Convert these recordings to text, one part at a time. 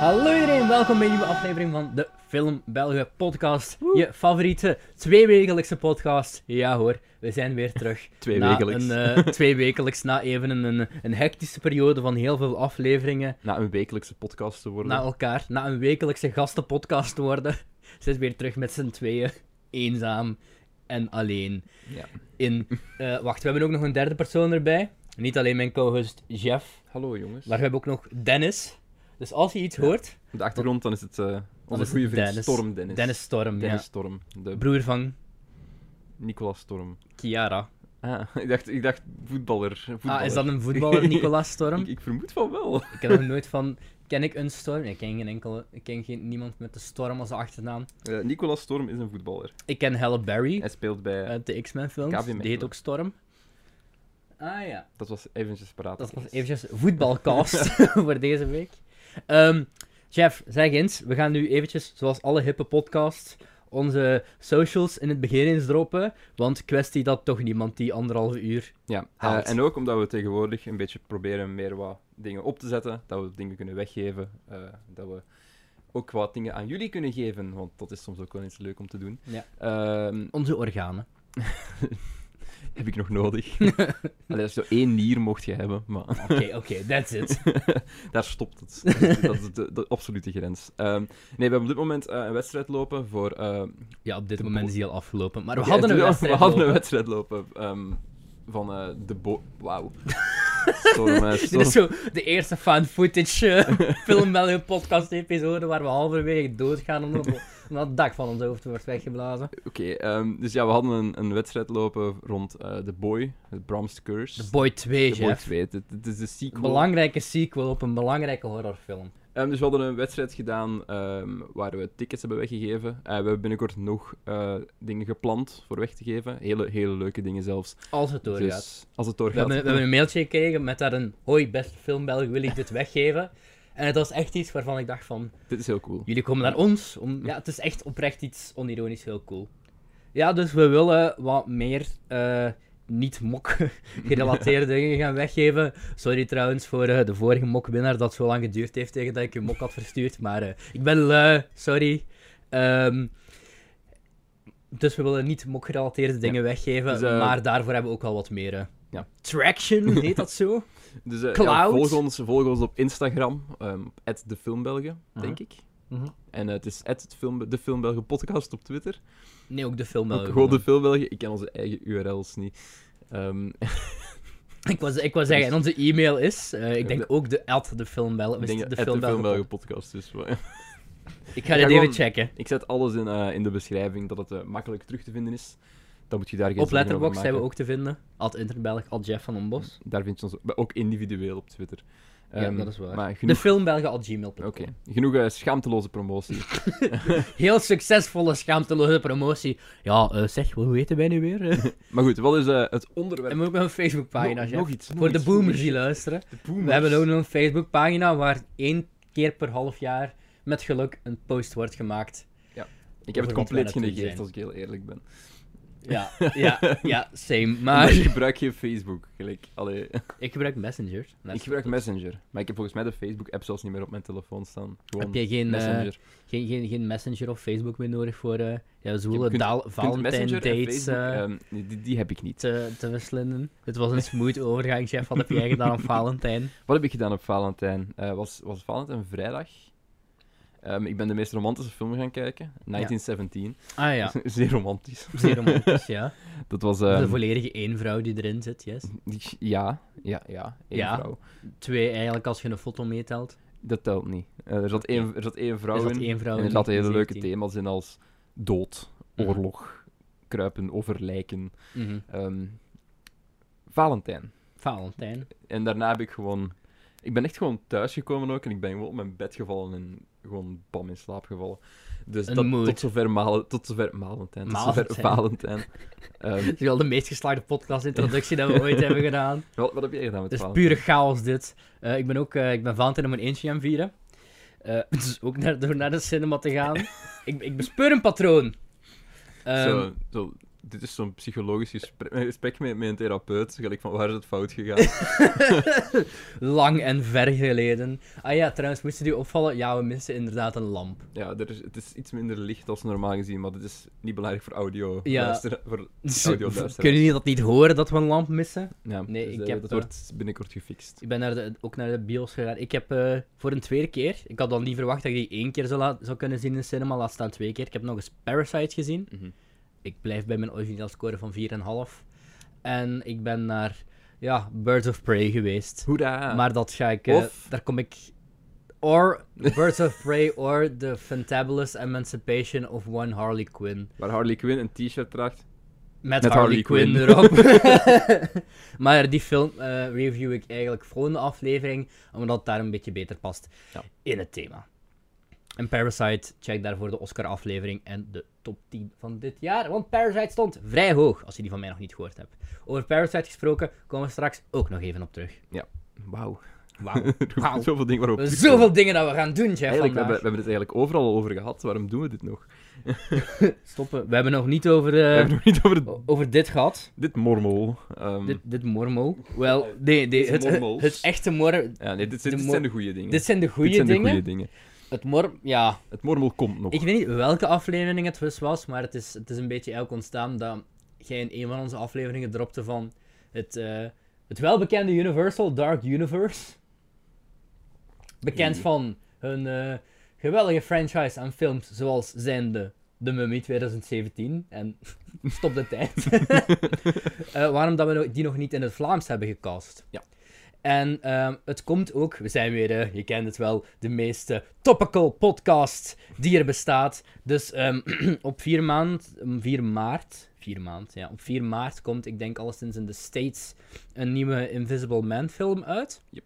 Hallo iedereen, welkom bij een nieuwe aflevering van de Film België podcast. Je favoriete tweewekelijkse podcast. Ja hoor, we zijn weer terug. Tweewekelijks. Na een, eh, tweewekelijks, na even een, een, een hectische periode van heel veel afleveringen Na een wekelijkse podcast te worden. na elkaar. Na een wekelijkse gastenpodcast worden, zijn we weer terug met z'n tweeën. Eenzaam en alleen. Ja. In, eh, wacht, we hebben ook nog een derde persoon erbij. Niet alleen mijn co-host Jeff, Hallo jongens. maar we hebben ook nog Dennis. Dus als je iets Ja. hoort, Op de achtergrond dan is het eh, Dan onze is goede het vriend Dennis. Storm Dennis. Dennis Storm, Dennis ja. Storm. De broer van Nicolas Storm. Kiara. Ah, ik, dacht, ik dacht voetballer. voetballer. Ah, is dat een voetballer, Nicolas Storm? ik, ik, ik vermoed van wel. heb nog nooit van... Ken ik een storm? Nee, ik ken geen enkele... Ik ken geen, niemand met de storm als achternaam. Eh, Nicolas Storm is een voetballer. Ik Eh, ken Halle Berry Hij speelt bij... uit de X-Men films. KV Die heet Mechelen. ook Storm. Ah ja. dat was eventjes paraat. Dat was eventjes voetbalcast voor deze week. Ehm, Jeff, zeg eens. We gaan nu eventjes, zoals alle hippe podcasts, onze socials in het begin eens droppen. Want kwestie dat toch niemand die anderhalve uur... Ja, eh, Haalt. en ook omdat we tegenwoordig een beetje proberen meer wat dingen op te zetten, dat we dingen kunnen weggeven, eh, dat we ook wat dingen aan jullie kunnen geven, want dat is soms ook wel eens leuk om te doen. Ja. Ehm, Onze organen. heb ik nog nodig. Allee, als je zo één nier mocht je hebben, maar Oké, oké, that's it. daar stopt het. Dat is- Dat is de, de absolute grens. Ehm, nee, we hebben op dit moment eh, een wedstrijd lopen voor... eh, Ja, op dit De moment bo- is die al afgelopen. Maar we Oké, hadden het- een wedstrijd. We hadden lopen. een wedstrijd lopen ehm, van eh, de bo... Wauw. Storm, eh, Dit storm. is zo de eerste fan footage eh film België podcast episode waar we halverwege doodgaan omdat, we- omdat het dak van ons hoofd wordt weggeblazen. Oké, ehm, dus ja, we hadden een, een wedstrijd lopen rond eh The Boy, het Bram's Curse. The Boy 2, The Boy Jeff. 2, dit, dit is de sequel. Een belangrijke sequel op een belangrijke horrorfilm. Ehm, dus we hadden een wedstrijd gedaan ehm, waar we tickets hebben weggegeven. Eh, we hebben binnenkort nog eh, dingen gepland voor weg te geven. Hele, hele leuke dingen zelfs. Als het doorgaat. Dus als het we, doorgaat. hebben, we hebben een mailtje gekregen met daar een hoi beste film België, wil ik dit weggeven? En het was echt iets waarvan ik dacht van, Dit is heel cool. Jullie komen naar ons om... Ja, het is echt oprecht iets onironisch heel cool. Ja, dus we willen wat meer eh, niet-mok-gerelateerde dingen gaan weggeven. Sorry trouwens voor eh, de vorige mokwinnaar dat zo lang geduurd heeft tegen dat ik je mok had verstuurd. Maar eh, ik ben lui, sorry. Ehm, dus we willen niet mok-gerelateerde dingen weggeven. Dus, eh, maar daarvoor hebben we ook al wat meer... eh, Ja. Traction, heet dat zo? Dus eh, ja, Cloud. volg, ons, volg ons op Instagram, ehm @defilmbelgen, denk ik. Mhm. En eh, het is het film, de Filmbelgen podcast op Twitter. Nee, ook de film. Ook wel gewoon de Filmbelgen. Ik ken onze eigen URL's niet. Ehm, Ik was, ik was zeggen, en onze e-mail is, eh, ik denk ook de at de filmbel. Ik is denk het dat de de film filmbel. Belgen podcast is. maar- Ik ga Ik dit ga even gewoon- checken. Ik zet alles in, eh, in de beschrijving dat het eh, makkelijk terug te vinden is. Dan moet je daar geen Op zorgen over Letterboxd zijn we maken. ook te vinden. At Interbelg, at Jeff van Ombos. Daar vind je ons ook- ook individueel op Twitter. Ja, Ehm, dat is waar. Maar De genoeg, filmbelgen at gmail.com. Oké, genoeg eh, schaamteloze promotie. Heel succesvolle, schaamteloze promotie. Ja, eh, zeg, hoe heten wij nu weer? Eh, maar goed, wat is eh, het en onderwerp? we hebben ook een Facebookpagina, Nog- Jeff. nog iets, nog Voor de iets, nog boomers iets. die luisteren. De boomers. We hebben ook nog een Facebookpagina waar één keer per half jaar met geluk een post wordt gemaakt. Ik heb het over wat wij compleet aan het doen genegeerd, zijn. als ik heel eerlijk ben. Ja, ja, ja, same. Maar ik Maar gebruik geen Facebook. Gelijk. Allee, ik gebruik Messenger. ik gebruik Messenger. Maar ik heb volgens mij de Facebook-app zelfs niet meer op mijn telefoon staan. Gewoon Heb je geen, eh, Messenger. Geen, geen, geen Messenger of Facebook meer nodig voor eh ja, Je zwoele kunt- daal- Ik vind Valentine Messenger en dates Facebook, eh, ehm, die- die, die heb ik niet. te, te verslinden. Het was een smooth overgang, chef. Wat heb jij gedaan op Valentijn? Wat heb ik gedaan op Valentijn? Eh, was, was Valentijn vrijdag? Ehm, ik ben de meest romantische film gaan kijken. 1917. Ah ja, Zeer romantisch. zeer romantisch, ja. Dat was... De ehm, volledige één vrouw die erin zit, yes. die- ja, ja, ja. Één Ja. vrouw. Twee eigenlijk als je een foto meetelt. Dat telt niet. Eh, er, zat één, er zat één vrouw Er zat in. één vrouw en in er zaten hele leuke 1917. thema's in als dood, Mhm. oorlog, kruipen over lijken. Mhm. Ehm, Valentijn. Valentijn. En daarna heb ik gewoon... Ik ben echt gewoon thuisgekomen ook en ik ben gewoon op mijn bed gevallen en gewoon bam in slaap gevallen. Dus Een dat, mood. tot zover Malen, tot zover Malentijn, tot zover Valentijn. Ehm, Het is wel de meest geslaagde podcast-introductie dat we ooit hebben gedaan. wat, wat heb jij gedaan met Het is Valentijn? pure chaos, dit. Eh, ik ben ook eh, ik ben Valentijn om een eentje gaan vieren. Eh, dus ook naar, door naar de cinema te gaan. ik, ik bespeur een patroon. Ehm, Zo, zo dit is zo'n psychologisch gesprek, een gesprek met, met een therapeut. Gelijk van waar is het fout gegaan? Lang en ver geleden. Ah ja, trouwens, moest je die opvallen? Ja, we missen inderdaad een lamp. ja, er is, het is iets minder licht als normaal gezien, maar dit is niet belangrijk voor audio. Ja. luistera- voor Dus, audio v- Kunnen jullie dat niet horen dat we een lamp missen? Ja, Nee, dus, ik eh, heb, dat eh, wordt binnenkort gefixt. Ik ben naar de, ook naar de bios gegaan. Ik heb eh, voor een tweede keer, ik had dan niet verwacht dat ik die één keer zou, la- zou kunnen zien in de cinema, laat staan twee keer. Ik heb nog eens Parasite gezien. Ik blijf bij mijn origineel score van 4,5. En ik ben naar ja, Birds of Prey geweest. Hoera! Maar dat ga ik, eh, Of- daar kom ik... Or Birds of Prey, or The Fantabulous Emancipation of One Harley Quinn. Waar Harley Quinn een t-shirt draagt. Met, Met Harley, Harley Quinn, Quinn. erop. maar die film eh, review ik eigenlijk volgende aflevering, omdat het daar een beetje beter past Ja. in het thema. En Parasite, check daarvoor de Oscar-aflevering en de top 10 van dit jaar. Want Parasite stond vrij hoog, als je die van mij nog niet gehoord hebt. Over Parasite gesproken komen we straks ook nog even op terug. Wauw. Wauw. Er Wauw. wow. zoveel dingen waarop We hebben terug- zoveel dingen dat we gaan doen, Jeff, Eigenlijk, we, hebben, vandaag. we hebben het eigenlijk overal over gehad. Waarom doen we dit nog? Stoppen. We hebben nog niet over, eh, we hebben het nog niet over het- o- over dit gehad. dit mormel. Ehm, Dit, dit mormo. Wel, nee, nee, Deze het, het, mormels. het echte mormo... ja, nee, dit, dit de mor- zijn de goede dingen. Dit zijn de Dit goede zijn de dingen. goede dingen. Het mor... Ja, Het mormel komt nog. ik weet niet welke aflevering het dus was, maar het is, het is een beetje elk ontstaan dat jij in een van onze afleveringen dropte van het, eh, het welbekende Universal Dark Universe. Bekend Nee. van hun eh, geweldige franchise aan films zoals zijnde De Mummy 2017 en Stop de Tijd. Eh, waarom dat we no- die nog niet in het Vlaams hebben gecast. Ja. En ehm, het komt ook, we zijn weer, eh, je kent het wel, de meest eh, topical podcast die er bestaat. Dus ehm, op 4, maand, om 4 maart, 4 maand, ja, op 4 maart komt, ik denk alleszins in de States, een nieuwe Invisible Man film uit. Yep.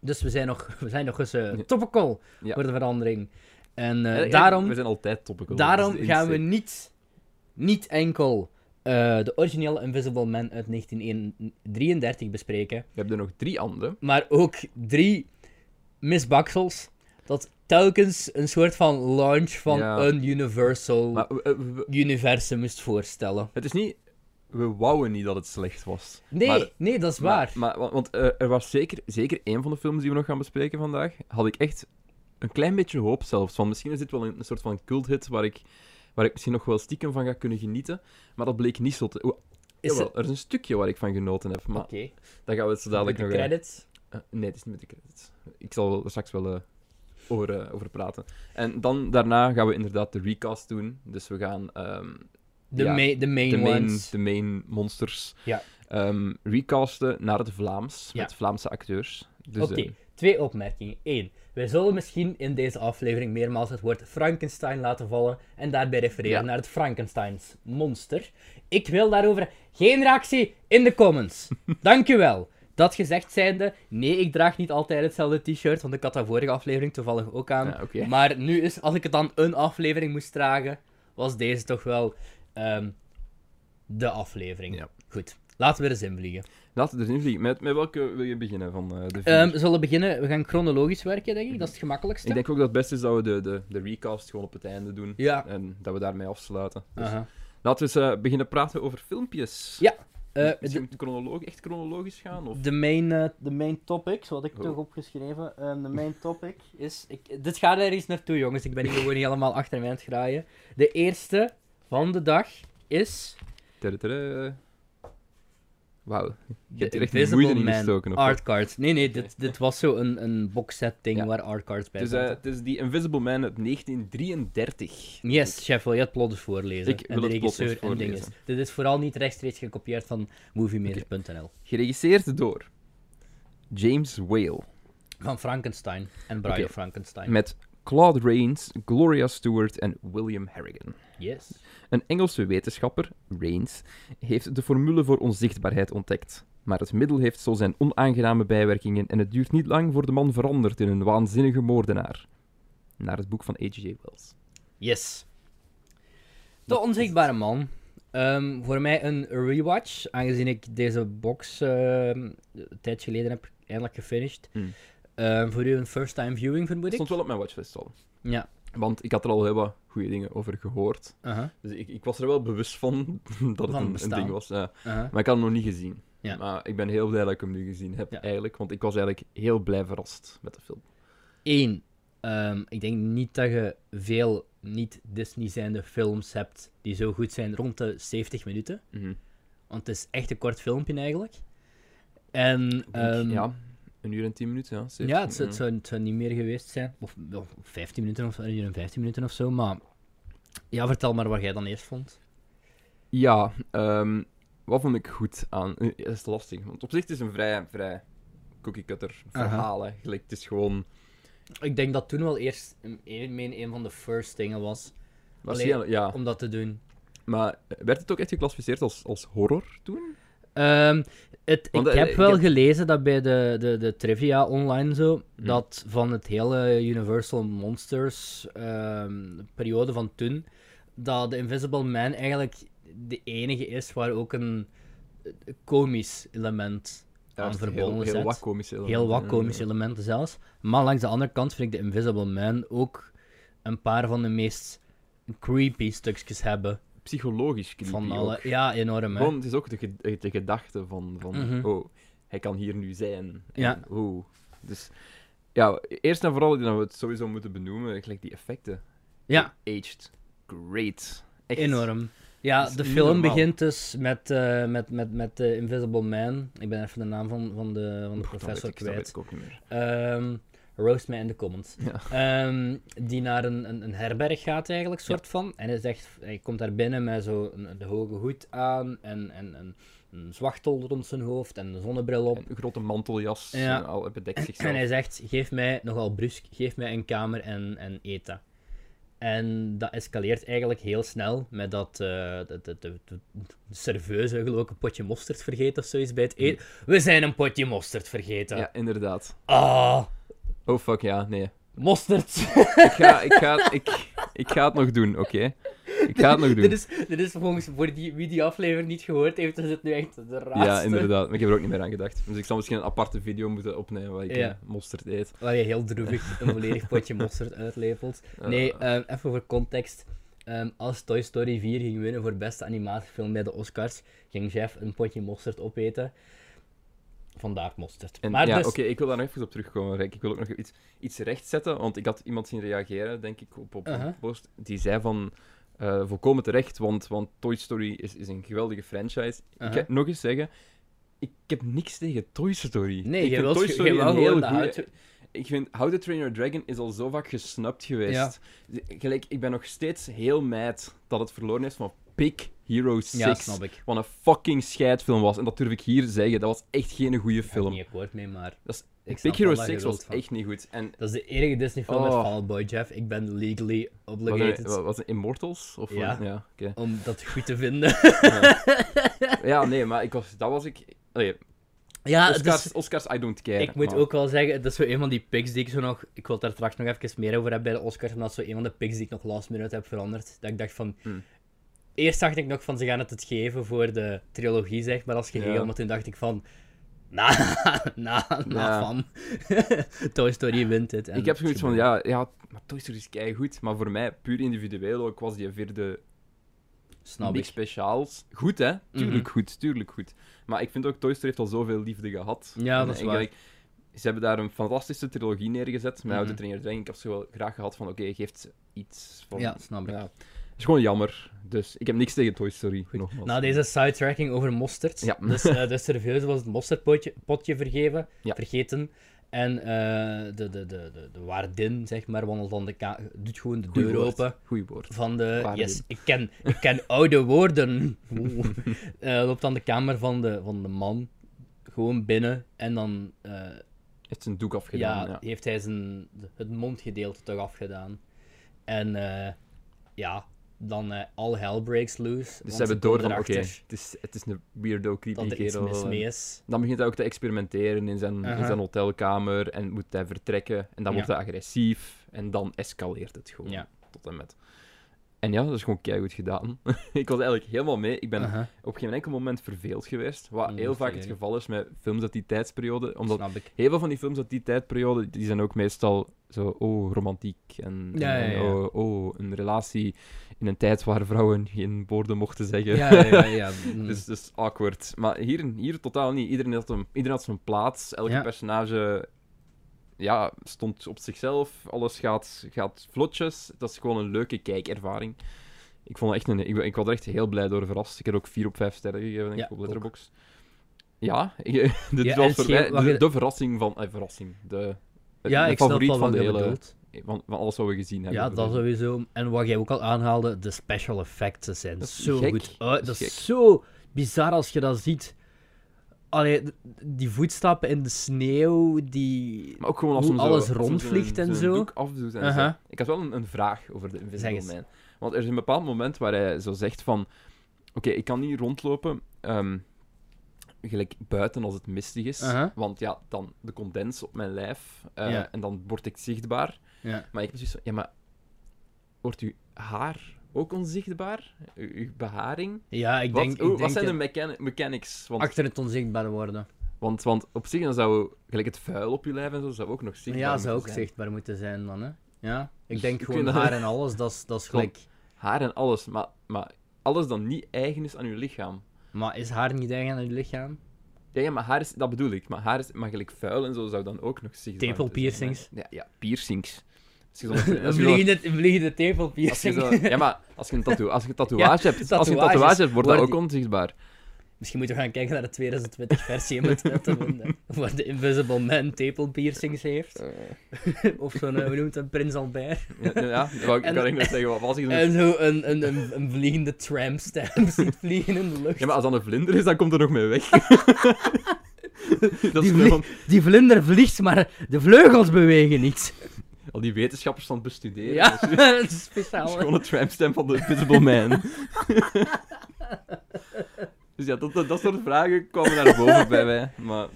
Dus we zijn nog, we zijn nog eens eh, Ja. topical Ja. voor de verandering. En eh, Eigenlijk, daarom... We zijn altijd topical. Daarom Dat is de gaan we insteek. niet, niet enkel eh, de originele Invisible Man uit 1933 bespreken, We hebben er nog drie andere. maar ook drie misbaksels dat telkens een soort van launch van Ja. een Universal Maar we- we- we- universum moest voorstellen. het is niet... We wouden niet dat het slecht was. Nee, Maar- nee, dat is waar. Maar, maar, wa- want eh, er was zeker, zeker één van de films die we nog gaan bespreken vandaag. Had ik echt een klein beetje hoop zelfs. Van misschien is dit wel een, een soort van culthit waar ik, waar ik misschien nog wel stiekem van ga kunnen genieten. Maar dat bleek niet zo te. Oeh, is jawel, het- er is een stukje waar ik van genoten heb. Maar Oké, daar gaan we het zo met dadelijk de nog credits. eh, nee, het is niet met de credits. Ik zal wel- er straks wel eh, over, eh, over praten. En dan daarna gaan we inderdaad de recast doen. Dus we gaan. ehm, De, ja, ma- de main de main, ones. de main monsters Ja. ehm, recasten naar het Vlaams, Ja. met Vlaamse acteurs. Dus, Oké, eh, twee opmerkingen. Eén, wij zullen misschien in deze aflevering meermaals het woord Frankenstein laten vallen en daarbij refereren Ja. naar het Frankensteins monster. Ik wil daarover geen reactie in de comments. Dank u wel. Dat gezegd zijnde, nee, ik draag niet altijd hetzelfde t-shirt, want ik had dat vorige aflevering toevallig ook aan. Ja, oké. Maar nu is, als ik het dan een aflevering moest dragen, was deze toch wel ehm, de aflevering. Ja. Goed, laten we er eens in vliegen. Laten we erin vliegen. Met, met welke wil je beginnen van eh, de vier? Ehm, we zullen beginnen, we gaan chronologisch werken, denk ik. Dat is het gemakkelijkste. Ik denk ook dat het beste is dat we de, de, de recast gewoon op het einde doen. Ja. En dat we daarmee afsluiten. Dus Aha. Laten we eens eh, beginnen praten over filmpjes. Ja, Eh, Misschien de, moet het chronoloog, echt chronologisch gaan? Of... de, main, eh, de main topic, wat ik Oh. toch opgeschreven. eh, de main topic is. Ik, dit gaat ergens naartoe, jongens. Ik ben hier gewoon niet helemaal achter mij aan het graaien. De eerste van de dag is. Tadadada. Wauw. Je De hebt hier echt Invisible moeite in Man gestoken, of wat? Art cards. Nee, nee, dit, dit was zo een, een box set ding Ja. waar art cards bij Het is, eh, zaten. het is die Invisible Man uit 1933. Yes, chef, wil je het plot eens voorlezen? eh, Ik en wil de het plot eens regisseur en voorlezen. dinges. Dit is vooral niet rechtstreeks gekopieerd van moviemeter.nl. Geregisseerd door James Whale. Van Frankenstein en Brian Oké. Frankenstein. Met Claude Rains, Gloria Stewart en William Harrigan. Yes. Een Engelse wetenschapper, Rains, heeft de formule voor onzichtbaarheid ontdekt. Maar het middel heeft zo zijn onaangename bijwerkingen en het duurt niet lang voor de man verandert in een waanzinnige moordenaar. Naar het boek van H.J. Wells. Yes. De Onzichtbare Man. Ehm, voor mij een rewatch, aangezien ik deze box ehm, een tijd geleden heb eindelijk gefinished. Hmm. Ehm, voor u een first time viewing, vermoed Het ik. stond wel op mijn watchlist al. Ja. Want ik had er al heel wat goede dingen over gehoord. Aha, Dus ik, ik was er wel bewust van dat het het een- een, bestaan. ding was. ja. aha. Maar ik had hem nog niet gezien. Ja. Maar ik ben heel blij dat ik hem nu gezien heb, Ja. eigenlijk. Want ik was eigenlijk heel blij verrast met de film. Eén, ehm, ik denk niet dat je veel niet-Disney-zijnde films hebt die zo goed zijn rond de 70 minuten. Want het is echt een kort filmpje eigenlijk. En, Ik denk, ehm, ja, een uur en tien minuten. Ja, zeker. Mm. ja, het, zou- het zou, het zou niet meer geweest zijn. Of, of 15 minuten of zo, een uur en 15 minuten of zo. Maar ja, vertel maar wat jij dan eerst vond. Ja, ehm, wat vond ik goed aan? Eh, Dat is lastig, want op zich is het een vrij, vrij cookie-cutter Aha. verhaal. hè. Gelijk, het is gewoon... Ik denk dat toen wel eerst een, een, een van de first dingen was waarschijnlijk- ja. om dat te doen. Maar eh, werd het ook echt geclassificeerd als, als horror toen? Ehm, het, Want, ik eh, heb ik wel heb- gelezen dat bij de, de, de trivia online zo, Mhm. dat van het hele Universal Monsters ehm, periode van toen, dat de Invisible Man eigenlijk de enige is waar ook een eh, komisch element aan is het verbonden heel, is. heel wat komische Mm. elementen. Heel wat Ja, komische ja. elementen zelfs. Maar langs de andere kant vind ik de Invisible Man ook een paar van de meest creepy stukjes hebben Psychologisch creepy van ook. alle... Ja, enorm hè. Gewoon, het is ook de, ge- de gedachte van, van Mhm. oh, hij kan hier nu zijn. En, Ja. Oh. Dus ja, eerst en vooral dat we het sowieso moeten benoemen, gelijk die effecten. Ja. Aged great. Echt. Enorm. Ja, Dat is de niet film normaal. begint dus met, eh, met, met, met de Invisible Man. Ik ben even de naam van, van de, van de Oeh, dat professor weet ik- dat weet kwijt. ik ook niet meer. Ehm roast mij in de comments. Ja. Ehm, die naar een, een, een herberg gaat eigenlijk, soort van. En hij, zegt, hij komt daar binnen met zo een, een hoge hoed aan en, en, en een zwachtel rond zijn hoofd en een zonnebril op. En Een grote manteljas, Ja. en al het bedekt zichzelf. En hij zegt, geef mij, nogal brusk, geef mij een kamer en, en eten. En dat escaleert eigenlijk heel snel met dat eh, de, de, de, de de serveuse geloof ik een potje mosterd vergeten of zoiets bij het eten. We zijn een potje mosterd vergeten. Ja, inderdaad. Ah, Oh fuck, ja, nee. mosterd. Ik ga, ik ga, ik, ik ga het nog doen, oké? Ik ga het nog doen. dit, is, dit is volgens voor die, wie die aflevering niet gehoord heeft, is het nu echt de raarste. Ja, inderdaad. Maar ik heb er ook niet meer aan gedacht. Dus ik zal misschien een aparte video moeten opnemen waar ik Ja. eh, mosterd eet. Waar je heel droevig een volledig potje mosterd uitlepelt. Eh, Nee, ehm, even voor context. Ehm, als Toy Story 4 ging winnen voor beste animatiefilm bij de Oscars, ging Jeff een potje mosterd opeten. Vandaar mosterd. En, maar ja, dus, oké, ik wil daar nog even op terugkomen, Rijk. Ik wil ook nog iets, iets rechtzetten, want ik had iemand zien reageren, denk ik, op, op Uh-huh. een post. Die zei van, eh, volkomen terecht, want, want Toy Story is, is een geweldige franchise. Ik Uh-huh. ga nog eens zeggen, ik heb niks tegen Toy Story. Nee, ik je vind wilt Toy ge- Story je wou een gewoon heel de goeie- hout- Ik vind How to Train Your Dragon is al zo vaak gesnapt geweest. Gelijk, ik ben nog steeds heel mad dat het verloren is van Big Hero 6. ja, snap ik. Wat een fucking scheidfilm was. En dat durf ik hier zeggen. Dat was echt geen goede Ik ben film. niet akkoord mee, maar Dat Ik is, snap Big Hero wel dat je 6 wilt was van. echt niet goed. En dat is de enige Disney-film met Oh. Fall Out Boy Jeff. Ik ben legally wat obligated een- wat was het, Immortals? Of Ja. wat? Ja, oké. om dat goed te vinden. ja, nee, maar ik was, dat was ik... Allee, ja, het Oscars, is- Oscars, I don't care. Ah, dus ik moet maar- ook wel zeggen, het is zo een van die picks die ik zo nog... Ik wil het daar straks nog even meer over hebben bij de Oscars, maar dat is zo een van de picks die ik nog last minute heb veranderd. Dat ik dacht van... Hmm. Eerst dacht ik nog van, ze gaan het het geven voor de trilogie, zeg maar, als geheel. Ja. Maar toen dacht ik van... Na, na, na, Ja. van. Toy Story wint dit. en Ik heb het zoiets van, gebeurt. ja, ja, maar Toy Story is keigoed. Maar voor mij, puur individueel ook, was die vierde Snap niks ik. Mhm. speciaals. Goed, hè? Tuurlijk goed, tuurlijk goed. Maar ik vind ook, Toy Story heeft al zoveel liefde gehad. Ja, En dat is ik- waar. ik- ze hebben daar een fantastische trilogie neergezet. Met How to Mhm. Train Your Dragon. Ik heb ze wel graag gehad van, oké, geeft ze iets van... Ja, snap ik. Ja. Het is gewoon jammer. Dus ik heb niks tegen Toy Story. Nogmaals. Na deze sidetracking over mosterd. Ja. Dus eh de serveuze was het mosterdpotje potje vergeven, Ja. vergeten. En eh, de, de, de, de, de waardin, zeg maar, wandelt dan de ka- doet gewoon de Goeie deur woord. open. Goeie woord. Van de, Waardin. yes, ik ken, ik ken oude woorden. Oeh. Eh, loopt dan de kamer van de, van de man gewoon binnen. En dan eh, Heeft zijn doek ja, afgedaan. Ja. heeft hij zijn, het mondgedeelte toch afgedaan. En eh, ja, dan eh all hell breaks loose. Dus want ze hebben door komen van, oké, erachter het, is, het is een weirdo, creepy dat er iets kerel. eh, mis En mee is. Dan begint hij ook te experimenteren in zijn, in Aha. zijn hotelkamer en moet hij vertrekken. En dan Ja. wordt hij agressief en dan escaleert het gewoon Ja. tot en met. En ja, dat is gewoon keihard gedaan. ik was eigenlijk helemaal mee. Ik ben Aha, op geen enkel moment verveeld geweest. Wat Mm, heel dat vaak is het eerlijk. geval is met films uit die tijdsperiode. Omdat snap ik. heel veel van die films uit die tijdperiode, die zijn ook meestal zo, oh, romantiek. En, Ja, en ja, ja. Oh, oh, een relatie in een tijd waar vrouwen geen woorden mochten zeggen. Ja, ja, ja. ja, mm. Dus, dus awkward. Maar hier, hier totaal niet. Iedereen had, een, iedereen had zijn plaats. Elke Ja. personage ja, stond op zichzelf. Alles gaat, gaat vlotjes. Dat is gewoon een leuke kijkervaring. Ik, vond het echt een, ik, ben- ik was er echt heel blij door verrast. Ik heb er ook 4 op 5 sterren gegeven denk ik, Ja, op ook. Letterboxd. Ja, ik- dit Ja, en was het voor scheen- mij wacht, de, het- de verrassing van... eh, verrassing. De, het- ja, de ik snap favoriet wel van, wat de je hele, bedoelt. van, van alles wat we gezien hebben. Ja, dat sowieso. En wat jij ook al aanhaalde, de special effects zijn Dat is zo gek. goed. uit. Dat is dat gek. is zo bizar als je dat ziet. Allee, d- die voetstappen in de sneeuw, die... Maar ook gewoon als Hoe hem alles zo, als hem rondvliegt zijn- en zijn zo. doek afdoet en Aha. zo. Ik had wel een, een vraag over de Zeg Invisible eens. Man. Want er is een bepaald moment waar hij zo zegt van... Oké, ik kan niet rondlopen ehm, gelijk buiten als het mistig is. Aha. Want ja, dan de condens op mijn lijf. eh, Ja. En dan word ik zichtbaar. Ja. Maar ik precies zo... Ja, maar wordt uw haar ook onzichtbaar? U- uw beharing? Ja, ik Wat, denk... oeh, ik wat denk zijn de het- mechan- mechanics? Want, Achter het onzichtbaar worden. want, want op zich dan zou gelijk het vuil op je lijf en zo zou ook nog zichtbaar ja, zou moeten ook zijn. zichtbaar moeten zijn dan, hè. Ja, ik Dus denk ik gewoon vind dat- haar en alles, dat is- dat is Klopt. gelijk... haar en alles, maar, maar alles dan niet eigen is aan uw lichaam. Maar is haar niet eigen aan je lichaam? Ja, ja, maar haar is, dat bedoel ik. Maar haar is, maar gelijk vuil en zo zou dan ook nog zichtbaar Tepel moeten zijn, piercings. hè. Ja, ja, piercings. Als je zo'n- Een als je zo'n- vliegende, een vliegende als je tepelpiercing. zo'n- ja, maar als je een, tattoo, als je een tatoeage hebt, als je een tatoeages. tatoeage hebt, wordt dat ook Worden onzichtbaar. Misschien moeten we gaan kijken naar de 2020 versie met waar de Invisible Man tepelpiercings heeft. Of zo'n, eh, hoe noemt het, Prins Albert. Ja, nou ja, dat wou ik En- kan ik net zeggen. Wat was ik En zo een, een, een, een vliegende tramstamp ziet vliegen in de lucht. Ja, maar als dat een vlinder is, dan komt er nog mee weg. dat is Die gewoon van, Die vlinder vliegt, maar de vleugels bewegen niet. al die wetenschappers van het bestuderen. Ja, Dat is- dat is Dat is speciaal. hè. gewoon een tramstamp van de Invisible Man. dus ja, dat, dat, dat soort vragen kwamen naar boven bij mij. Maar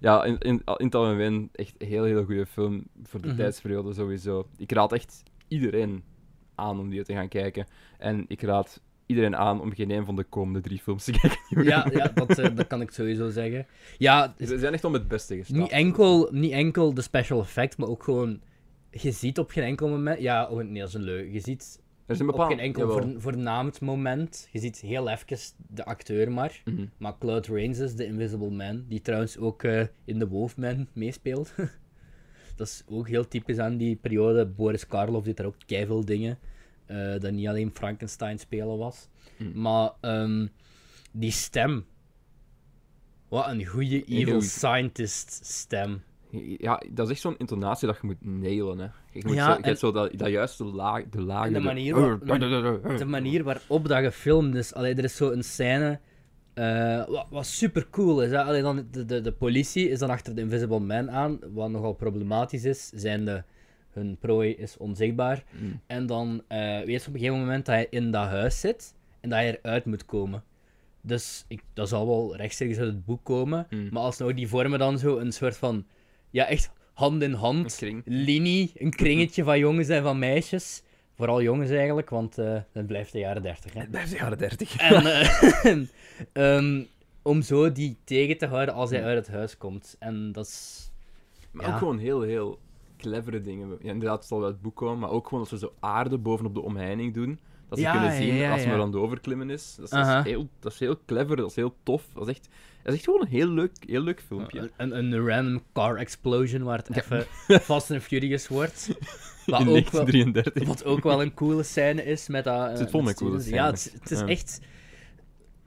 ja, in, in, in het algemeen echt een heel, heel goede film voor de Mhm. tijdsperiode sowieso. Ik raad echt iedereen aan om die te gaan kijken. En ik raad iedereen aan om geen een van de komende drie films te kijken. Ja, ja dat, eh, dat kan ik sowieso zeggen. Ja, het is Ze zijn echt om het beste gestart. niet enkel, niet enkel de special effect, maar ook gewoon... Je ziet op geen enkel moment... Ja, oh, nee, dat is een leugen. Je ziet Er is een op bepaald... geen enkel jawel. voor, voornaamd moment. Je ziet heel even de acteur maar. Mhm. Maar Cloud Rains is de Invisible Man, die trouwens ook eh, in The Wolfman meespeelt. dat is ook heel typisch aan die periode. Boris Karloff deed daar ook keiveel dingen. eh, dat niet alleen Frankenstein spelen was. Mm. Maar ehm, die stem. Wat een goede Heel evil goed. scientist stem. Ja, dat is echt zo'n intonatie dat je moet nailen, hè. Je, moet Ja, zo, je en- hebt zo dat, dat juiste laag, de laag... En de manier waarop- De Hm. manier waarop dat gefilmd is. Allee, er is zo'n scène. eh, wat, wat super cool is. Hè? Allee, dan, de, de, de politie is dan achter de Invisible Man aan. Wat nogal problematisch is. Zijn de, hun prooi is onzichtbaar. Mm. En dan eh weet je op een gegeven moment dat hij in dat huis zit. En dat hij eruit moet komen. Dus ik, dat zal wel rechtstreeks uit het boek komen. Mm. Maar alsnog, die vormen dan zo een soort van. Ja, echt hand in hand Een kring. linie, een kringetje van jongens en van meisjes. Vooral jongens eigenlijk, want eh dat blijft de jaren 30. Hè? Het blijft de jaren 30. En, eh, ehm, om zo die tegen te houden als hij uit het huis komt. En dat is. Maar Ja. ook gewoon heel, heel clevere dingen. Ja, inderdaad, het zal uit het boek komen, maar ook gewoon dat ze zo aarde bovenop de omheining doen. Dat ze Ja, kunnen ja, zien ja, als ze ja. maar aan het overklimmen is. Dat is, dat is Aha. heel, dat is heel clever, dat is heel tof. Dat is echt, dat is echt gewoon een heel leuk, heel leuk filmpje. Een, een, een random car explosion waar het even Fast and Furious wordt. Wat In ook wel, 1933. wat ook wel een coole scène is met dat. zit vol met coole Ja, het, scènes. het is Ja. echt.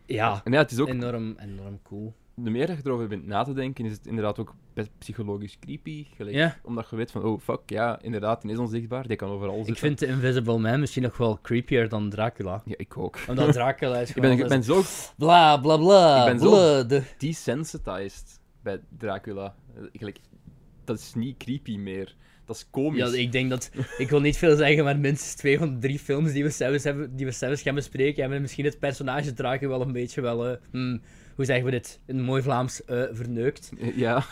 Ja, En ja, het is ook, enorm, enorm cool. de meer dat je erover bent na te denken, is het inderdaad ook best psychologisch creepy. Gelijk, Ja. Omdat je weet van, oh fuck, ja, inderdaad, die is onzichtbaar, die kan overal zitten. Ik vind The Invisible Man misschien nog wel creepier dan Dracula. Ja, ik ook. Omdat Dracula is Ik gewoon... ben, ik ben zo Bla, bla, bla. Ik ben zo- blood. desensitized bij Dracula. Eh, Gelijk, dat is niet creepy meer. Dat is komisch. Ja, ik denk dat... Ik wil niet veel zeggen, maar minstens twee van de drie films die we zelfs, hebben, die we zelfs gaan bespreken, hebben misschien het personage Dracula wel een beetje wel... eh, hmm, hoe zeggen we dit? In mooi Vlaams eh, verneukt. Eh, Ja,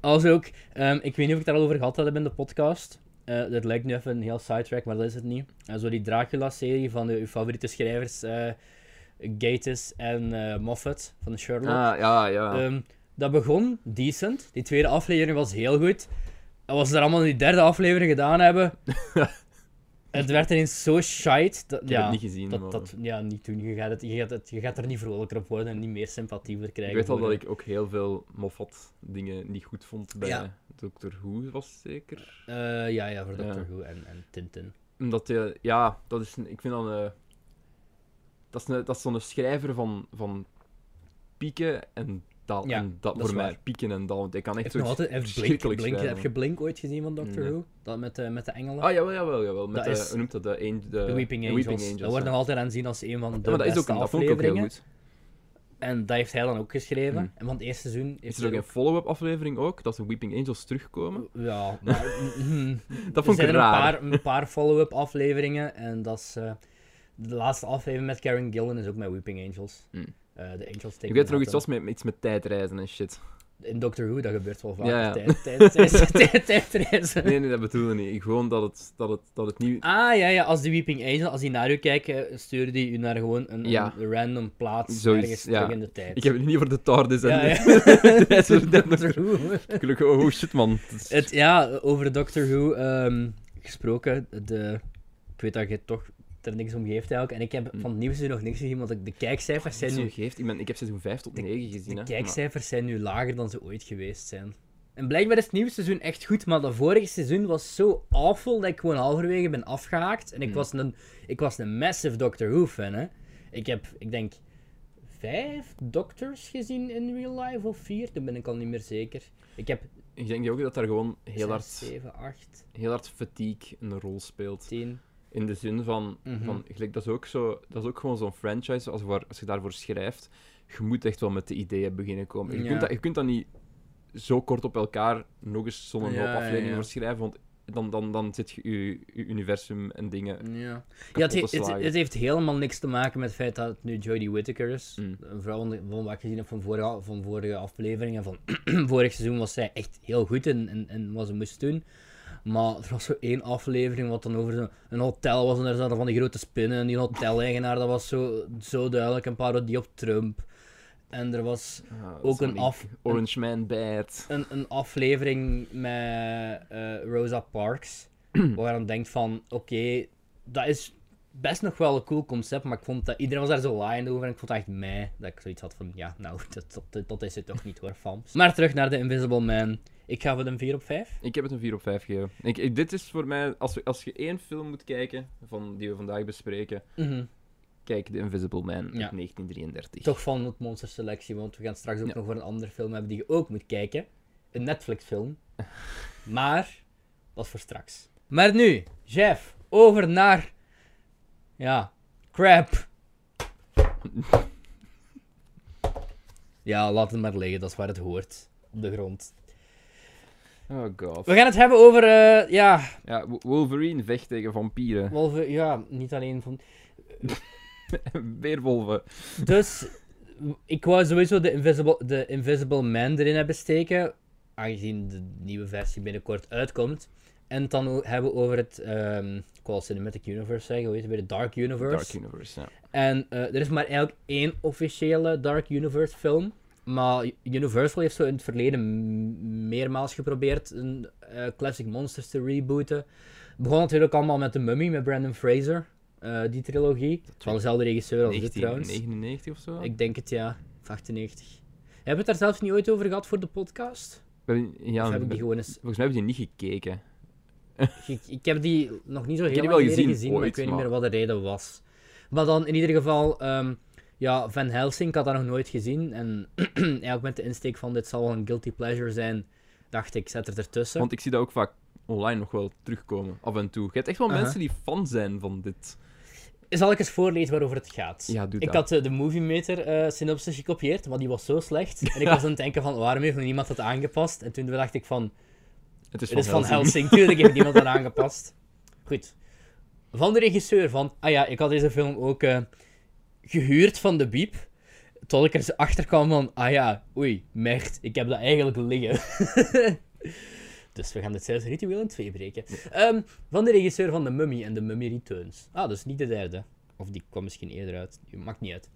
Als ook... ehm, ik weet niet of ik het daar al over gehad heb in de podcast, eh, dat lijkt nu even een heel sidetrack, maar dat is het niet. En zo die Dracula-serie van de, uw favoriete schrijvers eh Gates en eh, Moffat van Sherlock. Ah, ja, ja. Ehm, dat begon decent. Die tweede aflevering was heel goed. En wat ze daar allemaal in die derde aflevering gedaan hebben... het werd ineens zo shite. Dat, ik heb ja, het niet gezien. maar- dat, dat, ja, niet doen. Je gaat, het, je, gaat het, je gaat er niet vrolijker op worden en niet meer sympathie voor ik krijgen. weet al voor dat het. ik ook heel veel Moffat dingen niet goed vond bij Ja. Doctor Who, was het zeker. Eh, ja, ja, voor Ja. Doctor Who en, en Tintin. Omdat, je- ja, dat is, een- ik vind dat een... eh, Dat is, een, dat is zo'n schrijver van, van pieken en dalen. Ja, en dat, dat is voor mij, waar. pieken en dalen. Ik kan echt Heeft zoiets nog altijd, heeft Blink, verschrikkelijks Blink- schrijven. heb je Blink ooit gezien van Doctor Nee. Who? Dat met, de met de engelen? Ah, jawel, jawel, jawel. Met Dat de, is- hoe noemt dat? De, een- de, de Weeping Angels. dat wordt ja. nog altijd aanzien als een van de Ja, maar dat is beste ook, een- dat vond ik ook heel afleveringen. goed. En dat heeft hij dan ook geschreven. Mhm. En van het eerste seizoen heeft Is er ook hij een follow-up aflevering ook, dat de Weeping Angels terugkomen? Ja, maar... mhm. Dat vond er zijn ik er een raar. paar, een paar follow-up afleveringen. En dat is... eh, de laatste aflevering met Karen Gillan is ook met Weeping Angels. Mhm. Eh, de Angels Take Ik weet er nog Manhattan. iets was met, met iets met tijdreizen en shit. In Doctor Who, dat gebeurt wel vaak. Ja, ja. Tijd- tijd- tijd- tijd- tijdreizen. Nee, nee, dat bedoelde ik niet. Gewoon dat het, dat het, dat het niet... Ah, ja, ja. Als die Weeping Angel, als die naar u kijken, sturen die u naar gewoon een, Ja. een random plaats Zoiets, ergens ja. terug in de tijd. Ik heb het niet voor de TARDIS en Ah, Ja, ja. de tijdreizen. Dat nog- Doctor Who. Gelukkig, oh shit man. Het is- Het, ja, over Doctor Who ehm, gesproken. De, ik weet dat je toch er niks om geeft eigenlijk. En ik heb Hm. van het nieuws nu nog niks gezien, want de- de kijkcijfers zijn Zo nu... geeft. Ik, ben, ik heb seizoen 5 tot De- 9 gezien. De hè. kijkcijfers zijn nu lager dan ze ooit geweest zijn. En blijkbaar is het nieuwe seizoen echt goed, maar dat vorige seizoen was zo awful dat ik gewoon halverwege ben afgehaakt. En ik, Hmm. was, een, ik was een massive Doctor Who fan, hè. Ik heb, ik denk, vijf Doctors gezien in real life, of vier, dat ben ik al niet meer zeker. Ik heb Maar Ik denk ook dat daar gewoon heel zes, hard, zeven, acht, heel hard fatigue een rol speelt. tien... In de zin van, Mhm. van gelijk, dat, is ook zo, dat is ook gewoon zo'n franchise, als, waar, als je daarvoor schrijft, je moet echt wel met de ideeën beginnen komen. Je, Ja. kunt, dat, je kunt dat niet zo kort op elkaar nog eens zo'n hoop Ja, ja, afleveringen ja. voor schrijven, want dan, dan, dan zit je je je universum en dingen... Ja, kapot het, te he- het, slagen. het heeft helemaal niks te maken met het feit dat het nu Jodie Whittaker is. Mm. Een vrouw van, van wat ik gezien heb van vorige, van vorige aflevering en van vorig seizoen was zij echt heel goed in, in, in wat ze moest doen. Maar er was zo één aflevering wat dan over zo'n- een hotel was en daar zaten van die grote spinnen. En die hoteleigenaar, dat was zo, zo duidelijk een parodie op Trump. En er was Ah, dat ook zijn een, die af, een, Orange Man Bad. een, een aflevering met eh, Rosa Parks. waar je dan denkt van, oké, dat is best nog wel een cool concept, maar ik vond dat iedereen was daar zo laaiend over en ik vond het echt mij dat ik zoiets had van, ja, nou, dat, dat, dat is het toch niet hoor, fams. Maar terug naar de Invisible Man. Ik ga voor een 4 op 5. Ik heb het een 4 op 5 gegeven. Ik, ik- dit is voor mij, als, we- als je één film moet kijken van die we vandaag bespreken, kijk The Invisible Man uit Ja. 1933. Toch van het monsterselectie, want we gaan straks ook Ja. nog voor een andere film hebben die je ook moet kijken. Een Netflix film. Maar, dat is voor straks. Maar nu, Jeff, over naar, ja, crap. Ja, laat het maar liggen, dat is waar het hoort. Op de grond. Oh god. We gaan het hebben over, eh, ja, Ja, Wo- Wolverine vecht tegen vampieren. wolven, ja, niet alleen van... Weerwolven. Dus w- ik wou sowieso de Invisible, de Invisible Man erin hebben steken. Aangezien de nieuwe versie binnenkort uitkomt. En het dan o- hebben we over het. ehm ik wou al Cinematic Universe zeggen, hoe heet het weer? De Dark Universe. Dark Universe, ja. En eh, er is maar eigenlijk één officiële Dark Universe film. Maar Universal heeft zo in het verleden m- meermaals geprobeerd een eh, Classic Monsters te rebooten. Het begon natuurlijk allemaal met The Mummy met Brandon Fraser. eh, die trilogie. Van dezelfde regisseur als dit trouwens. 1999 of zo? Ik denk het ja, Of 98. Hebben we het daar zelfs niet ooit over gehad voor de podcast? We hebben- ja, of heb ik we- die gewoon eens. Volgens mij hebben we die niet gekeken. Ik, ik heb die nog niet zo heb heel die lang wel geleden gezien, gezien maar ik ooit, weet niet maar- meer wat de reden was. Maar dan in ieder geval, ehm, ja, Van Helsing ik had dat nog nooit gezien. En eigenlijk met de insteek van dit zal wel een guilty pleasure zijn, dacht ik, zet het ertussen. Want ik zie dat ook vaak online nog wel terugkomen, af en toe. Je hebt echt wel Aha. mensen die fan zijn van dit. Zal ik eens voorlezen waarover het gaat? Ja, doe Ik dat. had eh, de Movie Meter eh, synopsis gekopieerd, maar die was zo slecht. En ik was aan het denken van, waarom heeft nog niemand dat aangepast? En toen dacht ik van, Het is Het van, is van dus Helsing. Helsing, tuurlijk heeft iemand dat aangepast. Goed. Van de regisseur van... Ah ja, ik had deze film ook eh, gehuurd van de biep. Tot ik er zo achter kwam van... Ah ja, oei, merd. Ik heb dat eigenlijk liggen. Dus we gaan dit zelfs ritueel in twee breken. Ehm, van de regisseur van The Mummy en The Mummy Returns. Ah, dus niet de derde. Of die kwam misschien eerder uit. Maakt niet uit.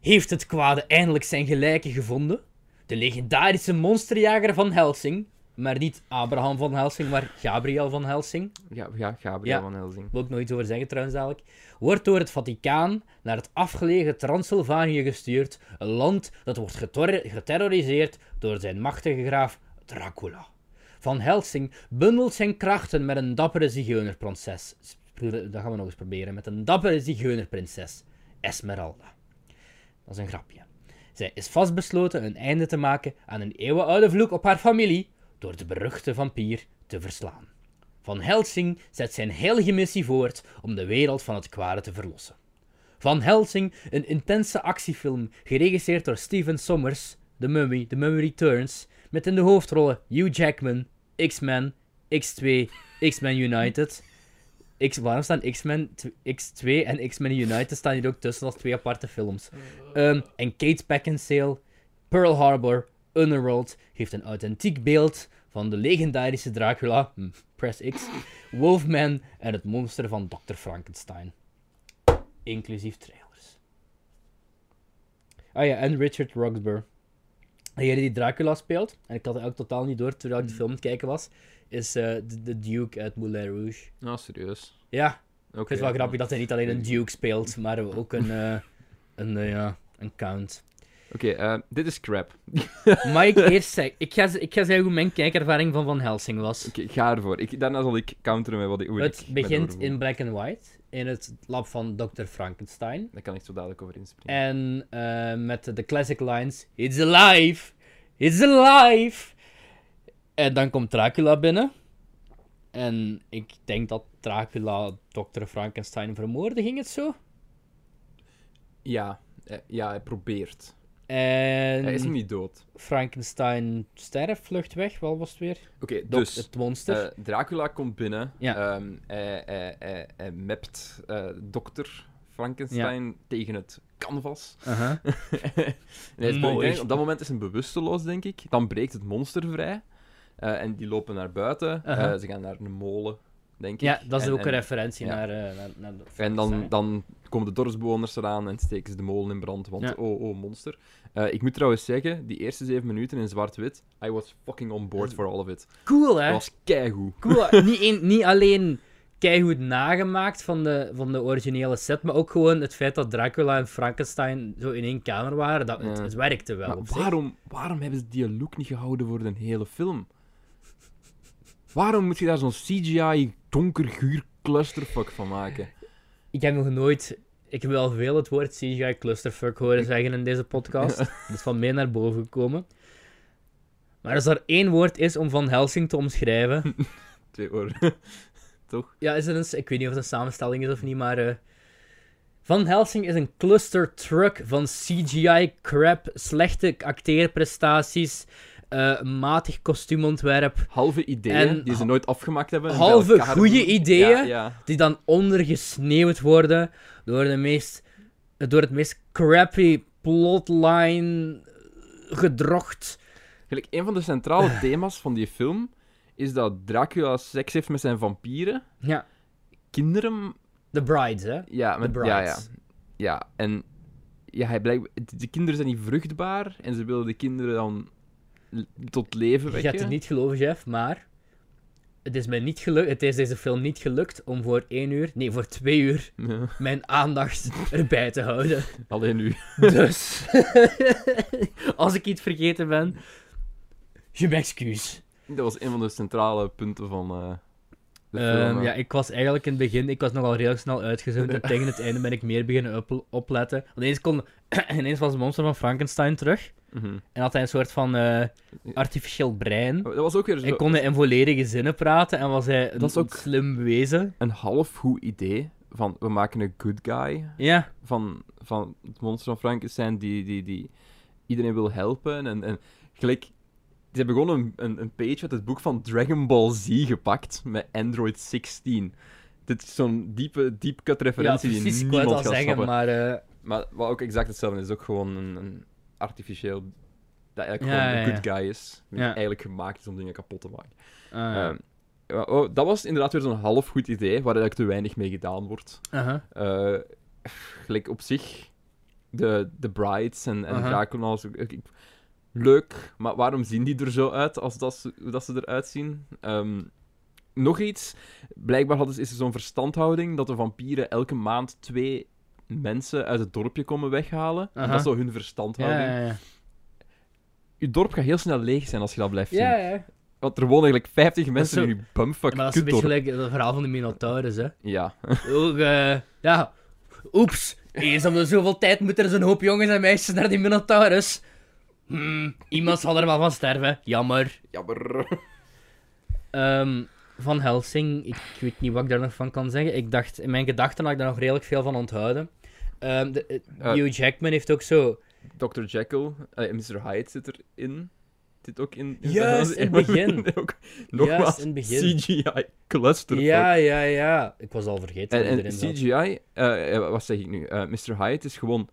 Heeft het kwade eindelijk zijn gelijke gevonden? De legendarische monsterjager van Helsing. Maar niet Abraham van Helsing, maar Gabriel van Helsing. Ja, ja Gabriel Ja. van Helsing. Wil ik nog iets over zeggen trouwens dadelijk. Wordt door het Vaticaan naar het afgelegen Transylvanië gestuurd. Een land dat wordt getor- geterroriseerd door zijn machtige graaf Dracula. Van Helsing bundelt zijn krachten met een dappere zigeunerprinses. Dat gaan we nog eens proberen. Met een dappere zigeunerprinses, Esmeralda. Dat is een grapje. Zij is vastbesloten een einde te maken aan een eeuwenoude vloek op haar familie door de beruchte vampier te verslaan. Van Helsing zet zijn heilige missie voort om de wereld van het kwade te verlossen. Van Helsing, een intense actiefilm geregisseerd door Steven Sommers, The Mummy, The Mummy Returns, met in de hoofdrollen Hugh Jackman, X-Men, X2, X-Men United. X, waarom staan X-Men tw- X2 en X-Men United staan hier ook tussen als twee aparte films? Ehm, en Kate Beckinsale, Pearl Harbor, Underworld geeft een authentiek beeld van de legendarische Dracula, hm, press X, Wolfman en het monster van Dr. Frankenstein. Inclusief trailers. Ah ja, en Richard Roxburgh. Degene die Dracula speelt, en ik had het ook totaal niet door terwijl ik de film aan het kijken was, is eh, de, de Duke uit Moulin Rouge. Nou, serieus. Ja, Oké. ik vind het wel grappig dat hij niet alleen een Duke speelt, maar ook een, eh, een, eh, ja, een Count. Oké, eh, dit is crap. Mag ik eerst zeggen, ik ga, ik ga zeggen hoe mijn kijkervaring van Van Helsing was. Ik ga ervoor. Ik, daarna zal ik counteren met wat ik... hoe ik Het mijn begint oordeel- in black and white, in het lab van Dr. Frankenstein. Daar kan ik zo dadelijk over inspringen. En eh, met de classic lines: It's alive! It's alive! En dan komt Dracula binnen. En ik denk dat Dracula Dr. Frankenstein vermoorde, ging het zo? Ja. eh, ja, hij probeert. En... Hij is nog niet dood. Frankenstein sterft, vlucht weg, wel was het weer? Oké, Dok- dus... het monster. Eh, Dracula komt binnen. Ja. Ehm, hij, hij, hij, hij mapt eh, dokter Frankenstein tegen het canvas. en hij is Mooi. ik denk, op dat moment is hij bewusteloos, denk ik. Dan breekt het monster vrij. Eh, en die lopen naar buiten. Aha. Eh, ze gaan naar een molen, denk Ja, ik. dat is En- ook een en- referentie ja. naar, eh, naar, naar de En Frankenstein. dan, dan komen de dorpsbewoners eraan en steken ze de molen in brand, want Ja. oh, oh, monster. Eh, ik moet trouwens zeggen, die eerste zeven minuten in zwart-wit, I was fucking on board for all of it. Cool, Dat hè? was keigoed. Cool. niet, een- niet alleen keigoed nagemaakt van de, van de originele set, maar ook gewoon het feit dat Dracula en Frankenstein zo in één kamer waren, dat, het, Ja. het werkte wel. Maar op zich. waarom, waarom hebben ze die look niet gehouden voor de hele film? Waarom moet je daar zo'n CGI donkerguur clusterfuck van maken? Ik heb nog nooit... Ik heb wel veel het woord CGI clusterfuck horen zeggen in deze podcast. Dat is van mij naar boven gekomen. Maar als er één woord is om Van Helsing te omschrijven, Twee oren. Ja, is het een, s- ik weet niet of het een samenstelling is of niet, maar... eh, Van Helsing is een cluster truck van CGI crap, slechte acteerprestaties, eh, matig kostuumontwerp, Halve ideeën En die ze ha- nooit afgemaakt hebben. en bij halve elkaar goede doen. ideeën? Ja, ja. die dan ondergesneeuwd worden door, de meest, door het meest crappy plotline eh, gedrocht. Gelijk, een van de centrale thema's van die film is dat Dracula seks heeft met zijn vampieren. Ja, Kinderen... The Brides, hè. Ja, met, The ja, ja. Brides. Ja, en... Ja, hij blijkt, de kinderen zijn niet vruchtbaar en ze willen de kinderen dan l- tot leven Je wekken. gaat het niet geloven, Jeff, maar... Het is mij niet gelukt, het is deze film niet gelukt om voor één uur, nee, voor twee uur, Ja. mijn aandacht erbij te houden. Alleen nu. Dus, als ik iets vergeten ben, je m'excuus. Dat was een van de centrale punten van eh, de film. Ehm hè. ja, ik was eigenlijk in het begin, ik was nogal redelijk snel uitgezoomd en tegen het einde ben ik meer beginnen op- opletten. Want ineens, kon, ineens was het monster van Frankenstein terug Mhm. en had hij een soort van eh, artificieel brein. Dat was ook weer Hij zo kon in volledige zinnen praten en was hij een, Dat is ook- een slim wezen. een half goed idee van we maken een good guy Ja, van, van het monster van Frankenstein die, die, die iedereen wil helpen. En, en gelijk, ze hebben gewoon een, een, een page uit het boek van Dragon Ball Z gepakt met Android 16. Dit is zo'n diepe, diepkut ja referentie precies, die ik wou het niemand al gaat zeggen, snappen. maar eh, Maar wat ook exact hetzelfde is, ook gewoon een, een artificieel dat eigenlijk Ja, gewoon ja, een ja. good guy is. Die Ja. eigenlijk gemaakt is om dingen kapot te maken. Ah, Ehm, ja, oh, dat was inderdaad weer zo'n half goed idee, waar eigenlijk te weinig mee gedaan wordt. aha. Eh, gelijk op zich, de, de Brides en, en Aha. Draco en alles. ik- ik- Leuk, maar waarom zien die er zo uit als dat ze, hoe dat ze eruit zien? Ehm, nog iets, blijkbaar hadden, ze- is er zo'n verstandhouding dat de vampieren elke maand twee mensen uit het dorpje komen weghalen. En Aha. Dat is zo hun Ja, verstandhouding. ja, ja. Je dorp gaat heel snel leeg zijn als je dat blijft zien. Ja, ja. Want er wonen eigenlijk 50 mensen zo- in je bumfuck Ja, Maar dat is een beetje kutdorp. gelijk het verhaal van de Minotaurus, hè. Ja. Ook, eh, ja, oeps. Eens om de zoveel tijd moet er zo'n hoop jongens en meisjes naar die Minotaurus. Hmm, iemand zal er wel van sterven. Jammer. Jammer. Ehm, van Helsing, ik weet niet wat ik daar nog van kan zeggen. Ik dacht, in mijn gedachten had ik daar nog redelijk veel van onthouden. Ehm, de, eh, Eh. Hugh Jackman heeft ook zo... Dr. Jekyll, eh, Mr. Hyde zit erin. Zit ook in. in Juist, in het begin. Ook- Nogmaals, in het begin. CGI clusterfuck. Ja, ja, ja. Ik was al vergeten en, dat hij en erin zat. CGI, eh, eh, wat zeg ik nu? Eh, Mr. Hyde is gewoon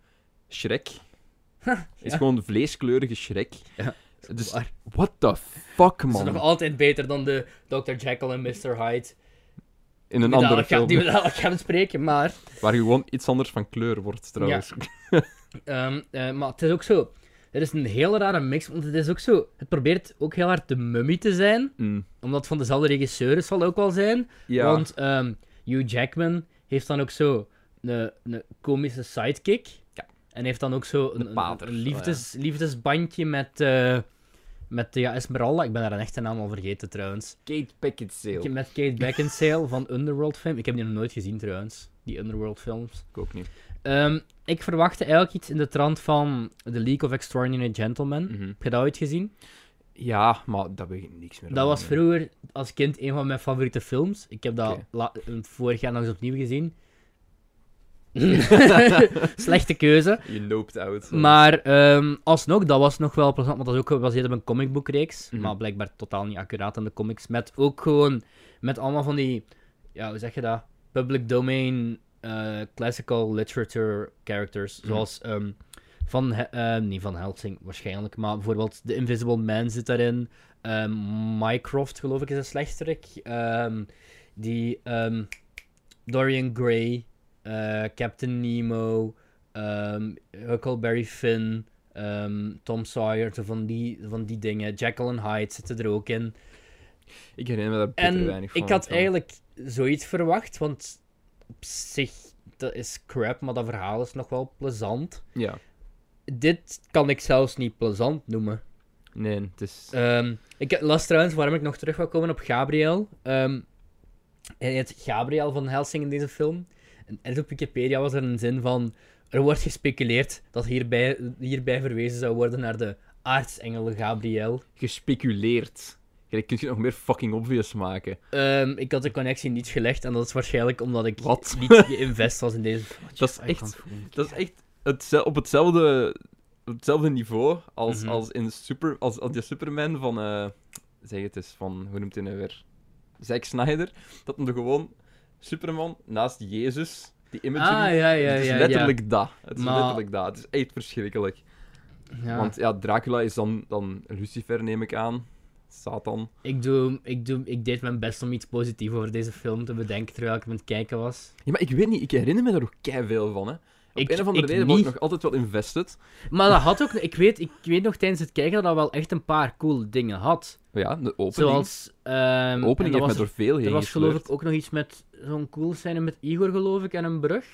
Shrek. Is ja. gewoon vleeskleurige Shrek. Ja, Dus, waar. what the fuck, Dat is nog man? altijd beter dan de Dr. Jekyll en Mr. Hyde. In een die andere dadelijk gaan- film, Die we dadelijk gaan spreken, maar... waar je gewoon iets anders van kleur wordt, trouwens. Ehm, eh, maar het is ook zo. Het is een heel rare mix, want het is ook zo. Het probeert ook heel hard de mummy te zijn, Mm. omdat het van dezelfde regisseur zal ook wel zijn. Ja, Want ehm, Hugh Jackman heeft dan ook zo een, een komische sidekick. Ja. En heeft dan ook zo een, De pater, een liefdes, liefdesbandje met, eh, met ja, Esmeralda. Ik ben haar echte naam al vergeten trouwens. Kate Beckinsale. Met Kate Beckinsale van Underworld film. Ik heb die nog nooit gezien trouwens, die Underworld films. Ik ook niet. Ehm, ik verwachtte eigenlijk iets in de trant van The League of Extraordinary Gentlemen. Mhm. Heb je dat ooit gezien? Ja, maar dat weet ik niks meer Dat over. was vroeger als kind een van mijn favoriete films. Ik heb dat Oké. la- eh, vorig jaar nog eens opnieuw gezien. Slechte keuze. Je loopt out. Maar ehm, alsnog, dat was nog wel plezant, want dat is ook gebaseerd op een comicboekreeks. Mhm. Maar blijkbaar totaal niet accuraat aan de comics. Met ook gewoon, met allemaal van die, ja, hoe zeg je dat? Public domain, eh, classical literature characters. Mhm. Zoals ehm, van, He- eh, niet van Helsing waarschijnlijk, maar bijvoorbeeld The Invisible Man zit daarin. Ehm, Mycroft, geloof ik, is een slechterik. Ehm, die ehm, Dorian Gray, eh, Captain Nemo, ehm, Huckleberry Finn, ehm, Tom Sawyer, zo van die, van die dingen. Jekyll en Hyde zitten er ook in. Ik herinner me daar bitter En weinig van. ik had van. eigenlijk zoiets verwacht, want op zich, dat is crap, maar dat verhaal is nog wel plezant. Ja. Dit kan ik zelfs niet plezant noemen. Nee, het is... Ehm, ik las trouwens waarom ik nog terug wil komen op Gabriel. Ehm hij heet Gabriel van Helsing in deze film. En ergens op Wikipedia was er een zin van... Er wordt gespeculeerd dat hierbij, hierbij verwezen zou worden naar de aartsengel Gabriel. gespeculeerd. Kijk, kun je het nog meer fucking obvious maken. Ehm, ik had de connectie niet gelegd en dat is waarschijnlijk omdat ik Wat? niet geïnvest was in deze film. Dat is echt, dat is echt hetze- op, hetzelfde, op hetzelfde niveau als, Mhm. als in super, als, als die Superman van... eh, zeg het eens, van... Hoe noemt hij nou weer? Zack Snyder. Dat hem er gewoon... Superman naast Jezus. Die imagery. Ah, ja, ja, het is ja. letterlijk dat. Het is Maar- letterlijk dat. Het is echt verschrikkelijk. Ja. Ja. Want ja, Dracula is dan, dan Lucifer, neem ik aan. Satan. Ik, doe, ik, doe, ik deed mijn best om iets positiefs over deze film te bedenken terwijl ik aan het kijken was. Ja, maar ik weet niet, ik herinner me daar ook kei veel van, hè. Op Ik- een of andere ik reden was ik niet. nog altijd wel invested. Maar dat had ook, ik weet, ik weet nog tijdens het kijken dat dat wel echt een paar coole dingen had. Ja, de opening. Zoals. ehm, de opening en heeft dat me door was, veel heen er was geloof gesleurd. ik ook nog iets met zo'n cool scène met Igor, geloof ik, en een brug.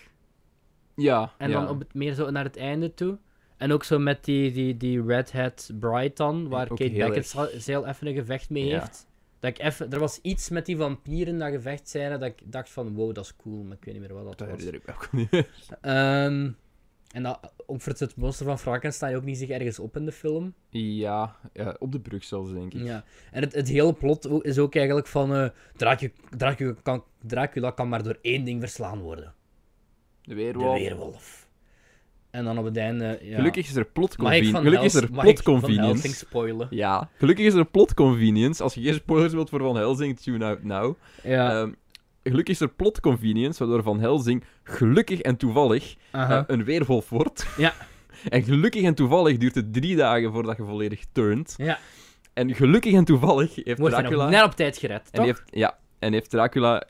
Ja, En ja. dan op het, meer zo naar het einde toe. En ook zo met die, die, die Red Hat Brighton, waar ook Kate heel Beckett heel even een gevecht mee Ja. heeft. Dat ik even, er was iets met die vampieren, dat gevecht scène, dat ik dacht van wow, dat is cool, maar ik weet niet meer wat dat Dat was. herinner ik me ook niet. Ehm, en dat, ook voor het monster van Frankenstein ook niet zich ergens op in de film. Ja, ja, op de brug zelfs, denk ik. Ja, en het, het hele plot o- is ook eigenlijk van eh, Dracu- Dracula, kan, Dracula kan maar door één ding verslaan worden. De De weerwolf. weerwolf. En dan op het einde... ja. Gelukkig is er Mag ik plot convenience. van Gelukkig is Hels- er mag ik plot van Helsing convenience. spoilen? Ja, gelukkig is er plot convenience. Als je geen spoilers wilt voor Van Helsing, tune out now. Ja, Ehm, gelukkig is er plot convenience, waardoor Van Helsing gelukkig en toevallig aha. eh, een Eh, weerwolf wordt. Ja. En gelukkig en toevallig duurt het drie dagen voordat je volledig turnt. Ja. En gelukkig en toevallig heeft Wordt hij nog Dracula... net op tijd gered, En toch? heeft, ja, en heeft Dracula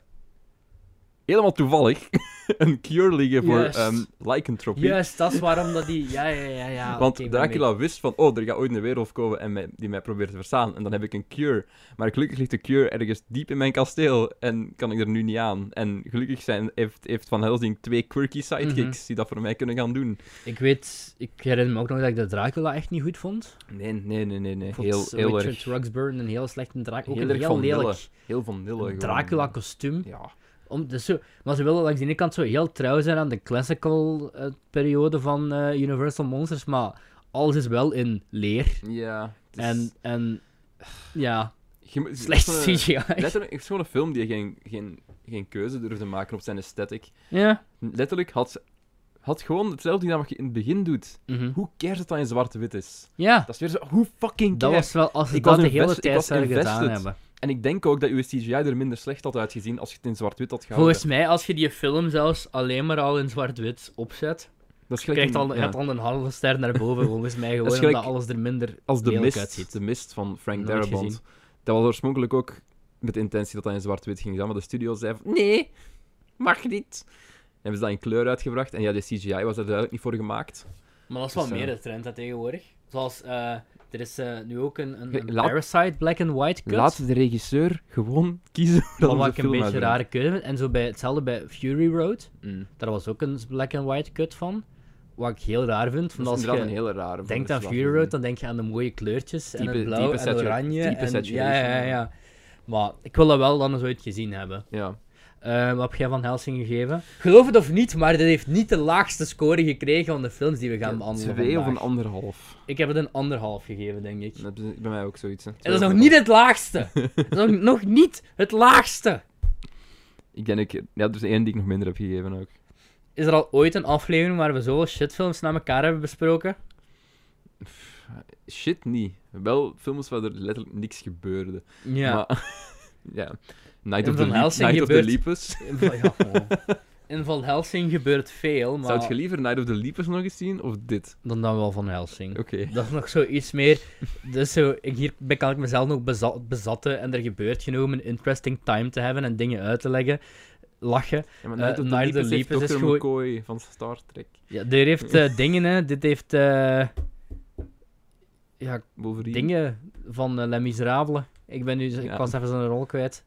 helemaal toevallig een cure liggen voor Juist. ehm lycanthropie. Juist, dat is waarom dat die... Ja, ja, ja, ja. Want Ah, oké, ik ben Dracula wist van, oh, er gaat ooit een werelf komen en mij- die mij probeert te verstaan. En dan heb ik een cure. Maar gelukkig ligt de cure ergens diep in mijn kasteel en kan ik er nu niet aan. En gelukkig zijn, heeft, heeft Van Helsing twee quirky sidekicks Mhm. die dat voor mij kunnen gaan doen. mee. Ik weet... Ik herinner me ook nog dat ik de Dracula echt niet goed vond. Nee, nee, nee, nee. nee. Ik vond Heel, heel Richard erg. Roxburgh een heel slechte Dracula. Ook Heel een erg heel van lelijk Heel vanille. gewoon. Dracula-kostuum. Ja. Om- Dus zo- maar ze wilden langs de ene kant zo heel trouw zijn aan de classical eh, periode van eh, Universal Monsters, maar alles is wel in leer. Ja. het is- En, en ja, Je moet- slecht het is CGI. een- Letterlijk, het is gewoon een film die geen, geen, geen keuze durfde maken op zijn aesthetic. Ja. Letterlijk had, had gewoon hetzelfde gedaan wat je in het begin doet. Mhm. Hoe cares het dat in zwart-wit is? Ja, Dat is weer zo, hoe fucking dat cares? was wel als ze Ik dat was de hele invest- ik tijd was zouden gedaan invested. hebben. En ik denk ook dat uw CGI er minder slecht had uitgezien als je het in zwart-wit had gehouden. Volgens mij, als je die film zelfs alleen maar al in zwart-wit opzet, dat is gelijk krijgt al, een- ja. gaat al een halve ster naar boven. Volgens mij gewoon gelijk omdat alles er minder Als de lelijk mist, uitziet. de mist van Frank Nooit gezien. Darabont. Dat was oorspronkelijk ook met de intentie dat dat in zwart-wit ging gaan, maar de studio zei van, nee, mag niet. En hebben ze dat in kleur uitgebracht. En ja, de CGI was er duidelijk niet voor gemaakt. Maar dat is Dus, wel eh, meer de trend hè, tegenwoordig. Zoals, eh, er is eh, nu ook een, een, een Laat- Parasite Black and White cut. Laat de regisseur gewoon kiezen hoe dat Wat onze ik een film beetje uitbrengt. rare keuze vind. En zo bij, hetzelfde bij Fury Road. Mm. Daar was ook een black and white cut van. Wat ik heel raar vind. Dat Want is als inderdaad je een hele rare. van denkt de aan slag Fury gezien. Road, dan denk je aan de mooie kleurtjes. en eh, Diepe- het blauw diepe en satura- oranje. diepe en, saturation, ja, ja, ja. ja. Maar ik wil dat wel dan eens ooit gezien hebben. Ja. Eh, wat heb jij van Helsing gegeven? Geloof het of niet, maar dit heeft niet de laagste score gekregen van de films die we gaan behandelen Twee of een vandaag. anderhalf. Ik heb het een anderhalf gegeven, denk ik. Dat is bij mij ook zoiets. Hè. En dat is nog niet het laagste. dat is nog, nog niet het laagste. Ik denk, ik, ja, dat is de ene die ik nog minder heb gegeven ook. Is er al ooit een aflevering waar we zoveel shitfilms na elkaar hebben besproken? Pff, Shit, niet. Wel films waar er letterlijk niks gebeurde. Ja. Maar, ja. Night, In of the, Van Leap- Helsing Night of the gebeurt- Leapers. In Van, ja, gewoon. In Van Helsing gebeurt veel, maar Zou je liever Night of the Leapers nog eens zien, of dit? dan dan wel Van Helsing. Oké. Dat is nog zoiets meer. Dus zo, ik, hierbij kan ik mezelf nog beza- bezatten en er gebeurt genoeg om een interesting time te hebben en dingen uit te leggen. Lachen. Ja, maar Eh, Night of the Night of the Leapers heeft Leapers is Dr. gewoon- McCoy van Star Trek. Ja, dit heeft eh, dingen, hè. Dit heeft eh, ja, Wolverine. dingen van eh, Les Miserables. Ik ben nu, ik Ja. was even zijn rol kwijt.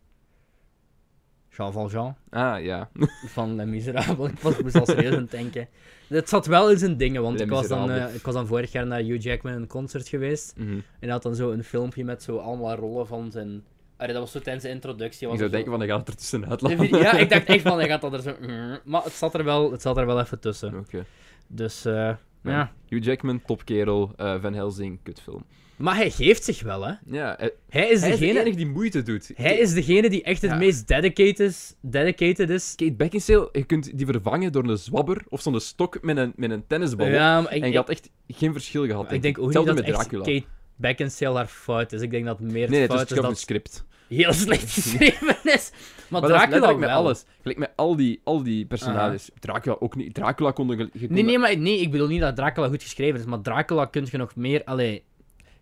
Jean Valjean. Ah, ja. van Les Miserables. Ik was, moest al serieus aan het denken. Het zat wel in zijn dingen, want Les ik was, dan, Miserables. eh, ik was dan vorig jaar naar Hugh Jackman een concert geweest. Mhm. En hij had dan zo een filmpje met zo allemaal rollen van zijn... Allee, dat was zo tijdens zijn introductie. Ik Was zou er zo- denken van, hij gaat het er tussenuit laten. Ja, ik dacht echt van, hij gaat dat er zo... Mm. Maar het zat er wel, het zat er wel even tussen. Oké. Dus, eh, Ja. ja. Hugh Jackman, topkerel. eh, Van Helsing, kutfilm. Maar hij geeft zich wel, hè. Ja, eh, Hij is, hij is de degene, enige die moeite doet. hij is degene die echt het Ja. meest dedicated is, dedicated is. Kate Beckinsale, je kunt die vervangen door een zwabber of zo'n stok met een, met een tennisbal. Ja, maar ik- en je had echt geen verschil gehad. ik, ik denk ook niet Hetzelfde dat met echt Dracula. Kate Beckinsale haar fout is. Ik denk dat het meer nee, het is fout is gewoon dat een script. heel slecht geschreven is. Maar, Maar dat is Dracula letterlijk ook met wel. Ah. alles. Gelijk met al die, al die personages. Dracula ook niet. Dracula kon er... je kon Nee, er- nee, maar, nee, ik bedoel niet dat Dracula goed geschreven is, maar Dracula kun je nog meer... Allee,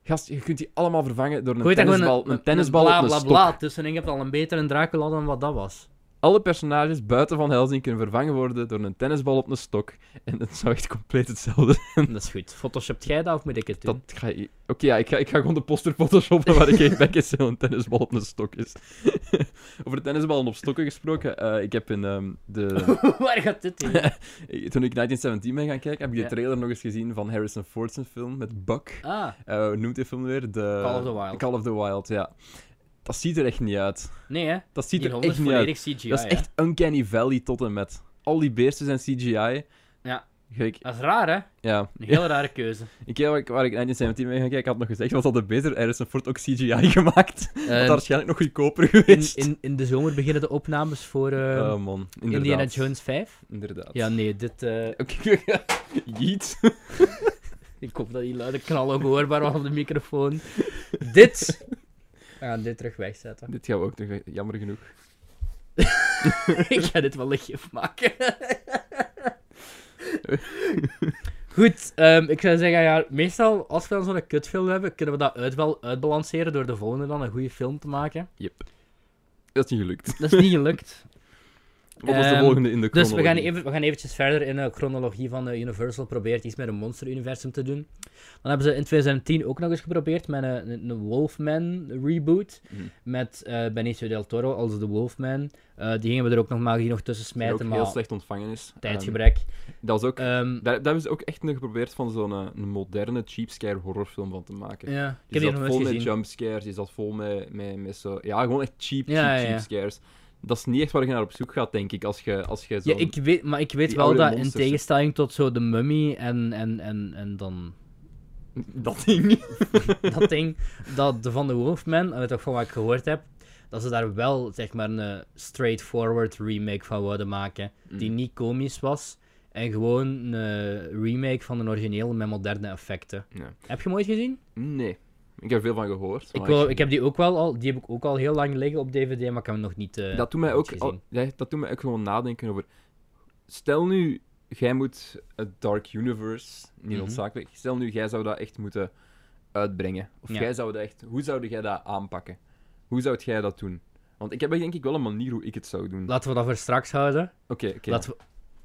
Gast, je kunt die allemaal vervangen door een gooi daar gewoon tennisbal, een, tennisbal bla, op bla, een stok. bla tussen. Ik heb al een betere Dracula dan wat dat was. Alle personages buiten Van Helsing kunnen vervangen worden door een tennisbal op een stok. En dat zou echt compleet hetzelfde zijn. dat is goed. Photoshopt jij dat of moet ik het Dat doen? ga je... Oké, ja, ik ga, ik ga gewoon de poster photoshoppen waar ik Kate Beckinsale een tennisbal op een stok is. Over tennisballen op stokken gesproken, eh, ik heb in ehm, de... Waar gaat dit heen? Ik- Toen ik 1917 ben gaan kijken, heb ik Ja. de trailer nog eens gezien van Harrison Ford's film met Buck. Ah, Eh, hoe noemt die film weer? De... Call of the Wild. Call of the Wild, ja. Dat ziet er echt niet uit. nee hè. Dat ziet Die er hond is echt niet uit. volledig CGI. dat is hè. echt Uncanny Valley tot en met. Al die beesten zijn CGI. Ja. Gelijk, Dat is raar hè. ja. Een heel rare keuze. Ik keer waar ik, waar ik 1917 ben gaan kijken, had nog gezegd, was dat de beter Harrison Ford ook CGI gemaakt. Dat had waarschijnlijk nog goedkoper in, geweest. Ehm, in, in de zomer beginnen de opnames voor eh, Oh man, inderdaad. Indiana Jones 5. Inderdaad. Ja, nee, dit... eh, Oké, Jeet. Ik hoop dat die luide knal ook hoorbaar was op de microfoon. dit. We gaan dit terug wegzetten. Dit gaan we ook nog, jammer genoeg. ik ga dit wel een gif maken. Goed, ehm, ik zou zeggen, ja, meestal als we dan zo'n kutfilm hebben, kunnen we dat uit wel uitbalanceren door de volgende dan een goede film te maken. Dat is niet gelukt. Dat is niet gelukt. Wat was de Ehm, volgende in de dus we gaan, chronologie? even, we gaan eventjes verder in de chronologie van eh, Universal. Probeert iets met een monster-universum te doen. Dan hebben ze in 2010 ook nog eens geprobeerd met een, een- een Wolfman reboot. Mhm. Met eh Benicio del Toro als de Wolfman. Eh, die gingen we er ook nog maar hier nog tussen Die ook smijten, heel maar slecht ontvangen is. Ehm, tijdgebrek. dat was ook... Ehm, Daar, daar hebben ze ook echt nog geprobeerd van zo'n eh, een moderne cheapscare horrorfilm van te maken. ja, ik heb die Die nog zat nooit vol met gezien. jumpscares, die zat vol met, met, met zo... Ja, gewoon echt cheap, Ja, ja, cheap, ja. cheap scares. Dat is niet echt waar je naar op zoek gaat, denk ik, als je, als je zo... Ja, ik weet, maar ik weet die wel oude dat in monsters, hè. tegenstelling tot zo de mummy en, en, en, en dan Dat ding. dat ding, dat de van de Wolfman, en dat ook van wat ik gehoord heb, dat ze daar wel zeg maar een eh, straightforward remake van wilden maken, die Mm. niet komisch was. En gewoon een eh, remake van een origineel met moderne effecten. Ja. Heb je hem ooit gezien? Nee. Ik heb er veel van gehoord. Ik, maar wil, ik heb die ook wel al, die heb ik ook al heel lang liggen op DVD, maar ik heb hem nog niet. eh, dat doet mij nog niet ook, oh. gezien. al- ja, dat doet mij ook gewoon nadenken over. Stel nu, jij moet het Dark Universe, niet Mhm. noodzakelijk. Stel nu, jij zou dat echt moeten uitbrengen. Of Ja. jij zou dat echt, hoe zou jij dat aanpakken? Hoe zou jij dat doen? Want ik heb echt denk ik wel een manier hoe ik het zou doen. Oké, Laten we dat voor straks houden. oké. Laten we,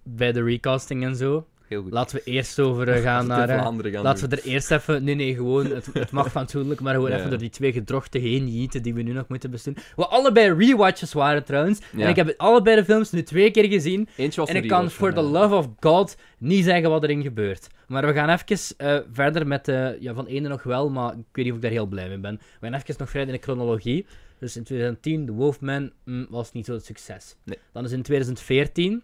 bij de recasting en zo. Heel goed. Laten we eerst over eh, gaan Als we naar. het in eh, Vlaanderen gaan Laten doen. we er eerst even. Nee, nee, gewoon. Het, het mag van fatsoenlijk, maar gewoon Ja, even ja. door die twee gedrochten heen jieten die we nu nog moeten besturen. Wat allebei rewatches waren trouwens. Ja. En ik heb allebei de films nu twee keer gezien. Eentje was En een ik kan rewatch, for the ja. love of God niet zeggen wat erin gebeurt. Maar we gaan even eh, verder met. de ja, van ene nog wel, maar ik weet niet of ik daar heel blij mee ben. We gaan even nog verder in de chronologie. Dus in 2010, The Wolfman mm, was niet zo'n succes. Nee. Dan is in 2014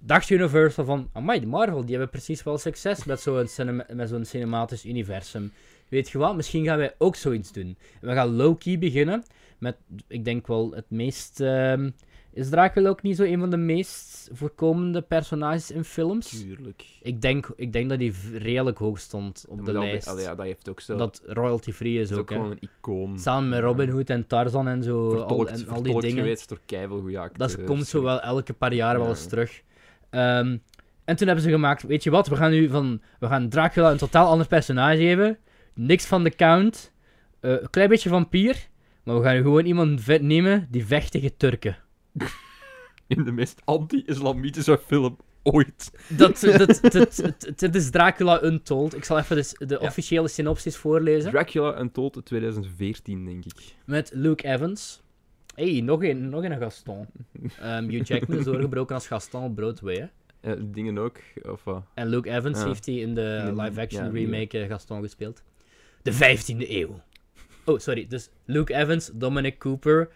dacht Universal van, amai, de Marvel, die hebben precies wel succes met zo'n cinema- met zo'n cinematisch universum. Weet je wat, misschien gaan wij ook zoiets doen. En we gaan low-key beginnen met, ik denk wel het meest... ehm, is Dracula ook niet zo een van de meest voorkomende personages in films? Tuurlijk. Ik denk, ik denk dat die v- redelijk hoog stond op de Maar dat- lijst. allee, ja, dat heeft ook zo. Dat Dat royalty-free is is ook ook, hè. gewoon een icoon. Samen met Robin Hood en Tarzan en zo. al- Vertolkt, en al die vertolkt dingen. geweest door keivelgoeie Dat acteurs. komt zo wel elke paar jaar wel Eh, Ja. eens terug. Ehm, en toen hebben ze gemaakt, weet je wat, we gaan nu van... We gaan Dracula een totaal ander personage geven. Niks van de count. eh, een klein beetje vampier. Maar we gaan gewoon iemand ve- nemen die vecht tegen Turken. in de meest anti-islamitische film ooit. Dat, dat, dat, dat- dat is Dracula Untold. Ik zal even dus de Ja. officiële synopsis voorlezen. Dracula Untold 2014, denk ik. Met Luke Evans. hey, nog een, nog een Gaston. Ehm Hugh Jackman is doorgebroken als Gaston op Broadway, hè. Eh, dingen ook, of wat? En Luke Evans Ja. heeft hij in de In de- live-action ja, die- remake eh, Gaston gespeeld. De 15e eeuw. Oh, sorry. Dus Luke Evans, Dominic Cooper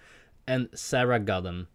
en Sarah Gadden.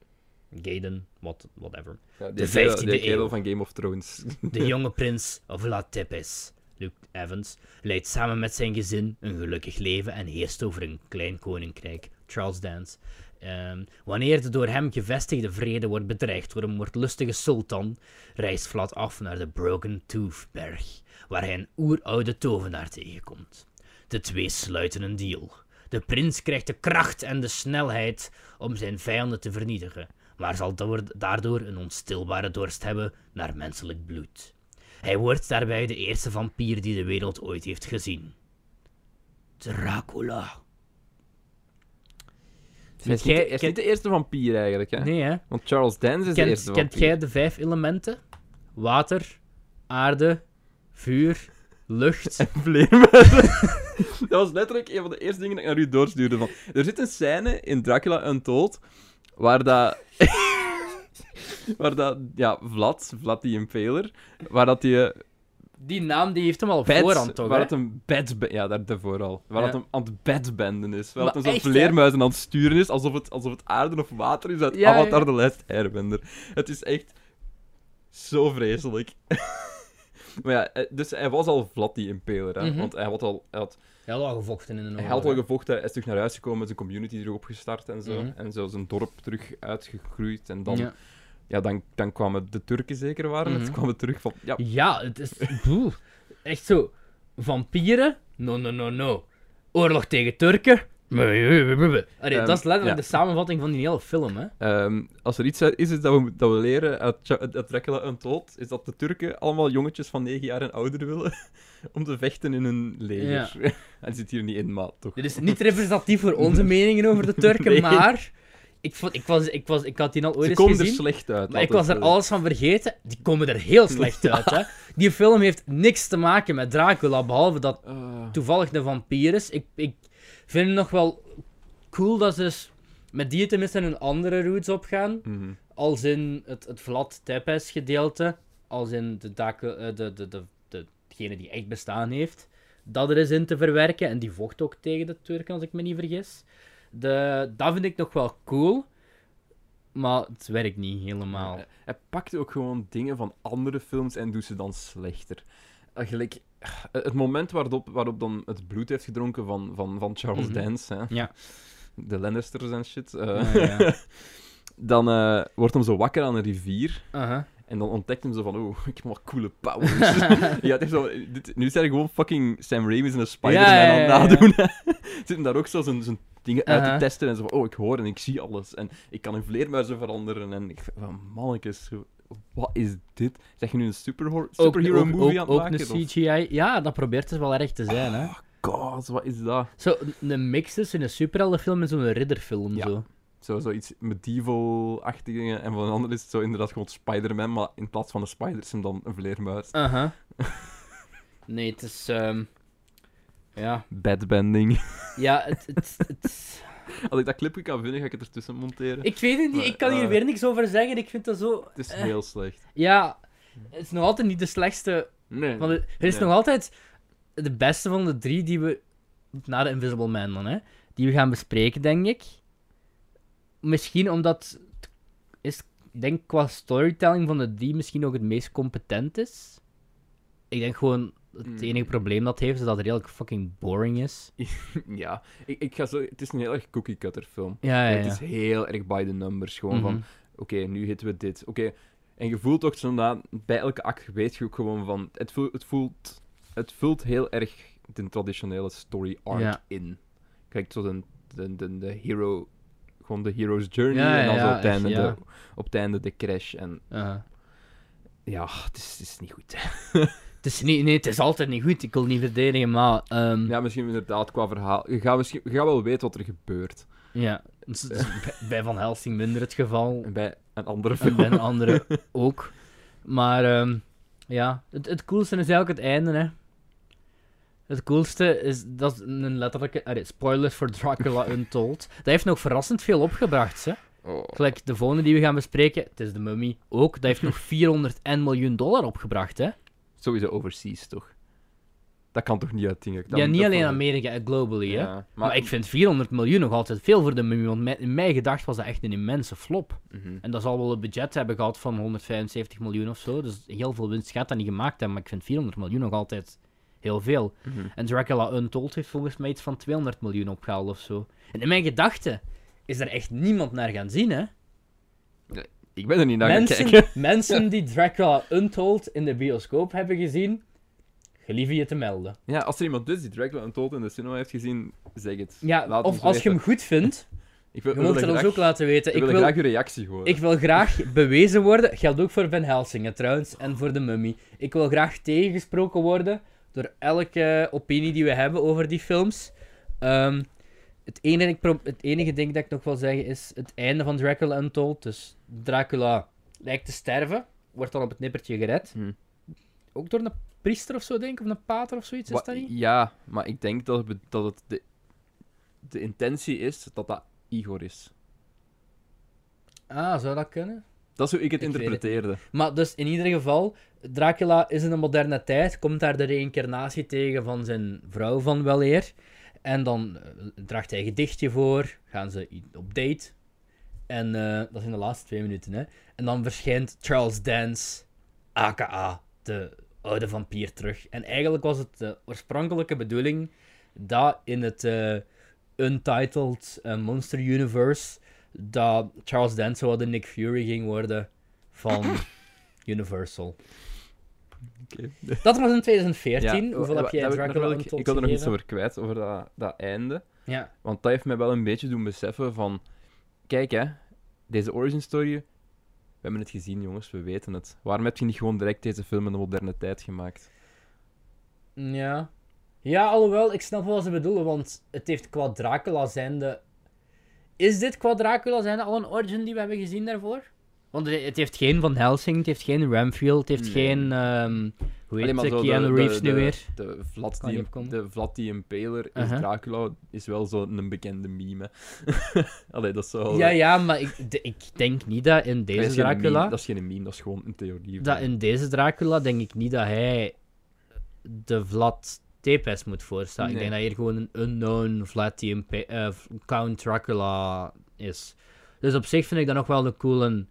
Gaden, what, whatever. Ja, die De kerel- 15e die kerel eeuw. van Game of Thrones. De jonge prins of La Tepes. Luke Evans leidt samen met zijn gezin een gelukkig leven en heerst over een klein koninkrijk, Charles Dance. Ehm, wanneer de door hem gevestigde vrede wordt bedreigd door een moordlustige sultan, reist Vlad af naar de Broken Tooth Berg, waar hij een oeroude tovenaar tegenkomt. De twee sluiten een deal. De prins krijgt de kracht en de snelheid om zijn vijanden te vernietigen, maar zal door- daardoor een onstilbare dorst hebben naar menselijk bloed. Hij wordt daarbij de eerste vampier die de wereld ooit heeft gezien. Dracula. Hij is, Jij- niet, hij is ken- niet de eerste vampier eigenlijk, hè? Nee, hè? Want Charles Dance is de Kent, eerste kent vampier. jij de vijf elementen? Water, aarde, vuur, lucht. Vleermuizen. dat was letterlijk een van de eerste dingen dat ik naar u doorstuurde. Van. Er zit een scène in Dracula Untold waar dat... waar dat... Ja, Vlad, Vlad die Impaler, waar dat die... eh, Die naam die heeft hem al op bed- voorhand, toch? Waar hè? het een bed... Ja, daar daarvoor al. Waar Ja. het hem aan het bedbenden is. Waar Maar het hem zo'n echt, hè? vleermuizen aan het sturen is, alsof het, alsof het aarde of water is uit Ja, ja. Avatar de Last Airbender. Het is echt zo vreselijk. maar ja, eh, dus hij was al Vlad die Impaler, hè. Mhm. Oh, Want hij had al... Hij had, Hij had al gevochten in de hij oorlog, had hè? al gevochten, hij is terug naar huis gekomen, is een community erop gestart en zo. Mhm. En zo zijn dorp terug uitgegroeid. En dan... Ja. Ja. dan, dan kwamen de Turken zeker waren. Mhm. Het kwamen terug van... Ja, Ja, het is. boe, echt zo. Vampieren? No, no, no, no. Oorlog tegen Turken? Allee, Ehm, dat is letterlijk ja. de samenvatting van die hele film, hè. Ehm, als er iets is het dat we, moet- dat we leren uit, Cha- uit Dracula Untold, is dat de Turken allemaal jongetjes van 9 jaar en ouder willen om te vechten in hun leger. Hij zit hier niet in, maar toch. Dit is niet representatief voor onze meningen over de Turken, Nee. maar... Ik, vond, ik, was, ik, was, ik had die al ooit Ze eens komen er gezien. slecht uit. Maar ik laten was we er het zo alles van vergeten. Die komen er heel slecht uit, hè. Die film heeft niks te maken met Dracula, behalve dat zeggen. Ah. toevallig een vampier is. Ik, ik vind het nog wel cool dat ze dus met die tenminste hun andere roots opgaan. Mhm. Als in het, het vlad Tepes gedeelte. Als in de, daken, eh, de, de, de, de, degene die echt bestaan heeft. Dat er is in te verwerken. En die vocht ook tegen de Turken, als ik me niet vergis. De, dat vind ik nog wel cool. Maar het werkt niet helemaal. Hij, hij pakt ook gewoon dingen van andere films en doet ze dan slechter. Eh, Gelijk, eh, het moment waarop, waarop dan het bloed heeft gedronken van, van, van Charles Mhm. Dance, hè? Ja. de Lannisters en shit, eh, Ja, ja. dan eh, wordt hem zo wakker aan een rivier. Aha. En dan ontdekt hem zo van, oh, ik heb wel coole powers. ja, het heeft zo, dit, nu is hij gewoon fucking Sam Raimi en een Spider-Man Ja, ja, ja, aan ja. Uh-huh. het nadoen. Zit hem daar ook zo zijn, zijn dingen uit Aha. te testen. En zo van, oh, ik hoor en ik zie alles. En ik kan in vleermuizen veranderen. En ik vind van, mannetjes, wat is dit? Zeg je nu een superhor- Ook, superhero ook- movie ook- aan het ook maken? een CGI. Ja, dat probeert het wel erg te zijn, hè. Of- God, wat is dat? Zo, een- een mix tussen een superheldenfilm en zo'n ridderfilm. Ja. Zo. Zo, zoiets medieval-achtige. En van een ander is het zo inderdaad gewoon Spider-Man. Maar in plaats van een spider is hem dan een vleermuis. Aha. nee, het is. ehm, Ja, Badbending. ja het, het, het- Als ik dat clipje kan vinden, ga ik het ertussen monteren. Ik weet het niet, ik kan hier Eh. weer niks over zeggen. Ik vind dat zo. Het is eh, heel slecht. ja, het is nog altijd niet de slechtste. Nee. Van de- er is Nee. nog altijd de beste van de drie die we. Na de Invisible Man dan, hè? Die we gaan bespreken, denk ik. Misschien omdat. het Is, ik denk qua storytelling van de drie misschien ook het meest competent is. Ik denk gewoon. Mm. Het enige probleem dat het heeft is dat het redelijk fucking boring is. Ja, ik, ik ga zo, het is een heel erg cookie-cutter film. Ja, ja, Het ja. is heel erg by the numbers. Gewoon Mhm. van, oké, nu hitten we dit. Oké, en je voelt ook zo na, bij elke act weet je ook gewoon van, het voelt, het voelt, het voelt heel erg de traditionele story arc Ja. in. Kijk, zo de, de, de, de hero, gewoon de hero's journey Ja, en dan ja, zo ja, op het einde, echt, ja. de, op het einde de crash. En Aha. ja, het is, het is niet goed. Het is niet, nee, het is altijd niet goed. Ik wil niet verdedigen, maar. ehm, ja. Ja, misschien inderdaad qua verhaal. Je gaat, misschien, je gaat wel weten wat er gebeurt. Het is- het is bij- bij Van Helsing minder het geval. En bij een andere En film. bij een andere ook. Maar ehm, ja, het, het coolste is eigenlijk het einde, hè. Het coolste is dat is een letterlijke. allee, spoilers voor Dracula Untold. Dat heeft nog verrassend veel opgebracht, hè? Oh. Gelijk de volgende die we gaan bespreken, het is de mummy ook. Dat heeft nog 400 en miljoen dollar opgebracht, hè? Sowieso overseas, toch? Dat kan toch niet uit dingen? Dat- ja, niet dat alleen kan- Amerika, eh, globally, hè? Ja, Maar, ik vind 400 miljoen nog altijd veel voor de mummy, want mijn- in mijn gedacht was dat echt een immense flop. Mhm. En dat zal wel een budget hebben gehad van 175 miljoen of zo, dus heel veel winst gaat dat niet gemaakt hebben, maar ik vind 400 miljoen nog altijd heel veel. Mhm. En Dracula Untold heeft volgens mij iets van 200 miljoen opgehaald of zo. En in mijn gedachten is er echt niemand naar gaan zien, hè? Nou, Ik ben er niet naar gaan Mensen, kijken. mensen die Dracula Untold in de bioscoop hebben gezien, gelieve je te melden. Ja, als er iemand dus die Dracula Untold in de cinema heeft gezien, zeg het. Ja, Laat of ons als je weten. hem goed vindt, Ik wil, je wil moet het ons graag- ook laten weten. Ik wil, graag uw reactie horen. Ik wil graag bewezen worden, geldt ook voor Van Helsingen trouwens, en voor de mummy. Ik wil graag tegengesproken worden door elke opinie die we hebben over die films. Ehm, het, enige, ik pro- het enige ding dat ik nog wil zeggen is het einde van Dracula Untold. Dus Dracula lijkt te sterven, wordt dan op het nippertje gered. Hm. Ook door een priester of zo, denk ik, of een pater of zoiets, Wa- is dat niet? Ja, maar ik denk dat, we- dat het de, de intentie is dat dat Igor is. Ah, zou dat kunnen? Dat is hoe ik het Ik weet het niet. interpreteerde. Maar dus in ieder geval, Dracula is in de moderne tijd, komt daar de reïncarnatie tegen van zijn vrouw van weleer. En dan eh, draagt hij een gedichtje voor, gaan ze i- op date. En eh, dat zijn de laatste twee minuten, hè. En dan verschijnt Charles Dance, aka de oude vampier, terug. En eigenlijk was het de oorspronkelijke bedoeling dat in het eh, Untitled eh, Monster Universe, dat Charles Dance zou de Nick Fury ging worden van Universal. Dat was in 2014. Ja, Hoeveel wa- heb jij oh, eh, daar wil Dracula ik nog wel- Untold Ik had er nog iets gegeven? over kwijt, over dat, dat einde. Ja. Want dat heeft mij wel een beetje doen beseffen van... Kijk hè, deze origin story... We hebben het gezien, jongens. We weten het. Waarom heb je niet gewoon direct deze film in de moderne tijd gemaakt? Ja. Ja, alhoewel, ik snap wel wat ze bedoelen, want het heeft qua Dracula zijnde... Is dit qua Dracula zijnde al een origin die we hebben gezien daarvoor? Want het het heeft geen Van Helsing, het heeft geen Ramfield, het heeft Nee. geen... ehm hoe Alleen heet maar ze? zo de- Keanu de- Reeves de- nu weer. De Vlad Kan die, niet een- opkomen. de Vlad die Impaler is Uh-huh. Dracula is wel zo'n bekende meme. hè. Allee, dat is zo... Ja, ja, maar ik, de- ik denk niet dat in dat deze is geen meme, Dracula... Dat is geen meme, dat is gewoon een theorie. Dat in deze Dracula denk ik niet dat hij de Vlad Tepes moet voorstaan. Ik Nee. denk dat hier gewoon een unknown Vlad the Imp- eh, Count Dracula is. Dus op zich vind ik dat nog wel een coole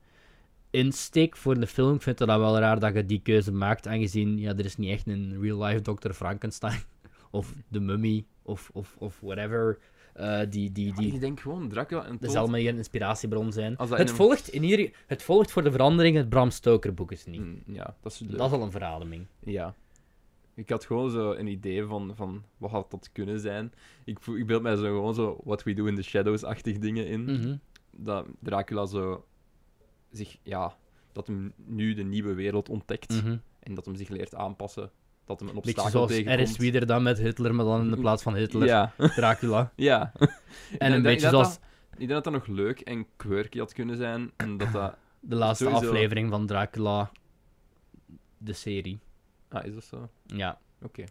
insteek voor de film. Ik vind het dan wel raar dat je die keuze maakt, aangezien ja, er is niet echt een real-life Dr. Frankenstein of de mummy of, of, of whatever eh, die, die, Maar die Ik denk gewoon Dracula en dat Todd- zal maar een inspiratiebron zijn. Als dat Het in een- volgt, in ieder, het volgt voor de verandering het Bram Stoker boek is niet. Mm, Ja, dat is leuk. Dat is al een verademing. Ja. Ik had gewoon zo een idee van, van wat had dat kunnen zijn. Ik, voel- ik beeld mij zo gewoon zo What We Do in the Shadows-achtig dingen in. Mm. Mhm. Dat Dracula zo zich, ja, dat hem nu de nieuwe wereld ontdekt. En dat hem zich leert aanpassen. Dat hem een Mhm. Beetje obstakel zoals er tegenkomt. is wie er dan met Hitler, maar dan in de plaats van Hitler, Ja, Dracula. ja. En een beetje zoals Ik denk dat dat nog leuk en quirky had kunnen zijn. En dat dat... de laatste sowieso- aflevering van Dracula, de serie. Ah, is dat zo? Ja, Oké.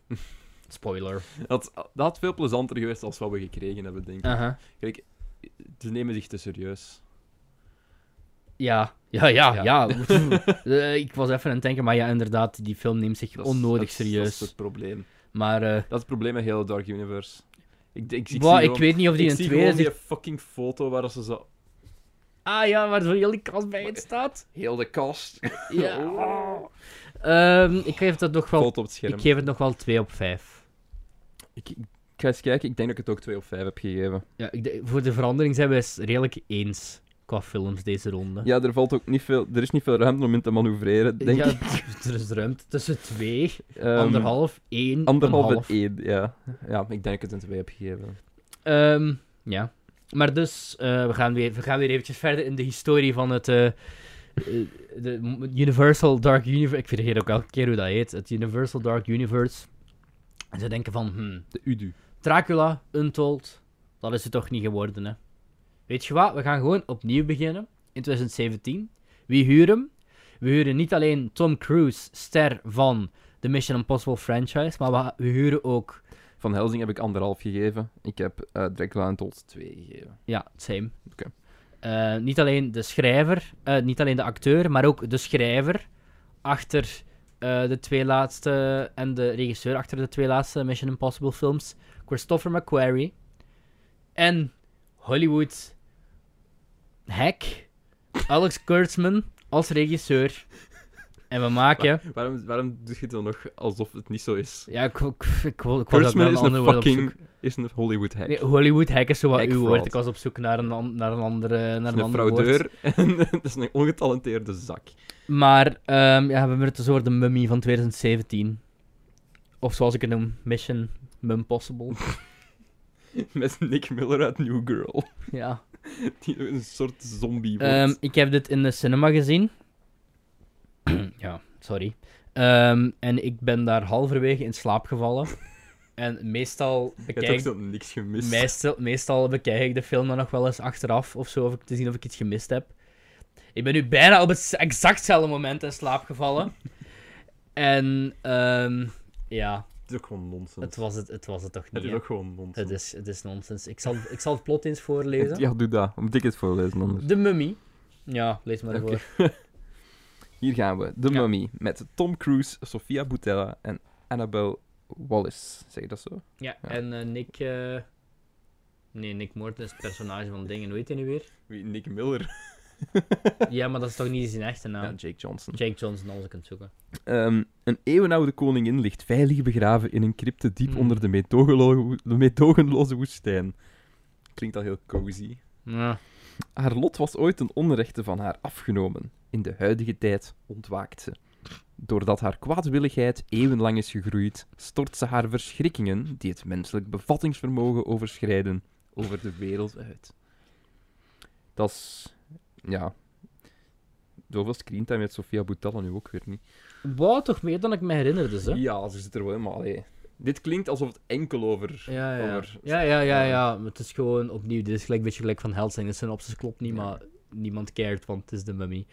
spoiler. Dat, dat had veel plezanter geweest als wat we gekregen hebben, denk ik. Aha. Kijk, ze nemen zich te serieus. Ja, ja, ja, Ja. ja. Eh, ik was even aan het denken, maar ja, inderdaad, die film neemt zich Dat is- onnodig dat is- serieus. Dat is het probleem. Maar eh, Dat is het probleem met heel Dark Universe. Ik, ik, ik, boah, zie ik gewoon, weet niet of die ik in zie tweede gewoon die zich- fucking foto waar ze zo... Ah ja, waar zo heel die kast bij in staat. Heel de kast. Ja. Oh. Ehm, ik geef dat nog wel... Foto op het scherm. Ik Ik, geef het nog wel 2 op 5. ik, ga eens kijken. Ik denk dat ik het ook 2 op 5 heb gegeven. Ja, ik denk- voor de verandering zijn we het redelijk eens qua films deze ronde. Ja, er valt ook niet veel... Er is niet veel ruimte om in te manoeuvreren, denk Ja, ik. er is ruimte tussen twee, Ehm, anderhalf, één, Anderhalf een half. en één, ja. Ja, ik denk dat ik het een 2 heb gegeven. Ehm, ja. Maar dus, eh, we, gaan weer, we gaan weer eventjes verder in de historie van het... eh, eh, de Universal Dark Universe. Ik vergeet ook elke keer hoe dat heet. Het Universal Dark Universe. En ze denken van, hmm, De Udu. Dracula, Untold, dat is het toch niet geworden, hè? Weet je wat? We gaan gewoon opnieuw beginnen in 2017. Wie huren hem? We huren niet alleen Tom Cruise, ster van de Mission Impossible franchise, maar we, we huren ook. Van Helsing heb ik anderhalf gegeven. Ik heb eh Dracula en Todd 2 gegeven. Ja, same. Oké. Eh, niet alleen de schrijver, eh, niet alleen de acteur, maar ook de schrijver achter eh, de twee laatste en de regisseur achter de twee laatste Mission Impossible films, Christopher McQuarrie en Hollywood hack Alex Kurtzman als regisseur. En we maken. Waarom, waarom doe je het dan nog alsof het niet zo is? Ja, ik, ik, ik, wil- ik wou dat Kurtzman wel een is ander een woord op fucking zoek. is een Hollywood hack. Nee, Hollywood hack is zo wat uw woord. Hackfraud. Ik was op zoek naar een, an- naar een andere. Naar een is een ander woord. fraudeur en dat is een ongetalenteerde zak. Maar ehm, ja, we hebben het dus over de mummy van 2017. Of zoals ik het noem, Mission Mumpossible. Met Nick Miller uit New Girl. ja. Die een soort zombie wordt. Ehm, ik heb dit in de cinema gezien. ja, sorry. Ehm, en ik ben daar halverwege in slaap gevallen. en meestal Je hebt ook bekijk, zo niks gemist. meestal, meestal bekijk ik de film dan nog wel eens achteraf of zo, of ik te zien of ik iets gemist heb. Ik ben nu bijna op het exactzelfde moment in slaap gevallen. en ehm, ja. Het is ook gewoon nonsens. Het Het, was het, het was het toch niet. is hè? ook gewoon nonsens. Het is, het is nonsens. Ik zal, ik zal het plot eens voorlezen. Ja, doe dat. Moet ik het voorlezen anders. De mummy. Ja, lees maar Oké. voor. Hier gaan we. De Ja. Mummy. Met Tom Cruise, Sofia Boutella en Annabelle Wallis. Zeg je dat zo? Ja, Ja. en eh, Nick. eh, Nee, Nick Morton is het personage van dingen. Hoe heet hij nu weer? Wie, Nick Miller? Ja, maar dat is toch niet zijn echte Ja, naam? Jake Johnson. Jake Johnson, als ik hem zoeken. Ehm, een eeuwenoude koningin ligt veilig begraven in een crypte diep Mm. onder de, meedogelo- de meedogenloze woestijn. Klinkt al heel cozy. Ja. Haar lot was ooit een onrechte van haar afgenomen. In de huidige tijd ontwaakt ze. Doordat haar kwaadwilligheid eeuwenlang is gegroeid, stort ze haar verschrikkingen, die het menselijk bevattingsvermogen overschrijden, over de wereld uit. Dat is... Ja. Zoveel screentime heeft Sofia Boutalla nu ook weer niet. Wauw, toch meer dan ik me dus, herinnerde, ze. Ja, ze zit er wel helemaal... allee. Dit klinkt alsof het enkel over... Ja, ja. over- Ja, ja, ja, ja. maar Het is gewoon opnieuw. Dit is gelijk, een beetje gelijk van Hellsing. De synopsis klopt niet, Ja. maar niemand cared, want het is de mummy.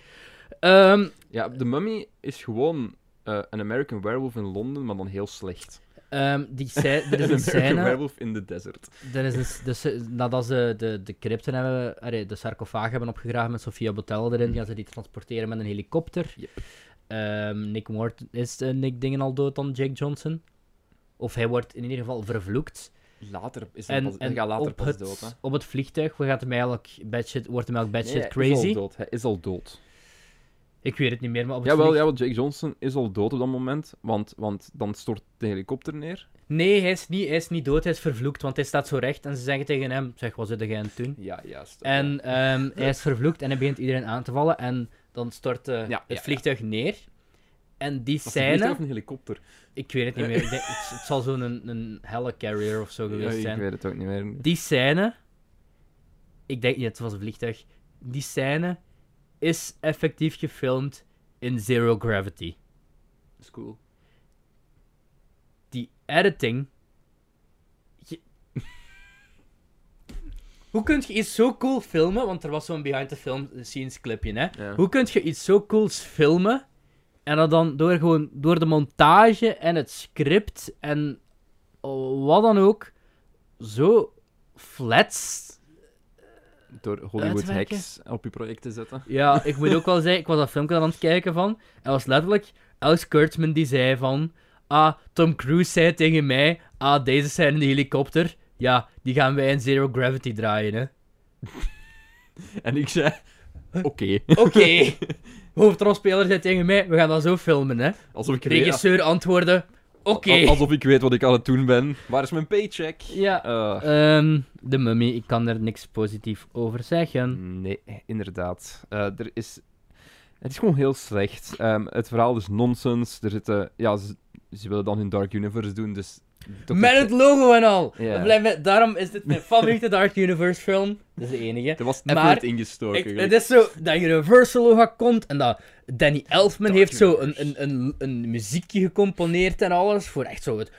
Ehm, Ja, The Mummy is gewoon eh een American Werewolf in Londen, maar dan heel slecht. ehm, die scè- er is een An American scène. Werewolf in the Desert. Er is een, s- dus, eh, nadat ze de, de crypten hebben, allee, de sarcofaag hebben opgegraven met Sofia Botel erin, gaan ze die transporteren met een helikopter. Mm. Yep. Ehm, Nick Morton is eh, Nick Dingen al dood dan Jake Johnson. Of hij wordt in ieder geval vervloekt. Later is hij En, pas, hij en gaat later op, pas het, dood. Hè. op het vliegtuig we gaat hem eigenlijk bad shit, wordt hem eigenlijk Nee, bad shit hij is al crazy. dood, Hij is al dood. Ik weet het niet meer, maar op het Jawel, vlieg- jawel, Jake Johnson is al dood op dat moment, want, want dan stort de helikopter neer. Nee, hij is, niet, hij is niet dood, hij is vervloekt, want hij staat zo recht en ze zeggen tegen hem, zeg, wat zit jij aan het doen? Ja, juist. En ehm, hij is vervloekt en hij begint iedereen aan te vallen. En dan stort eh, ja, het ja. vliegtuig neer. En die Was het een vliegtuig scène... of een helikopter? Ik weet het niet meer. Ik denk, het, het zal zo'n een, een helicarrier of zo Ja, geweest ik zijn. weet het ook niet meer. Die scène... Ik denk niet, het was een vliegtuig. Die scène is effectief gefilmd in Zero Gravity. is cool. Die editing... Je- Hoe kun je iets zo cool filmen? Want er was zo'n behind-the-scenes clipje, hè? Ja. Hoe kun je iets zo cools filmen en dat dan door, gewoon, door de montage en het script en wat dan ook zo flats? Door Hollywood Uitwerken. hacks op je project te zetten. Ja, ik moet ook wel zeggen, ik was dat filmpje dan aan het kijken van en was letterlijk Els Kurtzman die zei van ah, Tom Cruise zei tegen mij ah, deze zijn in de helikopter. Ja, die gaan wij in Zero Gravity draaien, hè. En ik zei: Oké. Oké. Hoofdrolspeler zei tegen mij, we gaan dat zo filmen, hè. Alsof ik weet- Regisseur antwoordde, oké. Al- Alsof ik weet wat ik aan het doen ben. Waar is mijn paycheck? Ja. Eh, Ehm, de mummy, ik kan er niks positief over zeggen. nee, inderdaad. Eh, er is... Het is gewoon heel slecht. Ehm, het verhaal is nonsens. Er zitten... Ja, ze, ze willen dan hun Dark Universe doen, dus... dat Met is- het logo en al! Ja. Dat blijft me- daarom is dit mijn favoriete Dark Universe film. Dat is de enige. Er was Maar effort ingestoken. Ik- gelijk. het is zo dat Universal logo komt en dat Danny Elfman Dark heeft zo een, Universe. een, een, een muziekje gecomponeerd en alles voor echt zo het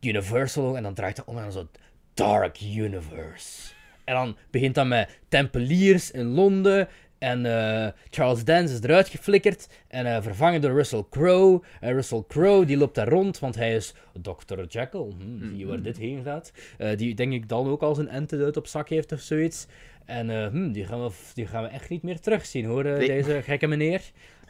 Universal logo en dan draait het om en dan zo Dark Universe. En dan begint dat met Tempeliers in Londen. En eh, Charles Dance is eruit geflikkerd. En eh, vervangen door Russell Crowe. En Russell Crowe die loopt daar rond, want hij is Dr. Jekyll. Hmm, zie je waar dit heen gaat? Eh, die denk ik dan ook als een antidote op zak heeft of zoiets. En eh, hmm, die, gaan we, die gaan we echt niet meer terugzien hoor, eh, Nee. deze gekke meneer.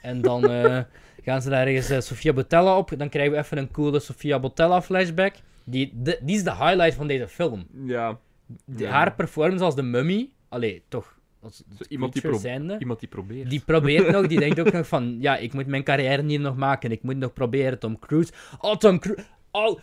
En dan eh, gaan ze daar ergens eh, Sofia Botella op. Dan krijgen we even een coole Sofia Botella flashback. Die, de- die is de highlight van deze film. Ja. De- Ja. Haar performance als de mummy, allee, toch, als Zo iemand, die creature pro- zijnde, iemand die probeert. die probeert nog, die denkt ook nog van, ja, ik moet mijn carrière niet nog maken, ik moet nog proberen, Tom Cruise. Oh, Tom Cruise, oh,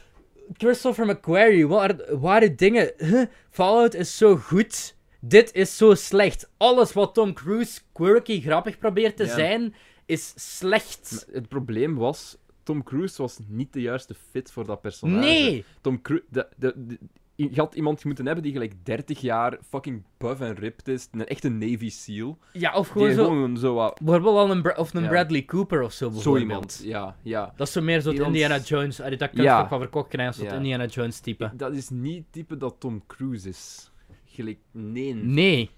Christopher McQuarrie, waar, ware dingen, huh? Fallout is zo goed, dit is zo slecht. Alles wat Tom Cruise quirky grappig probeert te Ja. zijn, is slecht. Maar Het probleem was... Tom Cruise was niet de juiste fit voor dat personage. Nee! Tom Cruise... De, de, de- je had iemand moeten hebben die gelijk 30 jaar fucking buff en ripped is. Een echte Navy SEAL. Ja, of gewoon Die zo, gewoon zo wat... bijvoorbeeld al een, Bra- of een Ja. Bradley Cooper of zo, Zo bijvoorbeeld. iemand. Ja, ja. Dat is zo meer zo'n Iemand- Indiana Jones. Allee, dat kan Ja. ik van verkocht krijgen, zo'n Ja. Indiana Jones type. Dat is niet het type dat Tom Cruise is. Gelijk, nee. Nee.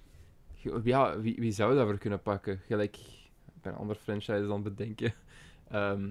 Ge- Ja, wie, wie zou daarvoor kunnen pakken? Gelijk, ik ben een ander franchise dan bedenken. Ehm,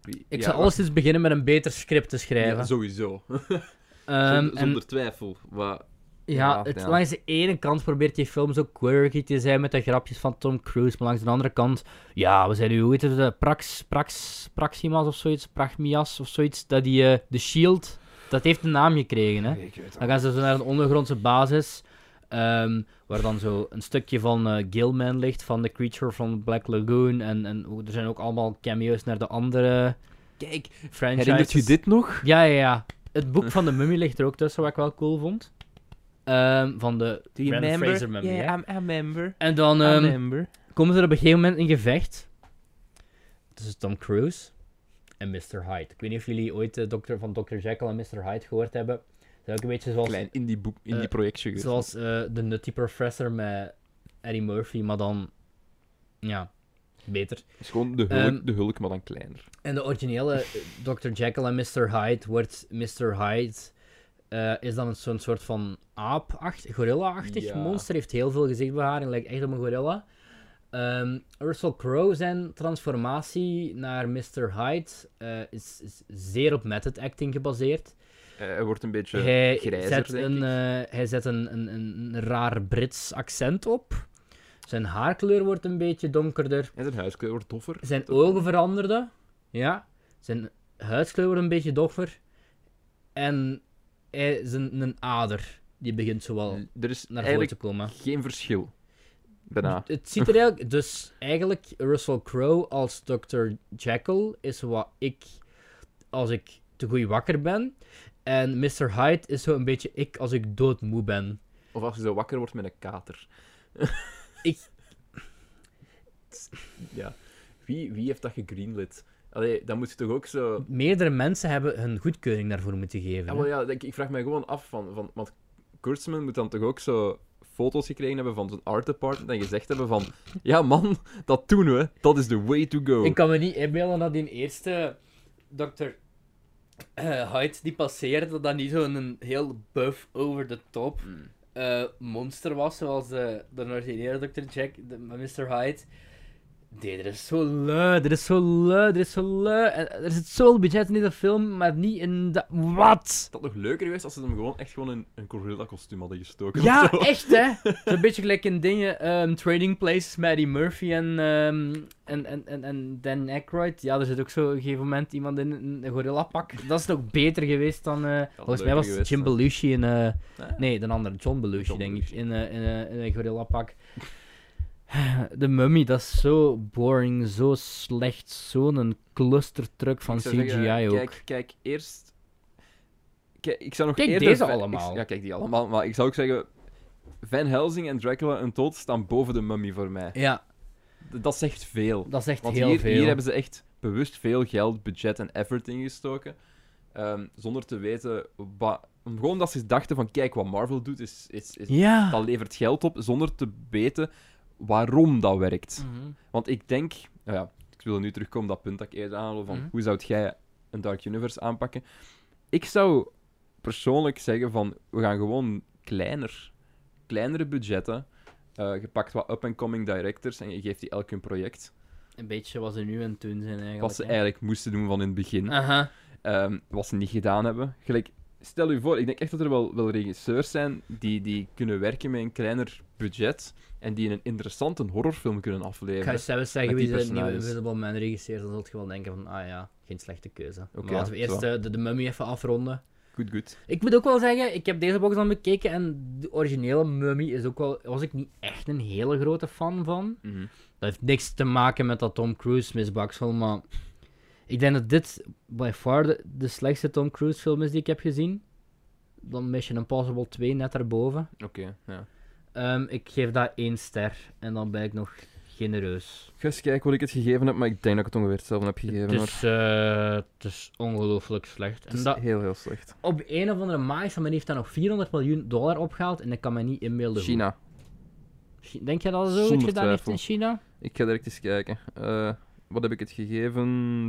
wie- Ik ja, zou alles eens beginnen met een beter script te ja, schrijven. sowieso. Ehm, zonder, en zonder twijfel. Maar, ja, ja, het, ja. langs de ene kant probeert die film zo quirky te zijn met de grapjes van Tom Cruise. Maar langs de andere kant, ja, we zijn nu, hoe heet het, eh, Prax, Prax, Praximas of zoiets, Pragmias of zoiets. Dat die, eh, The Shield, dat heeft een naam gekregen, hè. Ik weet Dan het. gaan ze zo naar een ondergrondse basis. ehm, waar dan zo een stukje van eh, Gilman ligt, van The Creature from Black Lagoon. En, en hoe- er zijn ook allemaal cameo's naar de andere Kijk, franchises. herinnert u dit nog? Ja, ja, ja. Het boek van de mummy ligt er ook tussen, wat ik wel cool vond. Ehm, van de Brandon Fraser mummy, hè. I'm a member. En dan ehm, member. komen ze er op een gegeven moment in gevecht. tussen Dus Tom Cruise en Mr. Hyde. Ik weet niet of jullie ooit eh, Dr. van Dr. Jekyll en Mr. Hyde gehoord hebben. Dat is ook een beetje zoals, Klein indie, boek, indie eh, projectje. geweest. zoals eh, de Nutty Professor met Eddie Murphy, maar dan... Ja, beter. Het is gewoon de hulk, ehm, de hulk, maar dan kleiner. En de originele eh, Dr. Jekyll en Mr. Hyde wordt Mr. Hyde. eh, is dan een zo'n soort van aap-achtig, gorilla-achtig Ja. monster. Heeft heel veel gezichtbeharing, lijkt echt op een gorilla. Ehm, Russell Crowe zijn transformatie naar Mr. Hyde eh, is, is zeer op method acting gebaseerd. Eh, hij wordt een beetje hij, grijzer, zet denk een, ik. eh, hij zet een, een, een raar Brits accent op. Zijn haarkleur wordt een beetje donkerder. En zijn huiskleur wordt doffer. Zijn ogen veranderden. Ja. Zijn huidskleur wordt een beetje doffer. En hij, zijn een ader. Die begint zowel L- Er is naar voren eigenlijk te komen. geen verschil. Daarna. Het ziet er eigenlijk... Dus eigenlijk Russell Crowe als Dr. Jekyll is wat ik... Als ik te goed wakker ben. En Mr. Hyde is zo een beetje ik als ik doodmoe ben. Of als je zo wakker wordt met een kater. Ik- Ja. Wie, wie heeft dat gegreenlit? Allee, dan moet je toch ook zo... Meerdere mensen hebben hun goedkeuring daarvoor moeten geven. Ja, hè. maar Ah, ja, ik, ik vraag mij gewoon af van... van want Kurtzman moet dan toch ook zo foto's gekregen hebben van zijn art department en gezegd hebben van... Ja man, dat doen we. Dat is the way to go. Ik kan me niet inbeelden dat die eerste Dr. eh, Hyde die passeerde, dat dat niet zo'n heel buff over de top Mm. eh, monster was, zoals de, de originele Dr. Jack, de, Mr. Hyde. Nee, er is zo lui, er is zo lui, er is zo lui. En Er zit zoveel budget in deze film, maar niet in dat... Wat? Het had nog leuker geweest als ze hem gewoon echt gewoon in een gorilla-kostuum hadden gestoken. Ja, of zo. echt hè? Zo'n beetje gelijk in dingen, ehm, Trading Places met Eddie Murphy en, ehm, en, en, en, en Dan Aykroyd. Ja, er zit ook zo op een gegeven moment iemand in een een gorilla-pak. Dat is nog beter geweest dan... eh, volgens mij leuker was het geweest Jim zijn. Belushi in... eh, Ja. nee, de andere, John Belushi, John denk Belushi. ik, in, eh, in, eh, in een gorilla-pak. De Mummy, dat is zo boring, zo slecht, zo'n clustertruck van Ik CGI zou zeggen, ook. Kijk, kijk eerst. Kijk, ik zou nog Kijk eerder deze Van- allemaal. ik- ja, kijk die allemaal. Maar ik zou ook zeggen. Van Helsing en Dracula en Todd staan boven de mummy voor mij. Ja, D- dat zegt veel. dat is echt Want heel hier, veel. hier hebben ze echt bewust veel geld, budget en effort ingestoken. ehm, zonder te weten wat. Gewoon dat ze dachten van kijk wat Marvel doet, is, is, is, Ja. dat levert geld op, zonder te weten waarom dat werkt. Mhm. Want ik denk, nou ja, ik wil nu terugkomen op dat punt dat ik eerder aanhaalde van Mhm. hoe zou jij een Dark Universe aanpakken? Ik zou persoonlijk zeggen van we gaan gewoon kleiner, kleinere budgetten. Eh, je pakt wat up-and-coming directors en je geeft die elk hun project. Een beetje wat ze nu en toen zijn eigenlijk. Wat ze hè. eigenlijk moesten doen van in het begin. Aha. Ehm, wat ze niet gedaan hebben. Gelijk, stel u voor, ik denk echt dat er wel, wel regisseurs zijn die, die kunnen werken met een kleiner budget en die een interessante horrorfilm kunnen Ik ga afleveren. je zelfs zeggen met wie die de nieuwe personages. Invisible Man regisseert, dan zult je wel denken van, ah ja, geen slechte keuze. Maar Oké, laten we ja, eerst eh, de, de Mummy even afronden. Goed, goed. Ik moet ook wel zeggen, ik heb deze box dan bekeken en de originele Mummy is ook wel, was ik niet echt een hele grote fan van. Mhm. Dat heeft niks te maken met dat Tom Cruise misbaksel, maar ik denk dat dit by far de, de slechtste Tom Cruise film is die ik heb gezien. Dan Mission Impossible 2 net daarboven. Oké, ja. Ehm, ik geef dat één ster en dan ben ik nog genereus. Ik ga eens kijken wat ik het gegeven heb, maar ik denk dat ik het ongeveer hetzelfde heb gegeven. Het hoor. is, eh, het is ongelooflijk slecht. Het En is dat, heel, heel slecht. op een of andere magische manier heeft dat nog 400 miljoen dollar opgehaald en ik kan me niet inbeelden hoe. China. Chi- Denk je dat dat Zonder zoiets gedaan heeft twijfel. in China? Ik ga direct eens kijken. Eh, wat heb ik het gegeven?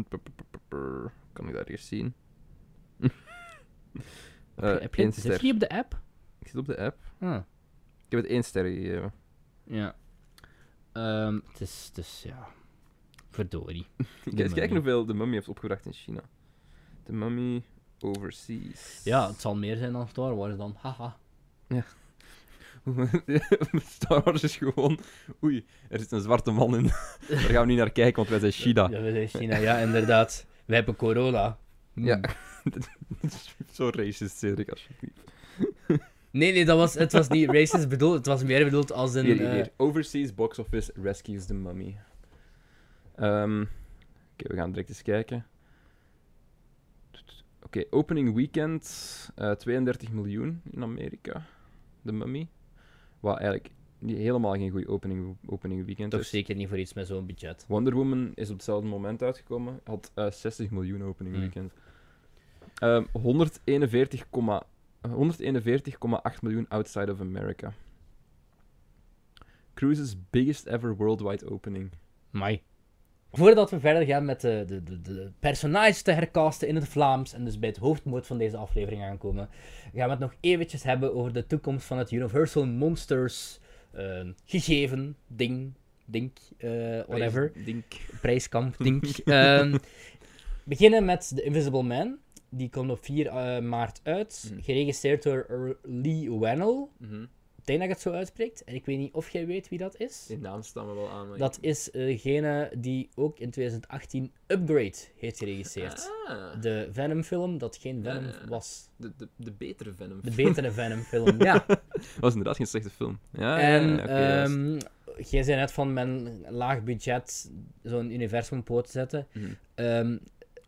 Pr- pr- pr- pr- pr. Kan ik daar eerst zien? Eh, heb je, één zit ster. je op de app? Ik zit op de app. Ah, Ik heb het één ster gegeven. ja. Ehm, het is, het is, ja... Verdorie. Ik ga eens kijken Mummy. hoeveel de mummy heeft opgebracht in China. De mummy overseas. Ja, het zal meer zijn dan Star Wars dan. Haha. Star Wars is gewoon... Oei, er zit een zwarte man in. Daar gaan we niet naar kijken, want wij zijn China. Ja, we zijn China, ja, inderdaad. Wij hebben corona. Hm. Ja. Hmm. Zo racist, Cedric, alsjeblieft. Nee, nee, dat was, het was niet racist bedoeld. Het was meer bedoeld als een... Hier, hier, eh, hier. Overseas box office rescues the mummy. Ehm, Oké, we gaan direct eens kijken. Oké, opening weekend eh, 32 miljoen in Amerika. The mummy. Wat eigenlijk helemaal geen goede opening, opening weekend. Toch is. zeker niet voor iets met zo'n budget. Wonder Woman is op hetzelfde moment uitgekomen. Had eh, 60 miljoen opening Hmm. weekend. Ehm, 141, komma- 141,8 miljoen outside of America. Cruise's biggest ever worldwide opening. Mai. Voordat we verder gaan met de, de, de, de personages te hercasten in het Vlaams en dus bij het hoofdmoot van deze aflevering aankomen, gaan we het nog eventjes hebben over de toekomst van het Universal Monsters eh, gegeven, ding, ding, eh, whatever. Dink. prijskamp, denk ik. Ehm, beginnen met The Invisible Man. Die komt op 4 eh, maart uit. Mhm. Geregisseerd door R- Lee Wannell. Ik denk dat ik het zo uitspreekt. En ik weet niet of jij weet wie dat is. Die naam stammen wel aan. maar Dat ik- is eh, degene die ook in 2018 Upgrade heeft geregisseerd. Ah, Eh. De Venom-film dat geen Ja, Venom ja, ja. was. de, de, de betere Venom. De betere Venom-film, ja. Dat was inderdaad geen slechte film. Ja, ja, En Ah, ja, oké, juist. ehm, jij zei net van mijn laag budget zo'n universum op poot te zetten. Mhm. Ehm,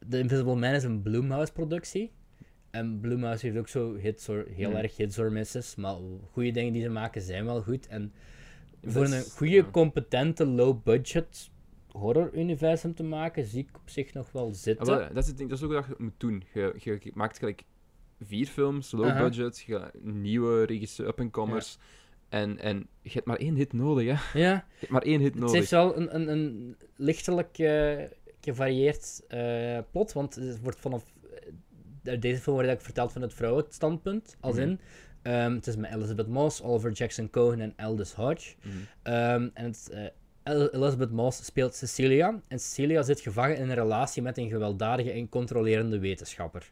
The Invisible Man is een Bloomhouse-productie. En Bloomhouse heeft ook zo hits or, heel Mhm. erg hits or misses. Maar goede dingen die ze maken zijn wel goed. En Dat voor is- een goede, ja. competente, low-budget horror-universum te maken, zie ik op zich nog wel Ah, zitten. wel, dat is het ding, dat is ook wat je moet doen. Je, je, je maakt gelijk vier films, low Aha. budget, je- nieuwe regisseurs, up-and-comers. En, en je hebt maar één hit nodig, hè. Ja, Je hebt maar één hit het heeft nodig. wel een, een, een lichtelijk eh, gevarieerd eh, plot. Want het wordt vanaf... eh, Uit deze film wordt eigenlijk verteld van het vrouwenstandpunt. Mhm. Als in, ehm, het is met Elizabeth Moss, Oliver Jackson Cohen en Aldous Hodge. Mhm. Ehm, en het, eh, El- Elizabeth Moss speelt Cecilia. En Cecilia zit gevangen in een relatie met een gewelddadige en controlerende wetenschapper.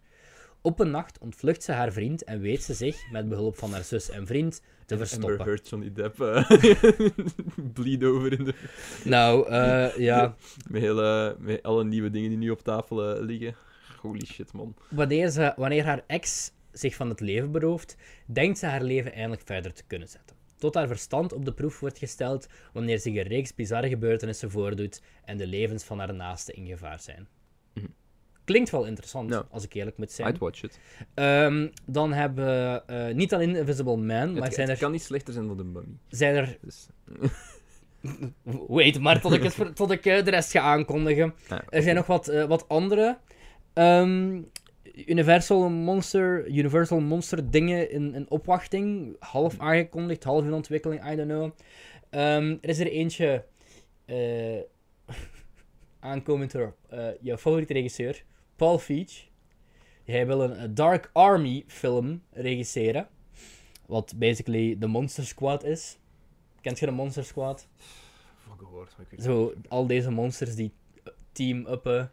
Op een nacht ontvlucht ze haar vriend en weet ze zich, met behulp van haar zus en vriend, te Amber verstoppen. Heard, Johnny Depp. eh, bleed over in de, Nou, eh, ja. met, hele, met alle nieuwe dingen die nu op tafel eh, liggen. Holy shit, man. Wanneer, ze, wanneer haar ex zich van het leven berooft, denkt ze haar leven eindelijk verder te kunnen zetten. Tot haar verstand op de proef wordt gesteld wanneer zich een reeks bizarre gebeurtenissen voordoet en de levens van haar naasten in gevaar zijn. Mhm. Klinkt wel interessant, Ja. als ik eerlijk moet zijn. I'd watch it. Ehm, dan hebben we eh, niet alleen Invisible Man, maar Het, zijn het er, kan niet slechter zijn dan de mummy. zijn er. Dus, Wait, maar tot ik, het ver- tot ik eh, de rest ga aankondigen. Ah, Er zijn nog wat, eh, wat andere. ehm, Universal Monster, Universal Monster dingen in, in opwachting. Half aangekondigd, half in ontwikkeling, I don't know. Ehm, er is er eentje eh, aankomend door eh, jouw favoriete regisseur, Paul Feig. Hij wil een eh, Dark Army film regisseren. Wat basically de Monster Squad is. Kent je de Monster Squad? van gehoord, maar ik weet Zo, al deze monsters die eh, team-uppen,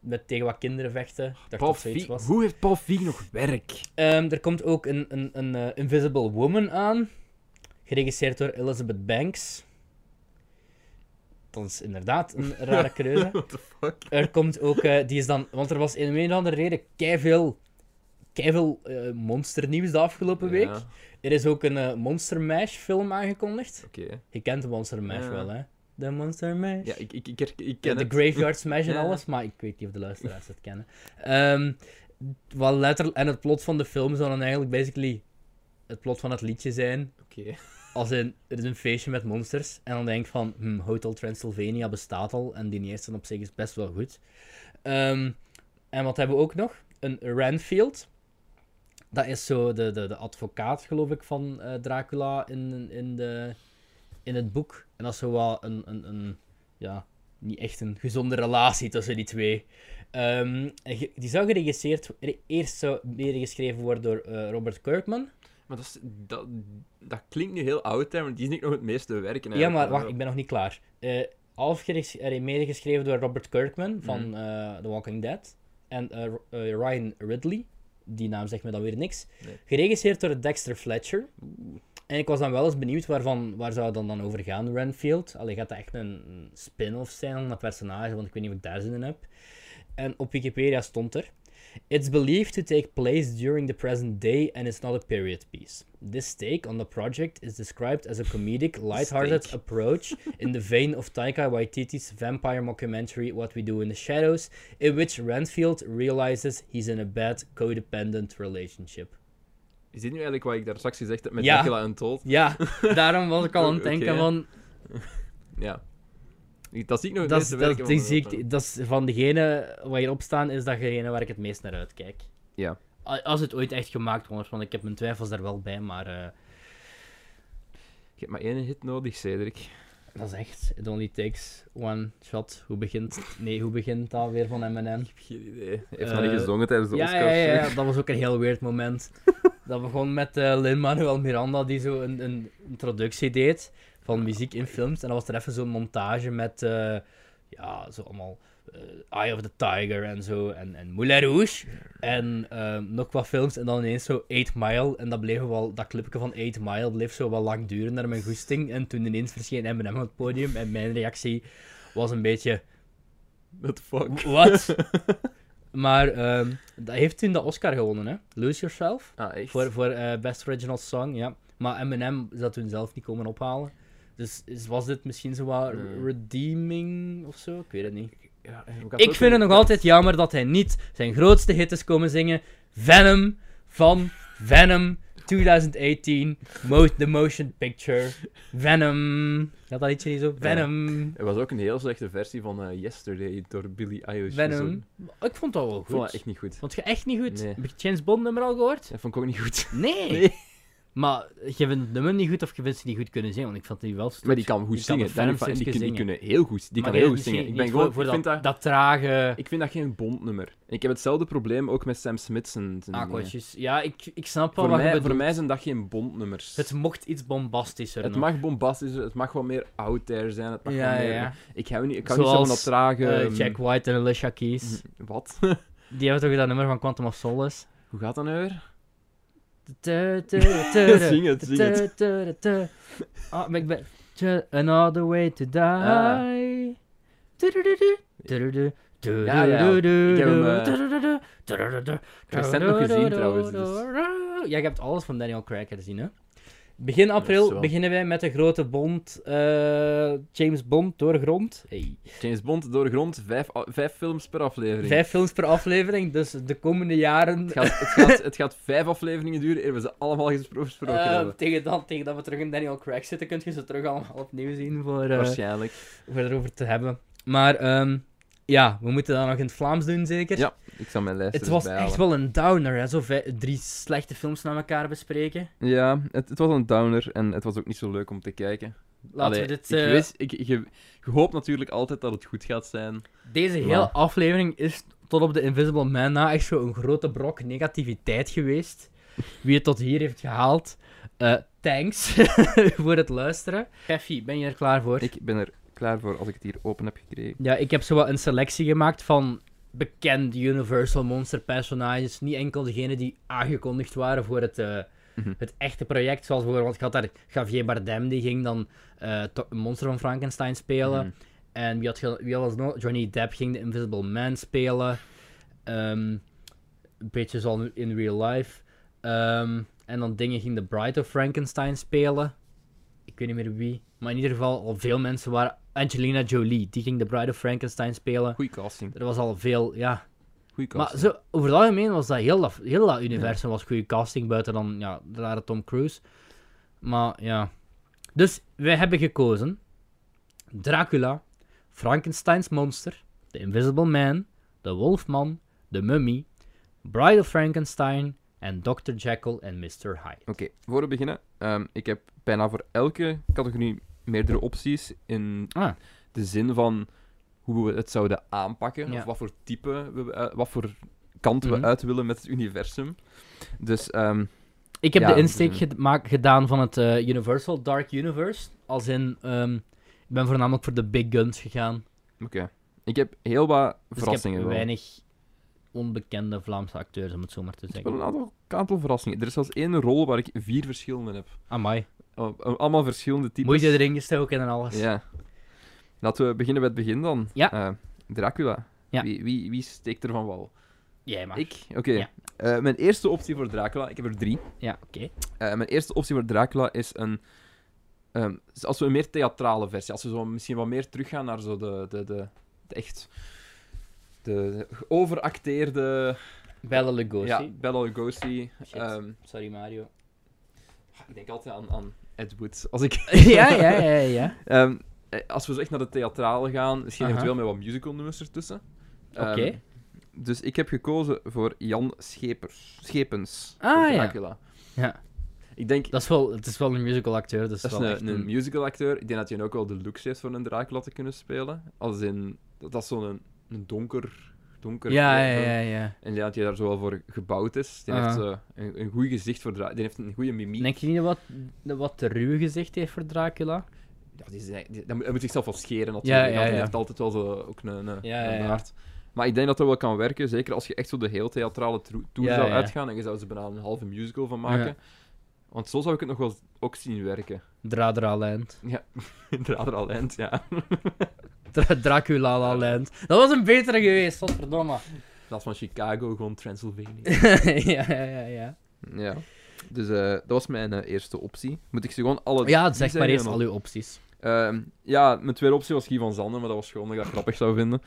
met tegen wat kinderen vechten. Ik dacht Paul dat zoiets Feig- was. Hoe heeft Paul Feig nog werk? Ehm, er komt ook een, een, een eh, Invisible Woman aan, geregisseerd door Elizabeth Banks. Dat is inderdaad een rare keuze. What the fuck? Er komt ook, eh, die is dan, want er was in een of andere reden keiveel, keiveel eh, monsternieuws de afgelopen week. Ja, Er is ook een eh, Monster Mash film aangekondigd. Oké. Je kent de Monster Mash Ja. wel, hè? De Monster Mash. Ja, ik, ik, ik, herk- ik Ja, ken de het. Graveyard Smash en Ja. alles, maar ik weet niet of de luisteraars het kennen. Ehm, wat letter en het plot van de film zou dan eigenlijk basically het plot van het liedje zijn. Oké. Als in, er is een feestje met monsters. En dan denk ik van, hm, Hotel Transylvania bestaat al. En die eerste op zich is best wel goed. Ehm, en wat hebben we ook nog? Een Renfield. Dat is zo de, de, de advocaat, geloof ik, van eh, Dracula in, in, de, in het boek. En dat is zo wel een, een, een ja, niet echt een gezonde relatie tussen die twee. Ehm, en ge- die zou geregisseerd, eerst zou neergeschreven worden door eh, Robert Kirkman. Maar dat, is, dat, dat klinkt nu heel oud, hè, want die is niet nog het meeste werken. Ja, maar eigenlijk. wacht, ik ben nog niet klaar. Eh Alf geregs- er medegeschreven door Robert Kirkman van Mhm. eh, The Walking Dead. En eh, Ro- eh, Ryan Ridley, die naam zegt me dan weer niks. Nee. Geregisseerd door Dexter Fletcher. Oeh. En ik was dan wel eens benieuwd waarvan, waar zou het dan, dan over gaan, Renfield. Allee, gaat dat echt een spin-off zijn van dat personage, want ik weet niet of ik daar zin in heb. En op Wikipedia stond er... It's believed to take place during the present day and is not a period piece. This take on the project is described as a comedic, lighthearted Steak. approach in the vein of Taika Waititi's vampire mockumentary What We Do in the Shadows, in which Renfield realizes he's in a bad, codependent relationship. Is dit nu eigenlijk wat ik daar straks gezegd heb met Ja. Dracula Untold? Ja, daarom was ik al aan het Oké, denken ja. van... Ja. Dat zie ik nog het Dat, is- meeste dat, werken die van zie Europa. ik, dat is van degene waar hierop staan, is datgene waar ik het meest naar uitkijk. Ja. A- Als het ooit echt gemaakt wordt, want ik heb mijn twijfels daar wel bij, maar eh, Je hebt maar één hit nodig, Cedric. dat is echt. It only takes one shot. Hoe begint, nee, hoe begint dat weer van M&M? Ik heb geen idee. Hij heeft Eh, nog niet gezongen tijdens de Ja, Oscars. ja, ja, hè? ja, dat was ook een heel weird moment. dat begon met eh Lin-Manuel Miranda, die zo een, een introductie deed van muziek in films. En dan was er even zo'n montage met, eh, ja, zo allemaal eh, Eye of the Tiger en zo, en, en Moulin Rouge. En eh, nog wat films, en dan ineens zo 8 Mile. En dat bleef wel, dat clipje van 8 Mile bleef zo wel lang duren naar mijn goesting. En toen ineens verscheen M&M op het podium en mijn reactie was een beetje... What the fuck? Wat? maar ehm, dat heeft toen de Oscar gewonnen, hè? Lose Yourself. Ah, echt? Voor, voor eh, Best Original Song, ja. Maar Eminem zou toen zelf niet komen ophalen. Dus is, was dit misschien zo wat Nee. re- redeeming of zo? Ik weet het niet. Ja, Ik vind het nog altijd jammer dat hij niet zijn grootste hit is komen zingen. Venom van Venom 2018. Mo- the Motion Picture. Venom. Had dat liedje niet zo? Venom. Er was ook een heel slechte versie van eh, Yesterday door Billy Eilish. Venom. gezongen. Ik vond dat wel Ik vond dat goed. echt niet goed. Vond je echt niet goed? Nee. Heb je het James Bond nummer al gehoord? Dat vond ik ook niet goed. Nee. Nee. Maar je vindt het nummer niet goed of je vindt ze niet goed kunnen zingen, want ik vond die wel stuk. Maar die kan goed Die kan zingen. een Daar niet Venom van- die, stukje kun- die zingen. kunnen heel goed. Die Maar kan je heel hebt goed zingen. misschien Ik ben niet gewoon... voor, voor ik, dat, vind dat dat, trage ik vind dat geen bondnummer. Ik heb hetzelfde probleem ook met Sam Smith. zijn- Ah, zijn dingen. akkoordjes. Ja, ik, ik snap wel Voor wat je mij, bedoelt. voor mij zijn dat geen bondnummers. Het mocht iets bombastischer Het nog. mag bombastischer, het mag wat meer out there zijn, het mag Ja, wat meer... ja. Ik, hou niet, ik kan Zoals, niet zo van dat trage... Eh, ehm, Jack White en Alicia Keys. hm, Wat? Die hebben toch dat nummer van Quantum of Solace? Hoe gaat dat nou weer? Zing Zing het, zing het. Ah, maar ik ben... Ju- Another way to die. Ah. Tudududu, tududu, Ja, ja. tudududu, Ik heb hem, eh, tudududu, tudududu, recent nog gezien trouwens, dus- Ja, je hebt alles van Daniel Craig gezien, hè? Begin april zo wel. beginnen wij met de grote Bond, eh, James Bond doorgrond. Hey. James Bond doorgrond, vijf, a- vijf films per aflevering. Vijf films per aflevering, dus de komende jaren Het, gaat, het, gaat, het gaat vijf afleveringen duren eer we ze allemaal gespro- gesproken Eh, hebben. tegen, dat, tegen dat we terug in Daniel Craig zitten, kun je ze terug allemaal opnieuw zien voor, eh, Waarschijnlijk. voor erover te hebben. Maar ehm, ja, we moeten dat nog in het Vlaams doen, zeker. Ja, ik zal mijn lijst het er was eens bij echt halen. wel een downer, hè? Zo vij- drie slechte films naar elkaar bespreken. Ja, het, het was een downer en het was ook niet zo leuk om te kijken. Laten we Allee, dit. ik, eh, wist, ik, ik, je- je hoopt natuurlijk altijd dat het goed gaat zijn. Deze hele Ja. aflevering is tot op de Invisible Man na echt zo'n grote brok negativiteit geweest. Wie het tot hier heeft gehaald, eh, thanks voor het luisteren. Jeffy, ben je er klaar voor? Ik ben er klaar voor als ik het hier open heb gekregen. Ja, ik heb zo wat een selectie gemaakt van bekende Universal Monster personages. Niet enkel degenen die aangekondigd waren voor het, eh, Mhm. het echte project. Zoals bijvoorbeeld, ik had daar Javier Bardem, die ging dan eh, To- Monster van Frankenstein spelen. Mhm. En wie, had, ge- wie was nog? Johnny Depp ging de Invisible Man spelen. Ehm, een beetje zoals in real life. Ehm, en dan dingen ging The Bride of Frankenstein spelen. Ik weet niet meer wie. Maar in ieder geval, al veel mensen waren... Angelina Jolie, die ging The Bride of Frankenstein spelen. Goeie casting. Er was al veel, ja. Goeie casting. Maar zo, over het algemeen was dat heel dat, heel dat universum was goede casting. Buiten dan, ja, de rare Tom Cruise. Maar, ja. Dus, wij hebben gekozen... Dracula, Frankensteins monster, The Invisible Man, The Wolfman, The Mummy, Bride of Frankenstein en Dr. Jekyll en Mr. Hyde. Oké, voor we beginnen. ehm, ik heb bijna voor elke categorie meerdere opties in Ah. de zin van hoe we het zouden aanpakken. Ja. Of wat voor type, we, eh, wat voor kant we Mhm. uit willen met het universum. Dus ehm, Ik heb Ja, de insteek dus, gemaakt- gedaan van het eh, Universal Dark Universe. Als in, ehm, ik ben voornamelijk voor de big guns gegaan. oké. Ik heb heel wat Dus verrassingen. ik heb wel. weinig onbekende Vlaamse acteurs, om het zo maar te Ik heb wel zeggen. een aantal, aantal verrassingen. Er is zelfs één rol waar ik vier verschillende heb. Amai. Al- al- Oh, Allemaal verschillende types. Moeite erin gestoken en alles. Ja. Laten we beginnen bij het begin dan. Ja. Eh, Dracula. Ja. Wie, wie, wie steekt er van wal? Jij maar. Ik? Oké. Ja. Eh, mijn eerste optie voor Dracula, ik heb er drie. Ja, oké. Eh, mijn eerste optie voor Dracula is een. ehm, als we een meer theatrale versie, als we zo misschien wat meer teruggaan naar zo de. de, de, de echt. de overacteerde Bella Lugosi. Ja, Bella Lugosi. Shit. Ehm, Sorry, Mario. ik denk altijd aan, aan Ed Wood. Als ik... ja, ja, ja, ja. Ehm, eh, als we zo echt naar de theatrale gaan, misschien Aha. eventueel met wat musical nummers ertussen. Ehm, Oké. Dus ik heb gekozen voor Jan Schepers. Schepens. Ah, voor ja. Dracula. ja. Ik denk, Dat is wel, het is wel een musical acteur, dus dat is wel echt een, een musicalacteur. Ik denk dat hij ook wel de looks heeft voor een Dracula te kunnen spelen. Als in, dat dat is zo'n een donker... donker Ja, eh, ja, ja, ja. En ik denk dat hij daar zo wel voor gebouwd is. Die heeft Aha. eh, een, een goed gezicht voor Dracula. Die heeft een goede mimiek. Denk je niet dat wat, wat te ruw gezicht heeft voor Dracula? Ja, die is, die, dat moet, hij moet zichzelf wel scheren natuurlijk. Ja, ja, want Hij ja. heeft altijd wel zo, ook een, een, Ja, ja, een ja. baard. Maar ik denk dat dat wel kan werken. Zeker als je echt zo de heel theatrale tro- tour Ja, zou ja. uitgaan. En je zou ze bijna een halve musical van maken. Ja. Want zo zou ik het nog wel z- ook zien werken. Dradra Land. Inderdaad, al eind, ja. Dra- Dracula La Land. Dat was een betere geweest, godverdomme. In plaats van Chicago, gewoon Transylvania. ja, ja, ja, ja. ja. Dus eh, dat was mijn eh, eerste optie. Moet ik ze gewoon alle... Ja, drie zeg maar zeggen eerst dan? al uw opties. Ehm, ja, mijn tweede optie was Guy van Zanden, maar dat was gewoon dat ik dat grappig zou vinden.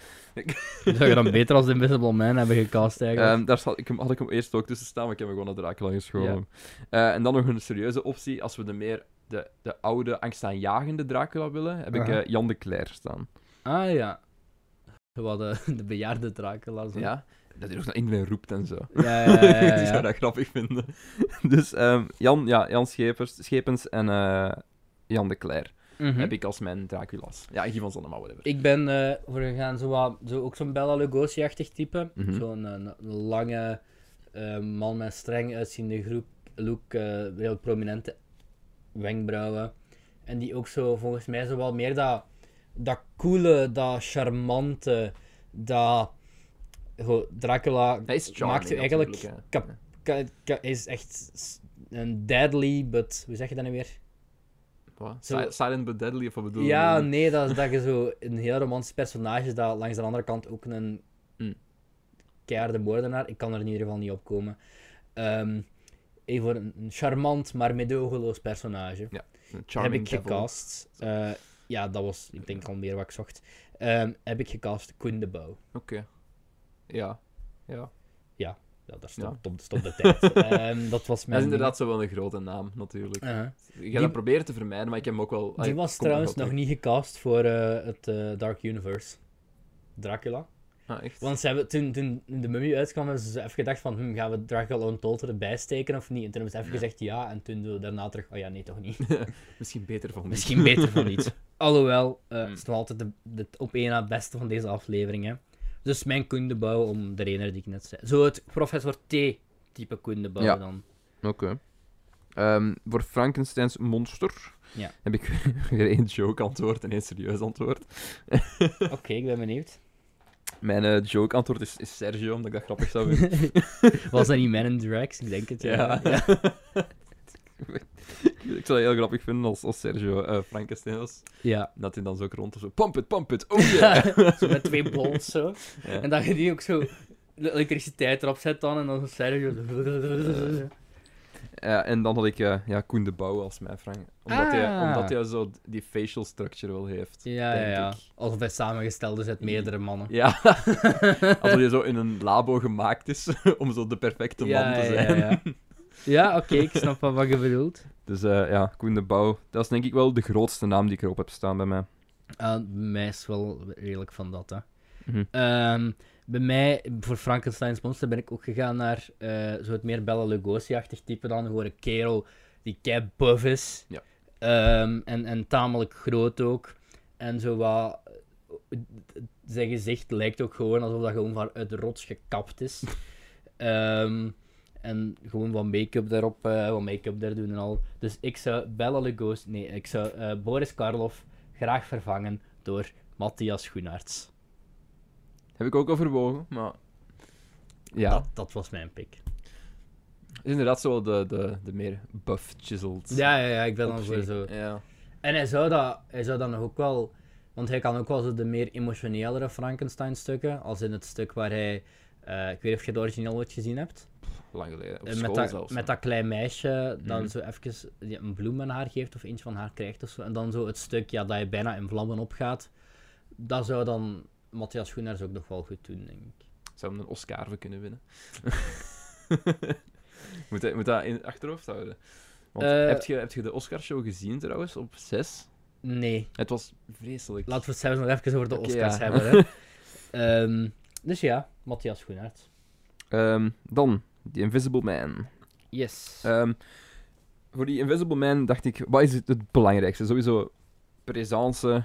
Zou je dan beter als de Invisible Man hebben gecast eigenlijk? Ehm, daar zat ik hem, had ik hem eerst ook tussen staan, maar ik heb hem gewoon naar Dracula geschoven. Eh, en dan nog een serieuze optie. Als we de meer de, de oude, angstaanjagende Dracula willen, heb ik Aha. eh, Jan de Cler staan. Ah ja. Wat de, de bejaarde Dracula. Zo. Ja? Dat hij ook naar iedereen roept en zo. Ja, ja, ja, ja, ik zou ja. dat grappig vinden. dus ehm, Jan, ja, Jan Schepers, Schepens en eh, Jan de Cler Mhm. heb ik als mijn Dracula's. Ja, en Guy van Zonnema, whatever. Ik ben eh, voor gegaan zo wat, zo ook zo'n Bella Lugosi-achtig type. Mhm. Zo'n eh, een lange eh, man met streng uitziende groep, look, eh, heel prominente wenkbrauwen. En die ook zo volgens mij zo wel meer dat, dat coole, dat charmante, dat... Goh, Dracula Hij is charming, maakt u eigenlijk natuurlijk, hè. kap, ka- ka- is echt s- een deadly, but hoe zeg je dat nu weer? Wat? Zo- Si- Silent but Deadly, of wat bedoel je? Ja, nee, dat is dat je zo een heel romantisch personage is dat langs de andere kant ook een Mm. keiharde moordenaar. Ik kan er in ieder geval niet op komen. Ehm even voor een een charmant, maar medogeloos personage. Een heb charming ik devil. gecast. eh, ja, dat was, ik denk al meer wat ik zocht. Ehm, heb ik gecast Koen de Bouw. Oké. Ja. Ja. Ja, daar Ja. stond, stond- stond de tijd. Ehm, dat was Hij mijn... is inderdaad zo wel een grote naam, natuurlijk. ding. Uh-huh. Ik ga dat proberen te vermijden, maar ik heb hem ook wel... Die was trouwens nog niet gecast voor eh, het eh, Dark Universe. Dracula. Ah, echt? Want ze hebben, toen, toen de mummy uitkwam, hebben ze zo even gedacht van, hm, gaan we Dracula Untold erbij steken of niet? En toen hebben ze even Ja. gezegd ja, en toen doen we daarna terug, oh ja, nee, toch niet. Misschien beter van Misschien beter van niet. Alhoewel, eh, Hmm. het is nog altijd de, de op één na beste van deze aflevering, hè. Dus mijn koendebouw om de reden die ik net zei. Zo het professor T-type koendebouw Ja. dan. Oké. Ehm, voor Frankensteins monster Ja. heb ik weer één joke antwoord en één serieus antwoord. Oké, ik ben benieuwd. Mijn eh, joke antwoord is, is Sergio, omdat ik dat grappig zou vinden. Was dat niet Man in Drax? Ik denk het, ja. ja. ik zou het heel grappig vinden als, als Sergio eh, Frankenstein was. Ja. Dat hij dan zo ook rond of zo... Pump it, pump it, oh yeah! zo met twee bolts zo. Ja. En dat je die ook zo de elektriciteit erop zet dan en dan zo Sergio. zo- Ja, en dan had ik eh, ja, Koen de Bouw als mijn Frank. Omdat, hij, Ah. omdat hij zo d- die facial structure wel heeft. Ja, ja, denk ja. ik. Alsof hij samengesteld is uit meerdere mannen. Ja, als hij zo in een labo gemaakt is om zo de perfecte man ja, te ja, zijn. Ja, ja. Ja, oké, ik snap wel wat je bedoelt. Dus eh, ja, Koen de Bouw, dat is denk ik wel de grootste naam die ik erop heb staan bij mij. Ah, bij mij is wel redelijk van dat, hè. Mhm. Ehm, bij mij, voor Frankenstein's Monster, ben ik ook gegaan naar eh, zo het meer Bella Lugosi-achtig type dan. Gewoon een kerel die kei buff is. Ja. Ehm, en, en tamelijk groot ook. En zo wat... Zijn gezicht lijkt ook gewoon alsof dat gewoon van uit de rots gekapt is. Ehm, en gewoon wat make-up daarop, eh, wat make-up daar doen en al. Dus ik zou Bella Lugosi... Nee, ik zou eh, Boris Karloff graag vervangen door Matthias Schoenaerts. Heb ik ook overwogen, maar. Ja, Dat, dat was mijn pick. het is inderdaad zo de, de, de meer buff chiseled. Ja, ja, ja ik ben dan optie. voor zo. Ja. En hij zou, dat, hij zou dan nog ook wel. Want hij kan ook wel zo de meer emotionelere Frankenstein-stukken. Als in het stuk waar hij. eh, ik weet niet of je het origineel ooit gezien hebt. Lang geleden. Op Eh, school met, dat, zelfs. met dat klein meisje dat Mhm. zo even die een bloem aan haar geeft of eentje van haar krijgt of zo. En dan zo het stuk ja, dat hij bijna in vlammen opgaat. Dat zou dan Matthias Schoenaerts ook nog wel goed doen, denk ik. Zou hem een Oscar voor kunnen winnen. moet, hij- moet dat in het achterhoofd houden. Want Eh. heb, je, heb je de Oscarshow gezien trouwens, op 6? Nee. Het was vreselijk. Laten we het zelfs nog even over de Oké, Oscars ja. hebben. Hè. Ehm, dus ja, Matthias Schoenaert. Ehm, dan, The Invisible Man. Yes. Ehm, voor die Invisible Man dacht ik, wat is het, het belangrijkste? Sowieso presence,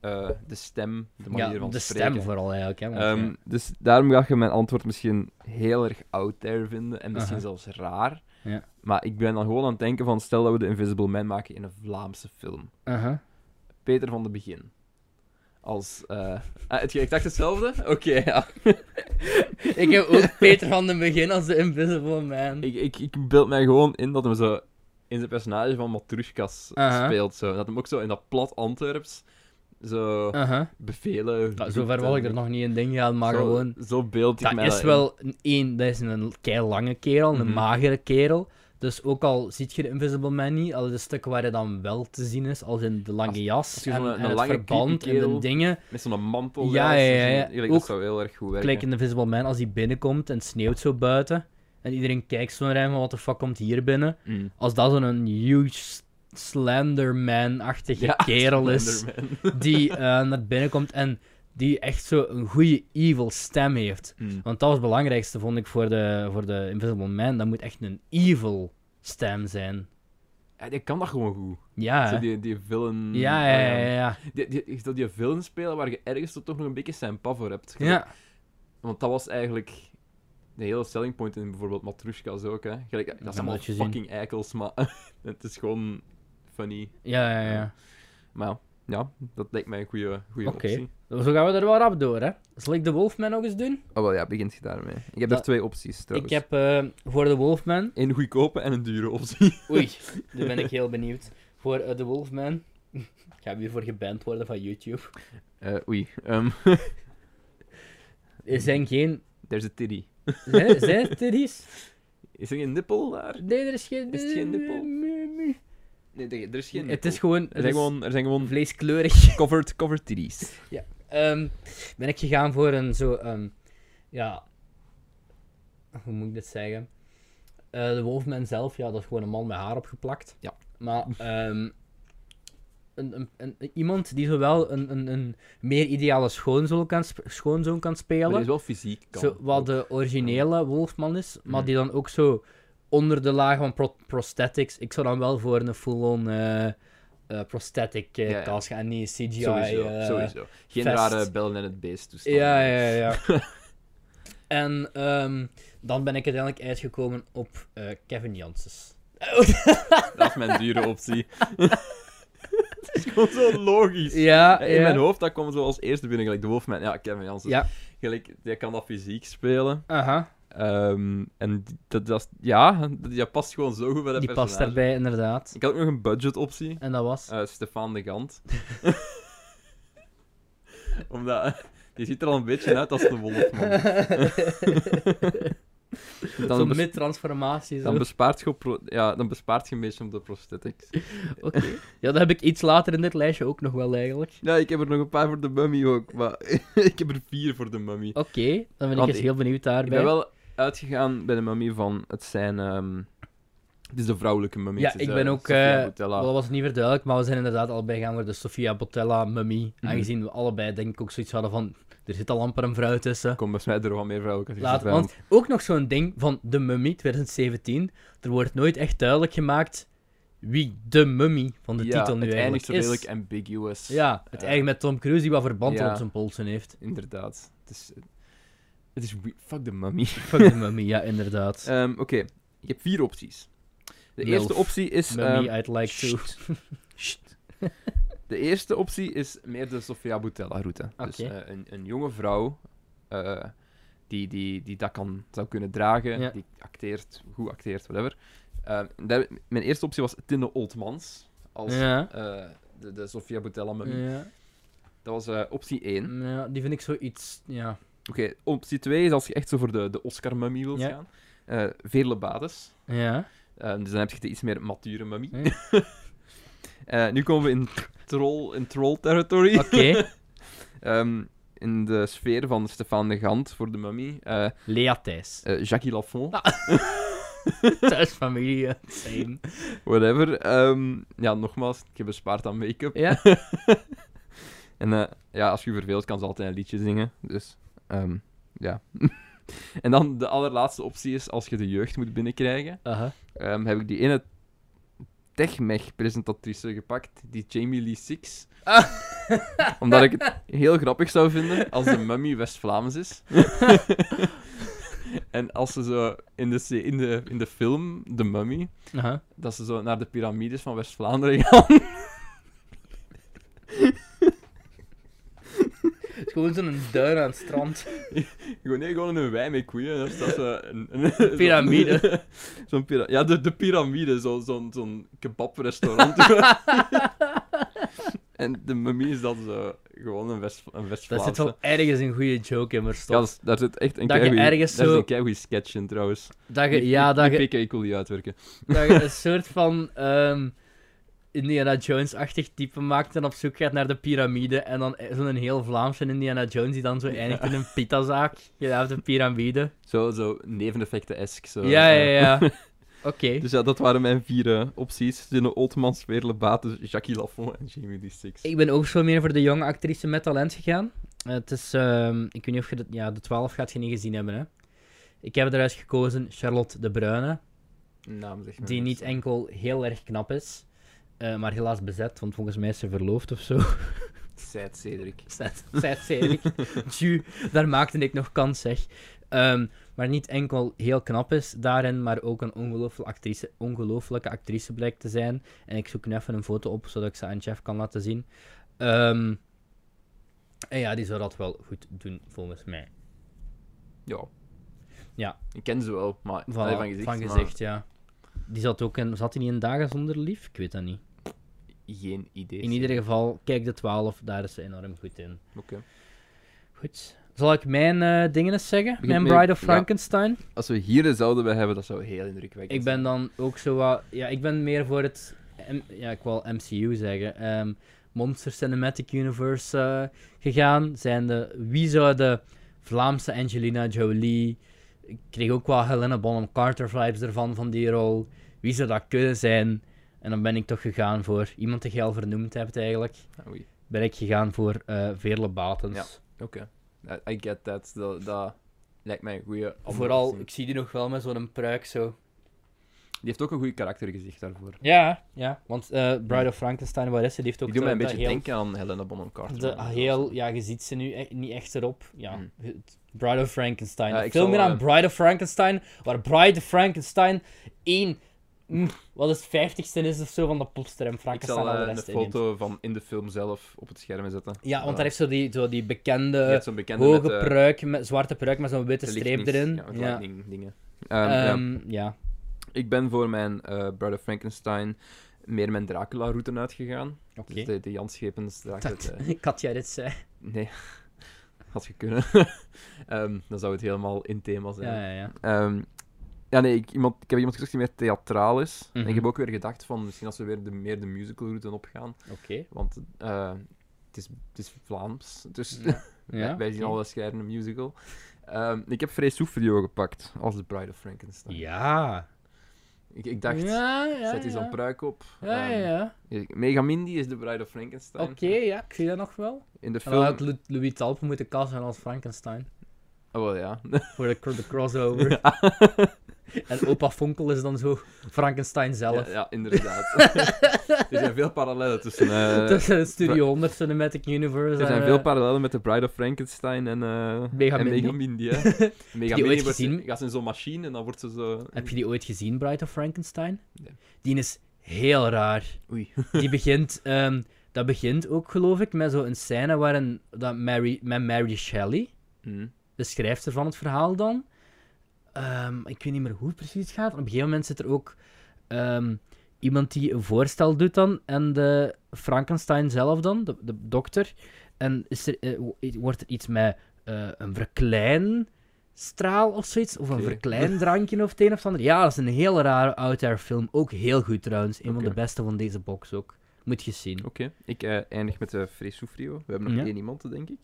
eh, de stem, de manier ja, van de spreken. stem vooral eigenlijk. Hè, want, Ehm, ja. Dus daarom ga je mijn antwoord misschien heel erg out there vinden en misschien Aha. zelfs raar. Ja. Maar ik ben dan gewoon aan het denken van, stel dat we de Invisible Man maken in een Vlaamse film. Aha. Peter van de Begin. Als, eh, ah, het, ik dacht hetzelfde? Oké, ja. Ik heb ook Peter van den Begin als de Invisible Man. Ik, ik, ik beeld mij gewoon in dat hem zo in zijn personage van Matrushkas Aha. speelt. Zo. Dat hem ook zo in dat plat Antwerps zo Aha. bevelen. Nou, roept zover wil ik en- er nog niet in ding gaan, maar eh, zo, gewoon... Zo beeld ik Dat mij is in. wel een, één, dat is een kei lange kerel, een Mhm. magere kerel. Dus ook al ziet je de Invisible Man niet, al de stukken waar hij dan wel te zien is, als in de lange Als- jas als je en, zo'n- en een het lange, verband creepy en de kerel dingen, Met zo'n mantel. Ja, wel, ja, ja, zo- ja. gelijk, dat Ook zou heel erg goed werken. gelijk in de Invisible Man, als hij binnenkomt en het sneeuwt zo buiten, en iedereen kijkt zo naar hem van wat de fuck komt hier binnen. Mm. Als dat zo'n huge Slenderman-achtige Ja, kerel is, Slenderman. die eh, naar binnen komt en die echt zo een goede evil stem heeft. Mm. Want dat was het belangrijkste, vond ik, voor de, voor de Invisible Man. Dat moet echt een evil stem zijn. Ja, die kan dat gewoon goed. Ja, Zo hè. die, die villain... ja, ja, ja, ehm, ja, ja. Die, die, dat die villain spelen waar je ergens toch nog een beetje zijn pa voor hebt. Gelijk, Ja, Want dat was eigenlijk de hele selling point in bijvoorbeeld Matrushka's ook. Hè. Gelijk, dat heb zijn allemaal dat gezien. fucking eikels, maar het is gewoon funny. ja, ja, ja. Maar ja, dat lijkt mij een goede goede Oké. optie. Zo gaan we er wel rap door, hè. Zal ik de Wolfman nog eens doen? Oh wel, ja, begint je daarmee. Ik heb Dat- er twee opties Ik trouwens. heb eh, voor de Wolfman... Een goedkope en een dure optie. Oei, daar ben ik heel benieuwd. Voor eh, de Wolfman... Ik ga hiervoor geband worden van YouTube. Eh, oei. ehm, Er zijn geen... there's a titty. Zijn, zijn het er iets? Is er geen nippel daar? Nee, er is geen... Is het geen nippel? Nee, er er is geen Het nippel. is gewoon... Er Het zijn is gewoon, er zijn gewoon vleeskleurig. covered, covered titties. Ehm, ben ik gegaan voor een zo, ehm, ja, hoe moet ik dit zeggen? Eh, de Wolfman zelf, ja, dat is gewoon een man met haar opgeplakt. Ja. Maar ehm, een, een, een- iemand die zowel een, een, een meer ideale schoonzoon kan, sp- schoonzoon kan spelen, Maar die is wel fysiek. kan. zo, wat de originele Wolfman is, maar Mhm. die dan ook zo onder de laag van pro- prosthetics, ik zou dan wel voor een full-on eh, eh, prosthetic eh, Ja, ja. kast gaan en niet CGI. Sowieso, eh, sowieso. Geen vest. rare bellen en het beest toestanden. Ja, ja, ja. en ehm, dan ben ik uiteindelijk uitgekomen op eh, Kevin Janssens. Dat is mijn dure optie. het is gewoon zo logisch. Ja, In mijn hoofd, dat kwam zo als eerste binnen, gelijk de Wolfman. Ja, Kevin Janssen. Ja. Gelijk, jij kan dat fysiek spelen. Aha, Ehm, en die- dat, dat, is- ja, dat, dat past gewoon zo goed bij dat die past personage. daarbij inderdaad. Ik had ook nog een budgetoptie. En dat was. eh Stefan de Gant. Omdat, eh, die ziet er al een beetje uit als de Wolfman. Zo'n Dan, bes- mid-transformatie. Zo. dan, bespaart je op pro- ja, dan bespaart je een beetje op de prosthetics. Oké. Ja, dat heb ik iets later in dit lijstje ook nog wel eigenlijk. Ja, ik heb er nog een paar voor de mummy ook, maar ik heb er vier voor de mummy. Oké, dan ben ik Want eens ik- heel benieuwd Ik daarbij. ben wel uitgegaan bij de mummy van het zijn. ehm, het is de vrouwelijke mummy. Ja, het is, ik eh, ben ook, Sophia eh, Boutella. Wel, dat was niet meer duidelijk, maar we zijn inderdaad allebei gaan voor de Sofia Botella mummy. Mhm. Aangezien we allebei denk ik ook zoiets hadden van, er zit al amper een vrouw tussen. Kom, bij mij er wel meer vrouwelijke Laat, gezichten want ook nog zo'n ding van de Mummy 2017. Er wordt nooit echt duidelijk gemaakt wie de Mummy van de Ja, titel nu het eindigt eigenlijk zo is. redelijk ambiguous. Ja, het Ja. eigenlijk met Tom Cruise die wat verband Ja. op zijn polsen heeft. Inderdaad. Het is, het is we- Fuck de mummy. Fuck de Mummy, ja inderdaad. Ehm, Oké, ik heb vier opties. De Milf. eerste optie is. mummy, ehm, I'd like to. sst, sst. De eerste optie is meer de Sofia Boutella-route. Dus Oké. eh, een, een jonge vrouw eh, die, die, die dat kan, zou kunnen dragen, Ja. die acteert, goed acteert, whatever. Eh, daar- mijn eerste optie was Tine Oltmans als Ja. eh, de, de Sofia Boutella-mummy. Ja, Dat was eh, optie 1. ja, die vind ik zoiets. Ja. Oké, optie 2 is als je echt zo voor de, de Oscar-mummy wilt Ja. gaan. Eh Veerle Bades. Ja. Eh, dus dan heb je de iets meer mature mummy. Ja. Eh, nu komen we in troll, in troll territory. Oké. Ehm, in de sfeer van Stefan de Gant voor de mummy. eh eh, Lea Thijs. Jackie Lafont, Thuisfamilie, eh, same. whatever. Ehm, ja, nogmaals, ik heb bespaard aan make-up. Ja? En eh, ja, als je je verveelt, kan ze altijd een liedje zingen. Dus ehm, ja. en dan de allerlaatste optie is, als je de jeugd moet binnenkrijgen, Aha. ehm, heb ik die ene TechMech-presentatrice gepakt, die Jamie Lee Six. Ah. Omdat ik het heel grappig zou vinden als de mummy West-Vlaams is. en als ze zo in de, se- in de, in de film, de mummy, Aha. dat ze zo naar de piramides van West-Vlaanderen gaan. Het is gewoon zo'n duin aan het strand. Gewoon, nee, gewoon een wei met koeien. Dat is, dat is, eh, een, een- zo'n- Piramide. zo'n pira ja, de, de piramide, zo- zo'n zo'n kebabrestaurant. en de mumie is dan zo, gewoon een West- een Daar zit West-Vlaamse. wel ergens een goede joke in ja, verstopt. dat is- daar zit echt een Dat je keigoeie- ergens daar zo- zit een keigoeie sketch in, trouwens. dat je, ja, dat je, PK cool die uitwerken. dat je een soort van ehm, Indiana Jones-achtig type maakt en op zoek gaat naar de piramide. En dan e- zo'n heel Vlaamse Indiana Jones die dan zo eindigt in een pitazaak. Je hebt een piramide. Zo, zo neveneffecten-esque. Zo, Ja, ja, eh. ja. Oké. Dus ja, dat waren mijn vier eh, opties. Zinne Oltmans, Veerle Baten, Jackie Lafont en Jamie Lee Six. Ik ben ook zo meer voor de jonge actrice met talent gegaan. Eh, Het is, ehm, ik weet niet of je de, ja, de 12 gaat je niet gezien hebben. Hè? Ik heb eruit gekozen Charlotte de Bruyne, Naam zeg maar die niks. niet enkel heel erg knap is, eh, maar helaas bezet, want volgens mij is ze verloofd of zo. Seid Cedric. Zet Cedric. Tju, daar maakte ik nog kans, zeg. Ehm, maar niet enkel heel knap is daarin, maar ook een ongelooflijke actrice, ongelooflijke actrice blijkt te zijn. En ik zoek nu even een foto op, zodat ik ze aan Jeff kan laten zien. Ehm, en ja, die zou dat wel goed doen, volgens mij. Ja. Ja. Ik ken ze wel, maar Voilà, Allee, van gezicht. maar ja. Die zat ook in... Zat hij niet in Dagen zonder lief? Ik weet dat niet. Geen idee. In ieder geval, kijk de 12, daar is ze enorm goed in. Oké. Goed. Zal ik mijn eh, dingen eens zeggen? Begin Mijn met- Bride of ja. Frankenstein? Als we hier een zouden bij hebben, dat zou heel indrukwekkend Ik ben dan ook zo wat... Ja, ik ben meer voor het... M- ja, ik wil MCU zeggen. ehm, Monster Cinematic Universe eh, gegaan. Zijn de, wie zou de Vlaamse Angelina Jolie... Ik kreeg ook wel Helena Bonham Carter vibes ervan, van die rol. Wie zou dat kunnen zijn? En dan ben ik toch gegaan voor... Iemand die je al vernoemd hebt, eigenlijk. zijn. Oei. Ben ik gegaan voor eh Veerle Batens. Ja. Oké. Ja, I get that. Dat, dat lijkt mij een goede Vooral, ik zie die nog wel met zo'n pruik, zo. Die heeft ook een goed karaktergezicht daarvoor. Ja, ja. Want eh, Bride of Frankenstein, waar is ze? Die heeft ook Die doet mij een zo beetje dat heel- denken aan Helena Bonham Carter. De, ah, heel, ja, je ziet ze nu e- niet echt erop. Ja, Mm. het- Bride of Frankenstein. Ja, Veel ik Film zal, meer aan eh, Bride of Frankenstein, waar Bride of Frankenstein 1, mm, wat is het vijftigste is of zo van de popster en Ik Frankenstein zal al de eh, rest een inneemt. foto van in de film zelf op het scherm zetten. Eh, Ja, want Voilà. daar heeft zo die, zo die Je bekende, hebt zo'n bekende hoge met, eh, pruik, met, zwarte pruik met zo'n witte de streep lichtnings- erin. Ja, met Ja, lightning dingen. Ehm, ja. Ehm, ja. Ik ben voor mijn eh Bride of Frankenstein meer mijn Dracula-route uitgegaan. oké. Dus de, de Jan Schepens Dracula. Dat- de- Ik had jij dit zei. eh, Nee, had je kunnen. Ehm, dan zou het helemaal in thema zijn. Ja, ja, ja. Ehm, ja, nee, ik, iemand, ik heb iemand gezegd die meer theatraal is. En Mhm. ik heb ook weer gedacht van misschien als we weer de, meer de musical route opgaan. Oké. Want eh, het, is, het is Vlaams. Dus Ja. Ja, wij, wij zien oké. al wel schrijven een musical. Ehm, ik heb Frey Soufrio gepakt als The Bride of Frankenstein. Ja. Ik, ik dacht, ja, ja, zet die zo'n ja. pruik op. Ja, ja, Ehm, ja. Megamindi is The Bride of Frankenstein. Oké, ja, ik zie dat nog wel. In de En dan film... had Lu- Louis Talpe moeten casten als Frankenstein. Oh, wel, ja. Voor de, cro- de crossover. En opa Fonkel is dan zo Frankenstein zelf. Ja, ja, inderdaad. er zijn veel parallellen tussen. eh, Tussen het Studio 100 Cinematic Universe er zijn en, veel eh, parallellen met The Bride of Frankenstein en, eh Megamindi. en Megamindi. hè. Megamindi ooit wordt- gezien? gaat in zo'n machine en dan wordt ze zo. Heb je die ooit gezien, Bride of Frankenstein? Nee. Die is heel raar. Oei. Die begint... ehm, dat begint ook, geloof ik, met zo'n scène waarin dat Mary, met Mary Shelley... Hmm. de schrijfster van het verhaal dan. Ehm, ik weet niet meer hoe het precies gaat. Op een gegeven moment zit er ook ehm, iemand die een voorstel doet dan. En de Frankenstein zelf dan, de, de dokter. En is er, eh, wo- wordt er iets met eh, een verkleinstraal of zoiets? Of een Oké. verkleindrankje of het een of het ander? Ja, dat is een heel rare oud film. Ook heel goed trouwens. Een van de Oké. beste van deze box ook. Moet je zien. Oké, ik eh, eindig met de eh, Frey Soufrio. We hebben nog Ja. één iemand, denk ik.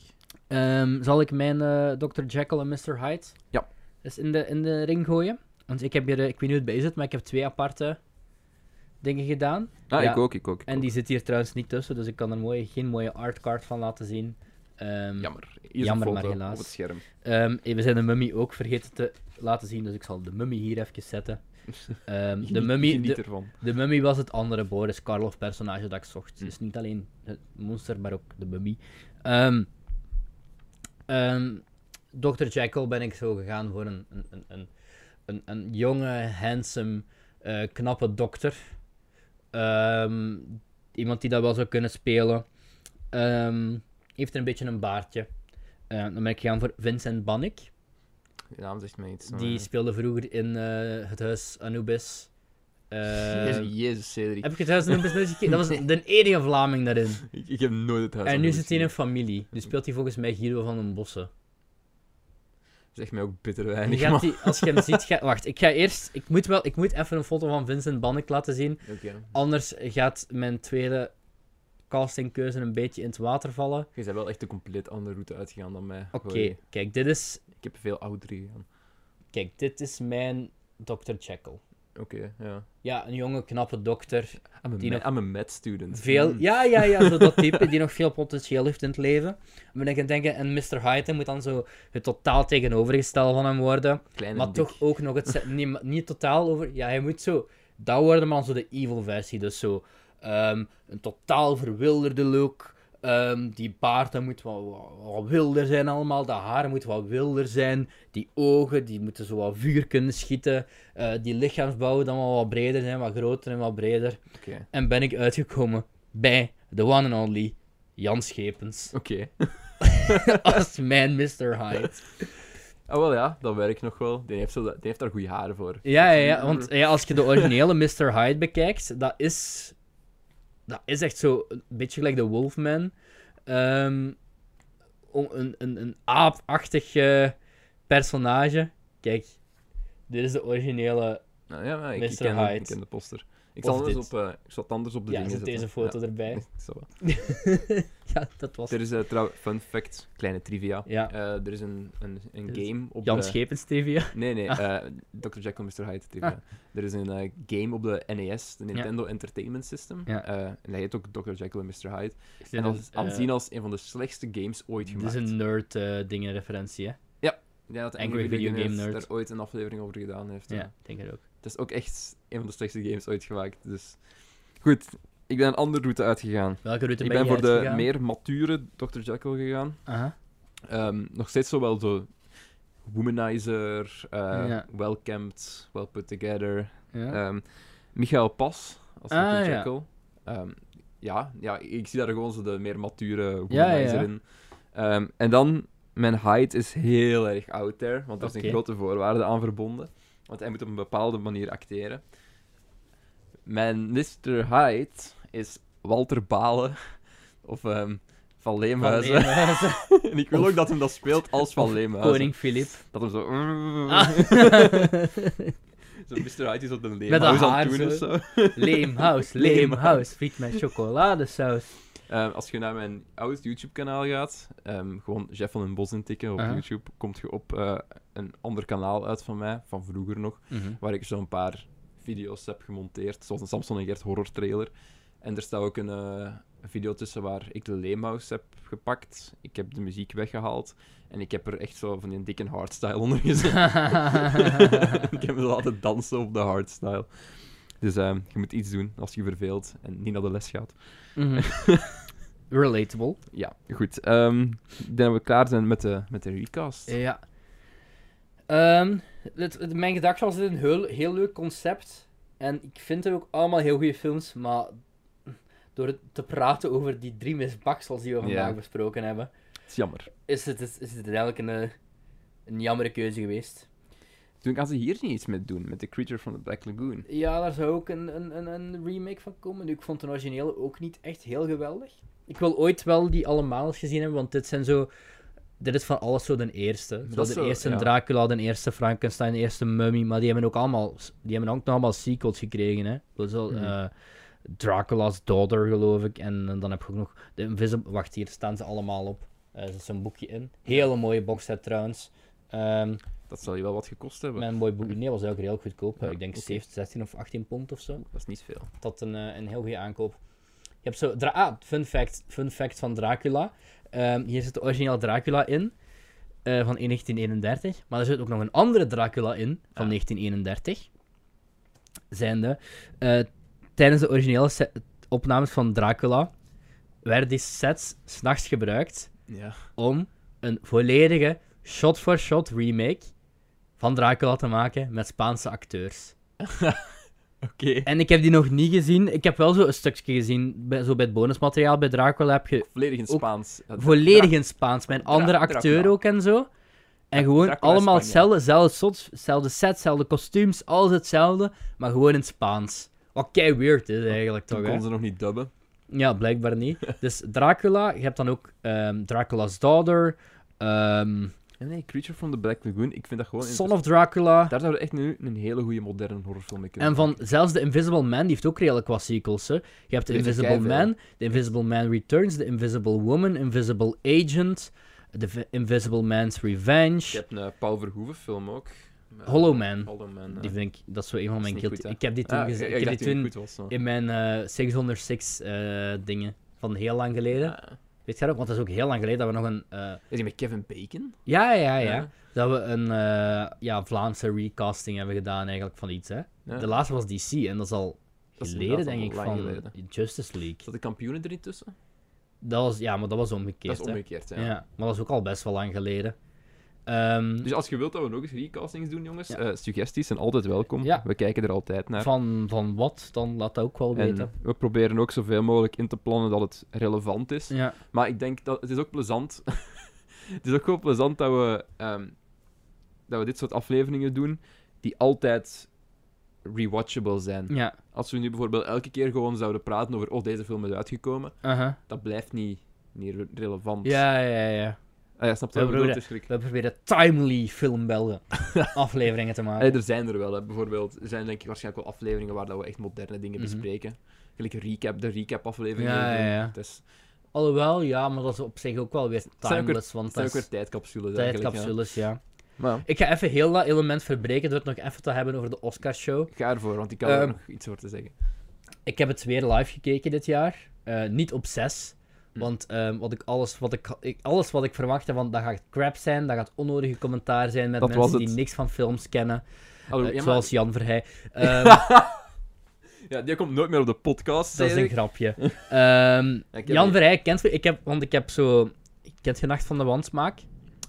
Ehm, zal ik mijn eh, Dr. Jekyll en Mr. Hyde Ja. eens in de, in de ring gooien? Want ik heb hier, eh, ik weet niet hoe het bij zit, maar ik heb twee aparte dingen gedaan. Ah, Ja. ik ook, ik ook. ik En ook. die zit hier trouwens niet tussen, dus ik kan er mooi, geen mooie artcard van laten zien. Ehm, Jammer. Hier is Jammer, een maar foto helaas. op het scherm. ehm, eh, we zijn de mummy ook vergeten te laten zien, dus ik zal de mummy hier even zetten. Ehm, de, Geniet- mummy, Geniet de, ervan. de mummy was het andere Boris Karloff personage dat ik zocht. Dus niet alleen het monster, maar ook de mummy. Ehm, ehm, Dr. Jekyll ben ik zo gegaan voor een, een, een, een, een, een jonge, handsome, eh, knappe dokter. Ehm, iemand die dat wel zou kunnen spelen. Ehm, heeft een beetje een baardje. Eh, dan ben ik gegaan voor Vincent Bannick. Die naam zegt mij iets. maar- Die speelde vroeger in eh, het huis Anubis. Eh, Jezus, Jezus, Cedric. heb ik het huis van Olympus nooit gekeken? Dat was de enige Vlaming daarin. Ik, ik heb nooit het huis en van nu Louis zit hij in gezien. een familie. Nu speelt hij volgens mij Guido van den Bossen. Zegt mij ook bitter En weinig, gaat man. die, als je hem ziet, ga- wacht, ik ga eerst. Ik moet, wel, ik moet even een foto van Vincent Bannek laten zien. Oké. Anders gaat mijn tweede castingkeuze een beetje in het water vallen. Je bent wel echt een compleet andere route uitgegaan dan mij. Oké, Goeie. kijk, dit is, Ik heb veel oudere gegaan. kijk, dit is mijn Dr. Jekyll. Oké, ja. Ja, een jonge, knappe dokter. I'm a, Die ma- nog- I'm a med student. Veel, Mm. ja, ja, ja, zo dat type die nog veel potentieel heeft in het leven. Dan ben ik aan het denken, en Mr. Hyde moet dan zo het totaal tegenovergestelde van hem worden. Klein en maar dik. toch ook nog het... se- Nee, maar niet totaal over... Ja, hij moet zo... Dat worden, maar dan zo de evil versie. Dus zo ehm, een totaal verwilderde look. Ehm, die baard dat moet wat, wat, wat wilder zijn allemaal. Dat haar moet wat wilder zijn. Die ogen, die moeten zo wat vuur kunnen schieten. Eh, die lichaamsbouw dan wel wat breder zijn. Wat groter en wat breder. Oké. En ben ik uitgekomen bij de one and only Jan Schepens. Oké. Als mijn Mr. Hyde. Ah, wel ja, dat werkt nog wel. Die heeft, zo, dat- die heeft daar goede haren voor. Ja, ja, ja, want eh. ja, als je de originele Mr. Hyde bekijkt, dat is, dat is echt zo een beetje gelijk de Wolfman. Ehm, om- een, een, een aapachtig eh, personage. Kijk, dit is de originele. Nou, ja, maar ik, Mr. ik, ken, Hyde. ik ken de poster. Ik Of zal, anders dit. op, eh, ik zal het anders op de Ja, dingen zet zetten. deze foto Ja. erbij. Nee, zal wel. Ja, dat was Er is eh, trouwens, fun fact, kleine trivia. Ja. Eh, er is een, een, een Dit is game op Jan de... Schepens TV. Nee, nee, Ah. eh, Dr. Jekyll Mr. Hyde. trivia. Er is een eh, game op de NES, de Nintendo Entertainment System. Ja. Eh, en dat heet ook Dr. Jekyll en Mr. Hyde. en dat is aanzien als een van de slechtste games ooit Dus, eh, Dit gemaakt. is een nerd-dingen-referentie, hè? Ja, dat Angry Angry Video Video Game Nerd. Games daar ooit een aflevering over gedaan heeft. Ja, hè. ik denk het ook. Het is ook echt een van de slechtste games ooit gemaakt. Dus goed, ik ben een andere route uitgegaan. Welke route ik ben, ben je voor de uitgegaan? meer mature Dr. Jekyll gegaan. Aha. Ehm, nog steeds zo wel zo womanizer, eh Ja. well camped, well put together. Ja. Ehm, Michael Pas als Ah, Dr. ja. Jekyll. Ehm, ja, ja, ik zie daar gewoon zo de meer mature Ja, womanizer ja, ja. in. Ehm, en dan, mijn height is heel erg out there, want daar is Oké. een grote voorwaarde aan verbonden. Want hij moet op een bepaalde manier acteren. Mijn Mr. Hyde is Walter Balen of ehm, Van Leemhuizen. Van Leemhuizen. En ik wil Of- ook dat hem dat speelt als Van Leemhuizen. Koning Filip. Dat hem zo... Ah. zo Mr. Hyde is op de Met dat Leemhuis aan haar het doen of zo. zo. Leemhouse, leemhouse, friet met chocoladesaus. Ehm, als je naar mijn oud YouTube-kanaal gaat, ehm, gewoon Jeff van den Bos intikken op Aha. YouTube, komt je op eh, een ander kanaal uit van mij, van vroeger nog, Mhm. waar ik zo'n paar video's heb gemonteerd, zoals een Samson en Gert horror trailer. En er staat ook een eh, video tussen waar ik de Leemhouse heb gepakt, ik heb de muziek weggehaald en ik heb er echt zo van die dikke hardstyle onder gezet. ik heb me laten dansen op de hardstyle. Dus ehm, je moet iets doen als je je verveelt en niet naar de les gaat. Mhm. Relatable. Ja, goed. Ehm ik denk dat we klaar zijn met de, met de recast. Ja. Ehm, het, het- mijn gedachte was dit een heel, heel leuk concept. En ik vind er ook allemaal heel goede films, maar door het te praten over die drie misbaksels die we vandaag Ja. besproken hebben, Het is jammer. is het, is, is het eigenlijk een, eh, een jammere keuze geweest. Toen gaan ze hier niet iets mee doen, met The Creature from the Black Lagoon. Ja, daar zou ook een, een, een, een remake van komen. Nu, ik vond de originele ook niet echt heel geweldig. Ik wil ooit wel die allemaal eens gezien hebben, want dit zijn zo... Dit is van alles zo de eerste. Dat Zoals is de zo, eerste ja. Dracula, de eerste Frankenstein, de eerste Mummy, maar die hebben ook allemaal... Die hebben ook nog allemaal sequels gekregen, hè. Dat is al... Mhm. eh, Dracula's Daughter, geloof ik. En, eh, dan heb je ook nog... De Invisible... Wacht, hier staan ze allemaal op. Eh, er zit zo'n boekje in. Hele mooie boxset trouwens. Ehm, Dat zal je wel wat gekost hebben. mijn mooi boekje nee, was ook redelijk goedkoop. Ja, ik denk oké. 17, 16 of 18 pond of zo. Dat is niet veel. Dat een, eh, een heel goede aankoop. Je hebt zo. Dra ah, fun fact, fun fact van Dracula. Ehm, hier zit de origineel Dracula in. eh, van 1931. Maar er zit ook nog een andere Dracula in. Van Ah. 1931. Zijnde. eh, tijdens de originele se- opnames van Dracula. werden die sets s'nachts gebruikt. Ja. om een volledige shot-for-shot remake. van Dracula te maken met Spaanse acteurs. Oké. En ik heb die nog niet gezien. Ik heb wel zo een stukje gezien, bij, zo bij het bonusmateriaal bij Dracula heb je Volledig in Ook Spaans. Eh, Ja, volledig in Spaans, met een Dra- andere Dracula. acteur ook en zo. En gewoon Dracula is allemaal Spanjaard. hetzelfde, zelfde shots, hetzelfde set, hetzelfde kostuums, alles hetzelfde, maar gewoon in Spaans. Wat kei weird is eigenlijk Toen toch, hè? konden ze nog niet dubben. Ja, blijkbaar niet. Dus Dracula, je hebt dan ook ehm, Dracula's Daughter, ehm, En Eh, nee, Creature from the Black Lagoon, ik vind dat gewoon... Son of Dracula. Daar zouden we echt nu een hele goede moderne horrorfilm mee kunnen En van zelfs de Invisible Man, die heeft ook redelijk wat sequels. Hè. Je hebt de Heeft er Invisible keiveel. Man, de Invisible Man Returns, de Invisible Woman, Invisible Agent, de V- Invisible Man's Je Revenge, hebt een Paul Verhoeven film ook. Met- Hollow Man. Hollow Man, eh, Die vind ik, dat is zo een van mijn niet guilty. goed, hè? ik heb die toen Ah, gezien. ja, Ik ik heb die dacht toen goed was. zo. in mijn eh, 606 eh, dingen van heel lang geleden. Ah. Weet je dat? Want dat is ook heel lang geleden dat we nog een. eh, Is die met Kevin Bacon? ja, ja, ja, Ja. Dat we een eh, ja, Vlaamse recasting hebben gedaan eigenlijk van iets. Hè. Ja. De laatste was DC en dat is al Dat is geleden, inderdaad denk al ik, lang van geleden. Justice League. Zat de kampioenen er niet tussen? Dat was, ja, maar dat was omgekeerd. Dat is hè. omgekeerd, ja. ja. maar dat is ook al best wel lang geleden. Ehm, Dus als je wilt dat we nog eens recastings doen, jongens, Ja. eh, suggesties zijn altijd welkom. Ja. We kijken er altijd naar. van, van wat, dan laat dat ook wel weten. En we proberen ook zoveel mogelijk in te plannen dat het relevant is. Ja, Maar ik denk dat het is ook plezant. het is ook gewoon plezant dat we, ehm, dat we dit soort afleveringen doen die altijd rewatchable zijn. ja. Als we nu bijvoorbeeld elke keer gewoon zouden praten over oh, deze film is uitgekomen, aha. dat blijft niet, niet re- relevant. uh-huh. ja, ja, ja. Ah, ja, snap je We wat ik bedoel? bedoelen- Het is gelijk- We proberen timely filmbelden afleveringen te maken. Allee, er zijn er wel, hè. bijvoorbeeld. Er zijn denk ik waarschijnlijk wel afleveringen waar dat we echt moderne dingen Mhm. bespreken. Gelijk recap, de recap-aflevering. Ja, ja, ja. Het is- Alhoewel, ja, maar dat is op zich ook wel weer zijn ook weer- timeless, het want zijn dat ook weer is tijdcapsules. eigenlijk, ja. tijdcapsules, ja. Maar Ik ga even heel dat element verbreken door het nog even te hebben over de Oscarshow. ik ga ervoor, want ik kan er Ehm, nog iets over te zeggen. Ik heb het weer live gekeken dit jaar. Eh, niet op 6. Hm. Want ehm, wat ik, alles, wat ik, ik, alles wat ik verwachtte, van, dat gaat crap zijn, dat gaat onnodige commentaar zijn met Dat was mensen het. die niks van films kennen. Allo, eh, ja, maar- zoals Jan Verheij. Ehm, ja, die komt nooit meer op de podcast. dat is zei een ik. grapje. Ehm, heb Jan die- Verheij kent... Ik heb, want ik heb zo... Kent je Nacht van de Wandsmaak?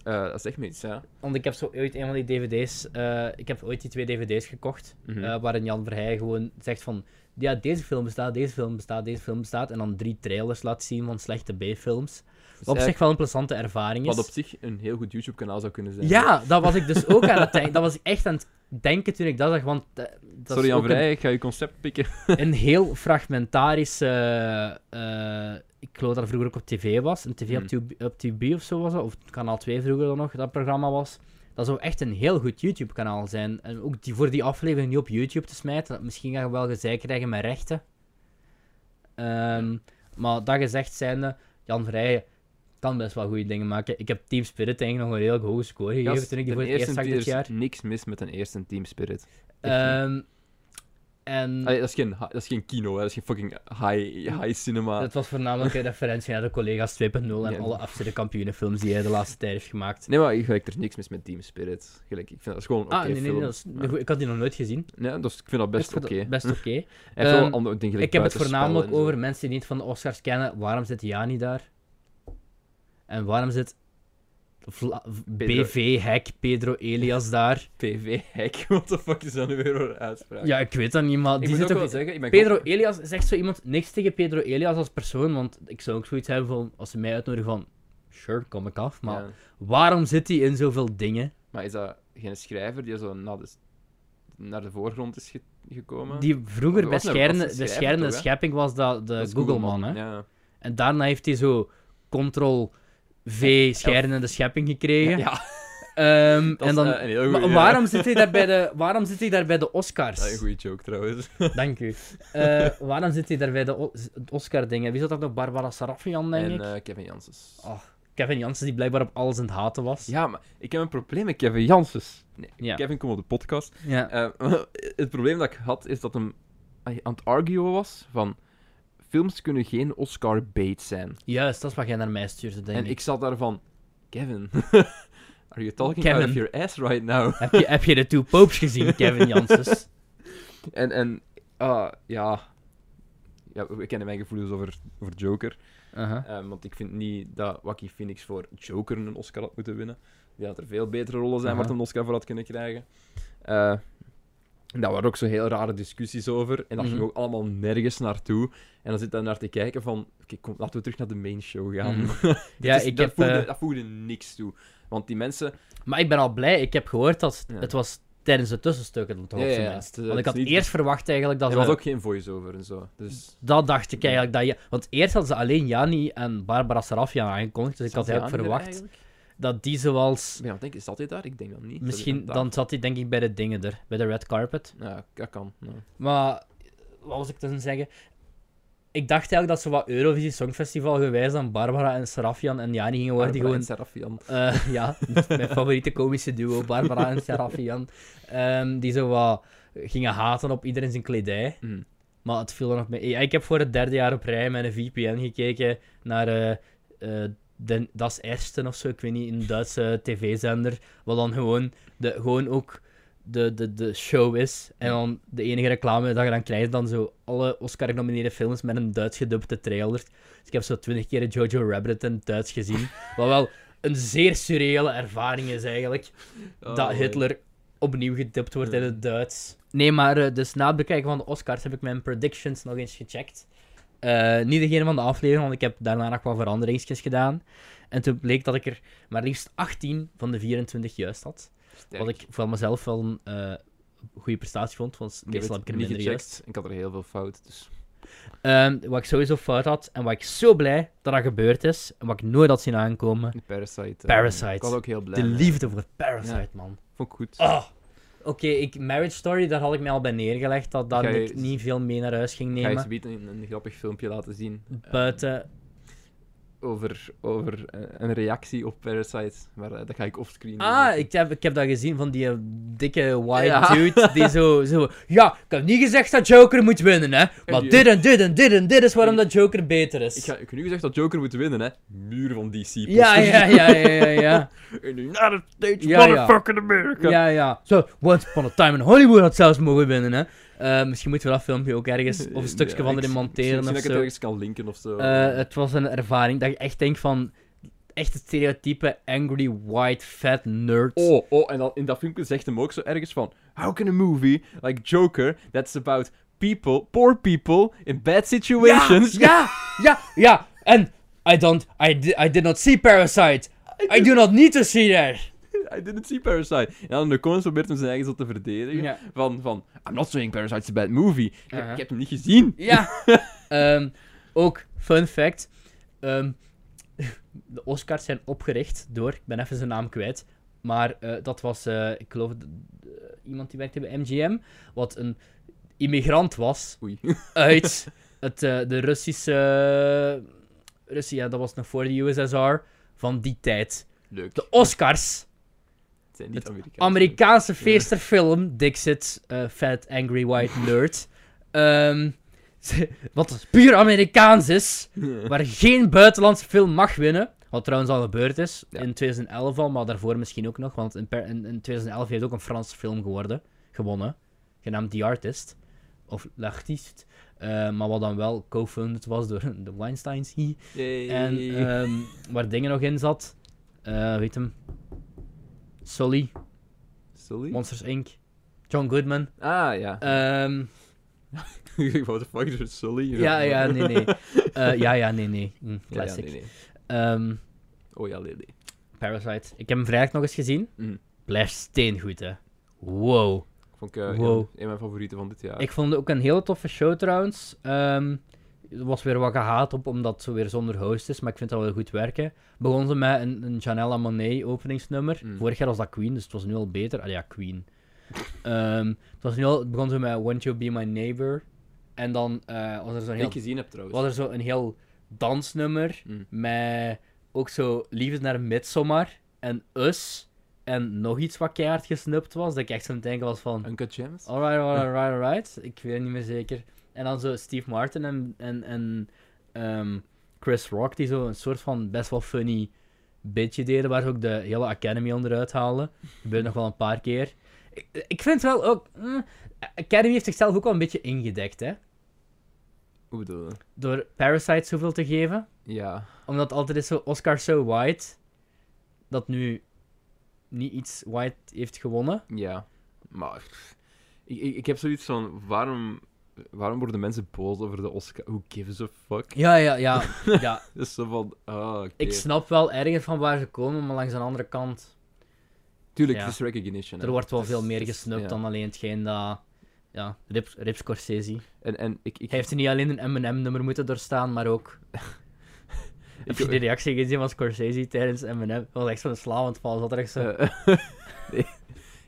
Eh, dat zegt me iets, ja. Want ik heb zo ooit een van die dvd's... eh, ik heb ooit die twee dvd's gekocht. Mhm. eh, waarin Jan Verheij gewoon zegt van... Ja, deze film bestaat, deze film bestaat, deze film bestaat. En dan drie trailers laat zien van slechte B-films. Dus Wat op zich eigenlijk wel een plezante ervaring is. Wat op zich een heel goed YouTube-kanaal zou kunnen zijn. Ja, dat was ik dus ook aan het denken. Dat was ik echt aan het denken toen ik dat zag, want eh, dat Sorry is Jan ook een, Vrij, ik ga je concept pikken. een heel fragmentarische... eh, ik geloof dat dat vroeger ook op tv was. Een tv op, tube, op TB of zo was dat, of kanaal 2 vroeger dan nog, dat programma was. Dat zou echt een heel goed YouTube-kanaal zijn. En ook die, voor die aflevering niet op YouTube te smijten, dat- misschien ga je wel gezeik krijgen met rechten. Ehm, maar dat gezegd zijnde, Jan Vrijen kan best wel goede dingen maken. Ik heb Team Spirit eigenlijk nog een redelijk hoge score gegeven Gast, toen ik die ten voor het eerst eerste, zag er dit is jaar. niks mis met een eerste Team Spirit. Ehm, en Allee, dat, is geen, hi- dat is geen kino, hè. dat is geen fucking high, high cinema. dat was voornamelijk een referentie naar de collega's 2.0 en Ja. alle afzette kampioenenfilms die hij de laatste tijd heeft gemaakt. Nee, maar gelijk, er is niks mis met Team Spirit. Gelijk, ik vind dat is gewoon oké ah, nee, nee, nee, film. dat is- Ja. ik had die nog nooit gezien. Nee, dat is- ik vind dat best Ik vond oké. dat Best oké. Hij heeft wel Ehm, andere dingen, ik gelijk heb het buitenspel voornamelijk en zo. over mensen die niet van de Oscars kennen. Waarom zit Jani daar? En waarom zit Vla- Pedro- BV-hek Pedro Elias daar? PV-hack, what the fuck is dat nu weer voor een uitspraak? Ja, ik weet dat niet, maar ik die moet zit ook ook- wel zeggen, ik ben Pedro gewoon- Elias is echt zo iemand, niks tegen Pedro Elias als persoon, want ik zou ook zoiets hebben van, als ze mij uitnodigen van, sure, kom ik af, maar Ja. waarom zit hij in zoveel dingen? Maar is dat geen schrijver die zo naar de, naar de voorgrond is ge- gekomen? Die vroeger was bij een- was een Scherende- de schrijver Scherende toch, hè? Schepping was dat de Dat is Googleman, hè? Ja. En daarna heeft hij zo Ctrl V Scherende de Schepping gekregen. ja, Ehm, dat en is dan, eh, een heel goede... maar waarom zit hij daar bij de, waarom zit hij daar bij de Oscars? Dat is een goede joke, trouwens. Dank u. Eh, waarom zit hij daar bij de O- Oscar-dingen? Wie zat dat nog? Barbara Sarafian, denk en ik? eh, Kevin Janssens. Oh, Kevin Jansen die blijkbaar op alles aan het haten was. Ja, maar ik heb een probleem met Kevin Janssens. Nee, Ja. Kevin, kom op de podcast. Ja. Eh, het probleem dat ik had, is dat hem aan het arguen was van... Films kunnen geen Oscar-bait zijn. Juist, dat is wat jij naar mij stuurde, denk en ik zat daarvan... Kevin, are you talking out Kevin. of your ass right now? Heb, je, heb je de Two Popes gezien, Kevin Janssens? En, en ah, ja... Ja, we kennen mijn gevoelens over, over Joker. Aha. Eh, want ik vind niet dat Wacky Phoenix voor Joker een Oscar had moeten winnen. Die had er veel betere rollen zijn waar Aha. hij een Oscar voor had kunnen krijgen. Eh daar waren ook zo heel rare discussies over. En dat Mhm. ging ook allemaal nergens naartoe. En dan zit daar naar te kijken van... Oké, kom, laten we terug naar de main show gaan. Mhm. Dat Ja, is- ik dat, heb, voegde, eh, dat voegde niks toe. Want die mensen... Maar ik ben al blij. Ik heb gehoord dat Ja. het was tijdens de tussenstukken dan toch Ja, op zijn ja, ja. minst. Het is- Want ik het had is niet- eerst verwacht eigenlijk dat Er ze... was ook geen voice-over en zo. Dus... Dat dacht ik eigenlijk. Dat je... Want eerst hadden ze alleen Jani en Barbara Sarafian aangekondigd. Dus ik had Zat hij eigenlijk aan hier verwacht eigenlijk? dat die zoals... Ik ben aan het denken, zat hij daar? Ik denk dat niet. Zat hij Misschien, aan dan zat hij denk ik bij de dingen er. Bij de red carpet. tafel? Ja, dat kan. ja. Maar wat was ik te zeggen? Ik dacht eigenlijk dat ze wat Eurovisie Songfestival gewijs aan Barbara en Serafian en Jani gingen worden. Die Barbara gewoon, en Serafian. eh, ja, mijn favoriete komische duo, Barbara en Serafian. ehm, die zo wat gingen haten op iedereen zijn kledij. Mm. Maar het viel er nog mee. Ja, ik heb voor het derde jaar op rij met een VPN gekeken naar eh, eh, Den- Das Ersten of zo, ik weet niet, een Duitse tv-zender. Wat dan gewoon, de, gewoon ook de, de, de show is. En dan de enige reclame dat je dan krijgt, dan zo alle Oscar-genomineerde films met een Duits gedubte trailer. Dus ik heb zo twintig keer Jojo Rabbit in het Duits gezien. Wat wel een zeer surreële ervaring is eigenlijk dat Oh, Hitler opnieuw getipt wordt in Ja. het Duits. Nee, maar eh, dus na het bekijken van de Oscars heb ik mijn predictions nog eens gecheckt. Eh, niet degene van de aflevering, want ik heb daarna nog wat veranderingsjes gedaan. En toen bleek dat ik er maar liefst 18 van de 24 juist had. sterk. Wat ik voor mezelf wel een eh, goede prestatie vond, want Ik heb meestal heb ik het er niet minder juist. gecheckt. Ik had er heel veel fout. Dus. Ehm, wat ik sowieso fout had, en wat ik zo blij dat dat gebeurd is, en wat ik nooit had zien aankomen. Parasite. eh, Parasite. Ik was ook heel blij. De mee. liefde voor Parasite, man. Vond ik goed. Oh. Oké, ik Marriage Story, daar had ik mij al bij neergelegd. Dat, dat Ga je- ik niet veel mee naar huis ging Ik ga je nemen. zometeen een, een grappig filmpje laten zien. eh, Buiten. over over eh, een reactie op Parasite. Maar eh, dat ga ik offscreen doen. Ah, ik heb, ik heb dat gezien van die eh, dikke white Ja. dude. Die zo, zo. Ja, ik heb niet gezegd dat Joker moet winnen, hè? Maar die- dit en dit en dit en dit is waarom dat Joker beter is. Ik, ga, ik heb nu gezegd dat Joker moet winnen, hè? Muur van DC. Ja, ja, ja, ja, ja, ja. In the United States, Ja, ja. motherfucking America. Ja, ja. Zo, Once Upon a Time in Hollywood had zelfs mogen winnen, hè? Eh, misschien moeten we dat filmpje ook ergens. Of een stukje Ja, van erin ik- monteren Misschien of dat ik zo. het ergens kan linken of zo. Eh, het was een ervaring dat je echt denkt van... Echt het stereotype angry, white, fat nerd. Oh, oh, en dan in dat filmpje zegt hem ook zo ergens van... How can a movie like Joker, that's about people, poor people, in bad situations... Ja, ja, ja. En I don't... I, di- I did not see Parasite. I do not need to see that. I didn't see Parasite. En dan in de comments probeert hem zijn eigen zo te verdedigen. Ja. Van, van, I'm not saying Parasite's a bad movie. Ik heb- Uh-huh. Ik heb hem niet gezien. Ja. Ehm, ook, fun fact. ehm, de Oscars zijn opgericht door... Ik ben even zijn naam kwijt. Maar eh, dat was, eh, ik geloof, d- d- iemand die werkte bij MGM. Wat een immigrant was. Oei. uit het, eh, de Russische. Russie, ja, dat was nog voor de USSR. Van die tijd. Leuk. De Oscars. Het zijn niet Amerikaanse. Amerikaanse feesterfilm. Dixit. eh, fat Angry White Nerd. Ehm, wat dus puur Amerikaans is. Waar geen buitenlandse film mag winnen. Wat trouwens al gebeurd is. Ja. In 2011 al, maar daarvoor misschien ook nog. Want in, per- in, in 2011 heeft ook een Franse film geworden, gewonnen. Genaamd The Artist. Of L'Artiste. Eh, maar wat dan wel co-funded was door de Weinsteins. hi. Yay. En ehm, waar dingen nog in zat. eh, weet hem. Sully, Sully? Monsters Inc. John Goodman. ah, ja. Ehm, What the fuck is er Sully? Eh. ja, ja, nee, nee. Eh, ja, ja, nee, nee. Hm, Ja, ja, classic. nee, nee. Ehm, Oh ja, nee, nee. Parasite. Ik heb hem vrijdag nog eens gezien. Mm. Blijft steengoed, hè. Wow. Vond ik eh, Wow. een, een mijn favorieten van dit jaar. Ik vond het ook een hele toffe show trouwens. Ehm, er was weer wat gehaat op, omdat ze weer zonder host is, maar ik vind dat wel goed werken. Begon ze met een, een Janelle Monet openingsnummer. Mm. Vorig jaar was dat Queen, dus het was nu al beter. Ah ja, Queen. Ehm, het was nu al, begon ze met Won't You Be My Neighbor. En dan eh, was er zo'n Die ik heel gezien heb trouwens. was er zo een heel dansnummer Mm. met ook zo liefde naar Midsommar en Us en nog iets wat keihard gesnupt was. Dat ik echt zo aan het denken was van... Uncut Gems? Alright, alright, alright, alright. Ik weet het niet meer zeker. En dan zo Steve Martin en, en, en ehm, Chris Rock, die zo een soort van best wel funny bitje deden, waar ze ook de hele Academy onderuit haalden. Gebeurt nog wel een paar keer. Ik, ik vind wel ook... mm, Academy heeft zichzelf ook wel een beetje ingedekt, hè. Hoe bedoel je? Door Parasite zoveel te geven. Ja. Omdat altijd is zo Oscar So White, dat nu niet iets White heeft gewonnen. Ja, maar pff, ik, ik, ik heb zoiets van: waarom, waarom worden mensen boos over de Oscar? Who gives a fuck? Ja, ja, ja. ja. Dus zo van: ah, oké. Ik snap wel ergens van waar ze komen, maar langs de andere kant, Tuurlijk, ja. het is recognition. hè. er wordt wel Het is- veel meer het is- gesnupt ja. dan alleen hetgeen dat... Ja, Rip, Rip Scorsese. En, en ik, ik, Hij heeft niet alleen een M&M-nummer moeten doorstaan, maar ook... Heb je de reactie gezien van Scorsese tijdens M&M? Dat was echt zo'n slawend val, zat er echt zo... eh, nee,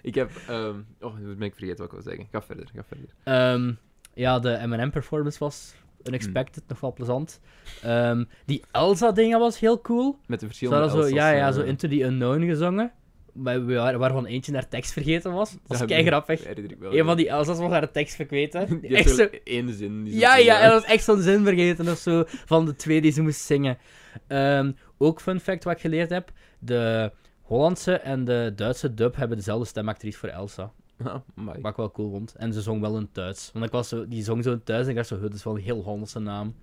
ik heb. ehm, oh, nu ben ik vergeten wat ik wil zeggen. Ga verder, ga verder. Ehm, ja, de M&M-performance was Hmm. unexpected, nog wel plezant. Ehm, die Elsa-dingen was heel cool. Met Ze de verschillende. hadden zo, Elsa's, ja, ja, eh, zo Into the Unknown gezongen, waar- waar- waarvan eentje naar tekst vergeten was. Dat was heb- kei grappig. herinner ik wel, Een ja. van die Elsa's was haar tekst vergeten. Die Echt heeft zo... wel één zin. die ze Ja, zingen. ja, en dat was echt zo'n zin vergeten of zo, van de twee die ze moest zingen. Ehm, ook fun fact wat ik geleerd heb, de Hollandse en de Duitse dub hebben dezelfde stemactrice voor Elsa. Ah, amai. Wat ik wel cool vond. En ze zong wel in het Duits. Want ik was zo, die zong zo in het Duits en ik dacht zo, "Huh, dat is wel een heel Hollandse naam.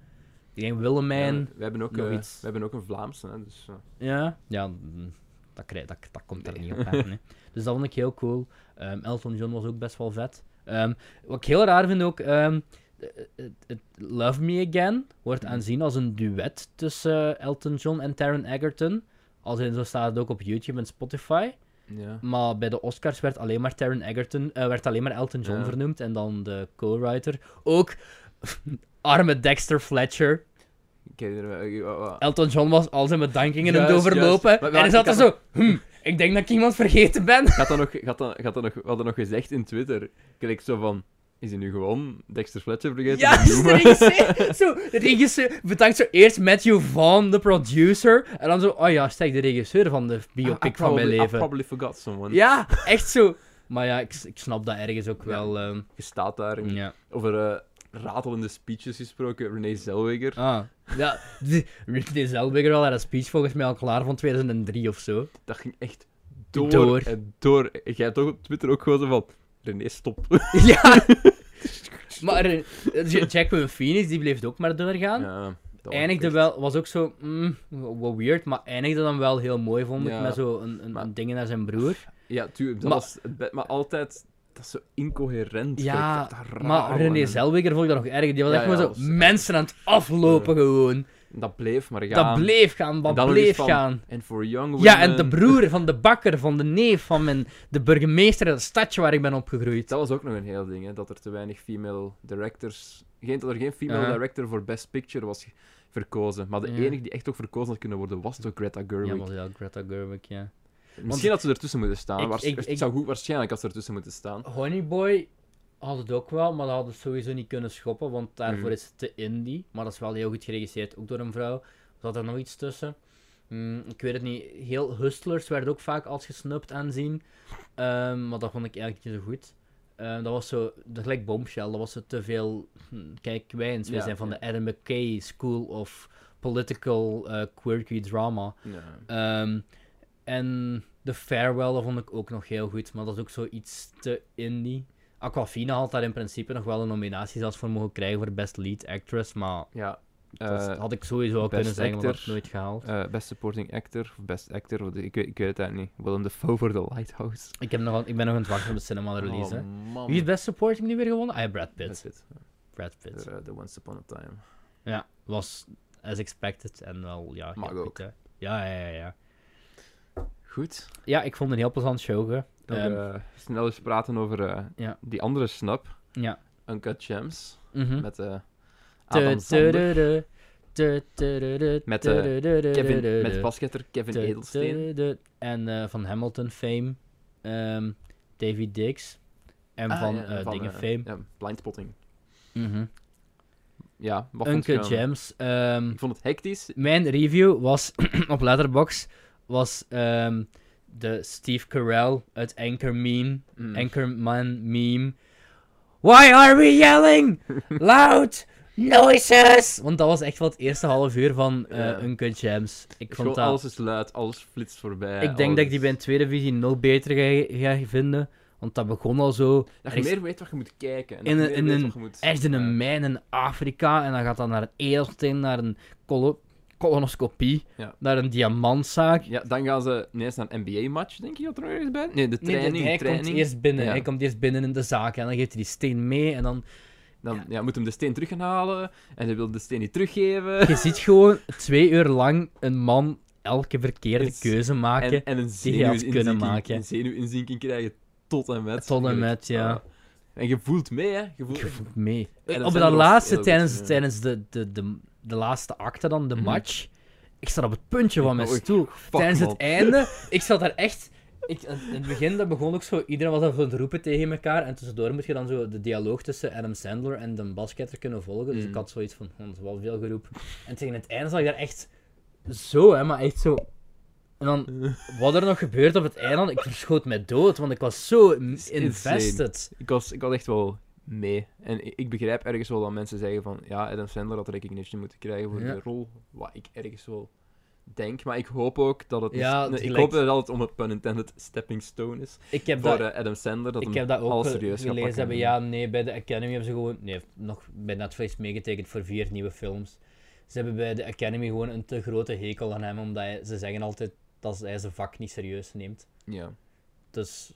Ik denk Willemijn. Ja, we, hebben ook, nog eh, iets. we hebben ook een Vlaamse, hè, dus. eh, Ja, ja mm, dat, krijg, dat, dat komt er Nee. niet op aan. hè. Dus dat vond ik heel cool. Ehm, Elton John was ook best wel vet. Ehm, wat ik heel raar vind ook, ehm, eh, het- het Love Me Again wordt Mhm. aanzien als een duet tussen eh, Elton John en Taron Egerton. Als in, zo staat het ook op YouTube en Spotify. ja. Maar bij de Oscars werd alleen maar Taron Egerton, eh, werd alleen maar Elton John Ja. vernoemd en dan de co-writer. Ook arme Dexter Fletcher. Ik herinner me. eh, eh, eh, Elton John was al zijn bedankingen aan het Juist, overlopen. juist. Maar- maar en hij ik zat er had zo, hm, ik denk dat ik iemand vergeten ben. Gaat dat nog, gaat dat, gaat dat nog, we hadden nog gezegd in Twitter. Klik zo van. Is hij nu gewoon Dexter Fletcher vergeten? Ja, te dus de noemen? regisseur, zo, de regisseur bedankt zo eerst Matthew Vaughn, de producer. En dan zo, oh ja, stek de regisseur van de I- I biopic van Ah, probably- mijn I leven. probably forgot someone. Ja, echt zo. Maar ja, ik, ik snap dat ergens ook Ja. wel. ehm, Je staat daar. en ja. Over eh, ratelende speeches gesproken. René Zellweger. Ah, ja. die- Ridley Zellweger had haar speech volgens mij al klaar van 2003 of zo. Dat ging echt door, Door. en door. En Jij hebt toch op Twitter ook gewoon zo van. René, stop. ja! maar eh, J- Jacqueline Phoenix, die bleef ook maar doorgaan. Ja, dat was eindigde echt- wel, was ook zo, mm, wat weird, maar eindigde dan wel heel mooi, vond ik, Ja. met zo een, een, Maar- een ding naar zijn broer. Ja, tuurlijk. Dat Maar- was het be- maar altijd. Dat is zo incoherent. Ja, vind ik dat raar, maar René man. Zellweger vond ik dat nog erg. Die was Ja, echt ja, gewoon dat zo was- mensen aan het aflopen gewoon. Dat bleef maar gaan. Dat bleef gaan, En dat dan nog bleef eens van, eh, gaan. And for young women. Ja, en de broer van de bakker, van de neef, van mijn, de burgemeester van het stadje waar ik ben opgegroeid. Dat was ook nog een heel ding, hè, dat er te weinig female directors. Geen, dat er geen female Ja. director voor Best Picture was ge- verkozen. Maar de Ja. enige die echt ook verkozen had kunnen worden was toch Greta Ja, Gerwig. maar ja, Greta Gerwig, ja. Misschien had ze ertussen moeten staan. ik- waars- ik- ik- het zou goed waarschijnlijk had ze ertussen moeten staan. Honeyboy had het ook wel, maar dat hadden ze sowieso niet kunnen schoppen, want daarvoor Mhm. is het te indie. Maar dat is wel heel goed geregisseerd, ook door een vrouw. Zat er nog iets tussen? Mm, ik weet het niet. Heel Hustlers werd ook vaak als gesnupt aanzien, Ehm, maar dat vond ik eigenlijk niet zo goed. Ehm, dat was zo, dat gelijk Bombshell, dat was zo te veel. hm, kijk, wij eens, we Ja, zijn van ja. de Adam McKay School of Political eh, Quirky Drama. Ja. Ehm, en de Farewell dat vond ik ook nog heel goed, maar dat is ook zoiets te indie. Aquafina had daar in principe nog wel een nominatie zelfs voor mogen krijgen voor Best Lead Actress, maar ja. dat Eh, had ik sowieso al Best kunnen zeggen, maar dat heb ik Actor. nooit gehaald. eh, best Supporting Actor, of Best Actor, wat- ik, weet- ik weet het eigenlijk niet. Willem Dafoe voor The Lighthouse. Ik, heb nog, ik ben nog aan het wachten op de cinema release. hè. Oh, man. Wie heeft Best Supporting nu weer gewonnen? Ah, ja, Brad Dat is Pitt. het. Brad Pitt. Eh, the Once Upon a Time. Ja, was as expected en wel, ja. heel Mag goed, ook. hè. Ja, ja, ja, ja. Goed. Ja, ik vond het een heel plezant show, hè. Nog, Ehm, eh, snel eens praten over eh, ja. die andere snap, ja. Uncut Gems. Mhm. Met eh Adam Sandler. Met Met, eh, Kevin, met basketter Kevin Edelsteen. En eh, van Hamilton fame. ehm, David Dix. En Ah, van ja, eh, dingen eh, fame. ja, blindspotting. Mhm. Ja, wat vond je Uncut ervan? Gems. ehm, Ik vond het hectisch. mijn review was op Letterboxd was ehm, de Steve Carell uit Anchor Meme. Mm. Anchorman meme. Why are we yelling? Loud noises! Want dat was echt wel het eerste half uur van eh Ja. Uncut Gems. Ik Ik vond vond dat... Alles is luid, alles flitst voorbij. ik denk dat ik die bij een bent. tweede visie nul beter ga, ga vinden. Want dat begon al zo... Dat Er je is meer weet wat je moet kijken. En In dat een- je in meer weet een- wat je moet- echt in Ja. een mijn in Afrika. En dan gaat dat naar een edelsteen, naar een colo- colonoscopie, Ja. naar een diamantzaak. Ja, dan gaan ze ineens naar een NBA-match, denk je dat er nog eens bij? Nee, de Nee, training. hij training. komt eerst binnen. Ja. Hij komt eerst binnen in de zaak. En dan geeft hij die steen mee. En dan Dan Ja. ja. moet hem de steen terug gaan halen. En hij wil de steen niet teruggeven. Je ziet gewoon twee uur lang een man elke verkeerde Is- keuze maken. En, en een die je had kunnen zenuwinzinking, maken. een zenuwinzinking krijgen tot en met. Tot en Eigenlijk. met, ja. Ah. En je voelt mee, hè. Je voelt... Ik voel het mee. Ja, dat op zijn dat er wel laatste, heel tijdens, goed, ja. tijdens de, de, de, de laatste acte dan, de Mhm. match, ik zat op het puntje van mijn Oei, stoel. Fuck, tijdens man. het einde, ik zat daar echt... Ik, in het begin dat begon ook zo, iedereen was aan het roepen tegen elkaar. En tussendoor moet je dan zo de dialoog tussen Adam Sandler en de basketter kunnen volgen. Dus ik Mhm. had zoiets van, oh, dat is wel veel geroep. En tegen het einde zat ik daar echt zo, hè, maar echt zo... En dan Wat er nog gebeurt op het eiland, ik verschoot mij dood, want ik was zo is invested. Ik, was, ik was echt wel mee. En ik, ik begrijp ergens wel dat mensen zeggen van... Ja, Adam Sandler had recognition moeten krijgen voor Ja. de rol. Wat ik ergens wel denk. Maar ik hoop ook dat het... Ja, nee, ik gelijk. hoop dat het om het pun intended stepping stone is. Ik heb voor dat, eh, Adam Sandler. Dat ik hem heb dat ook alles ge- serieus gaat gelezen pakken. hebben. Ja, nee, bij de Academy hebben ze gewoon... Nee, nog bij Netflix meegetekend voor vier nieuwe films. Ze hebben bij de Academy gewoon een te grote hekel aan hem, omdat hij- ze zeggen altijd dat hij zijn vak niet serieus neemt. Ja. Dus...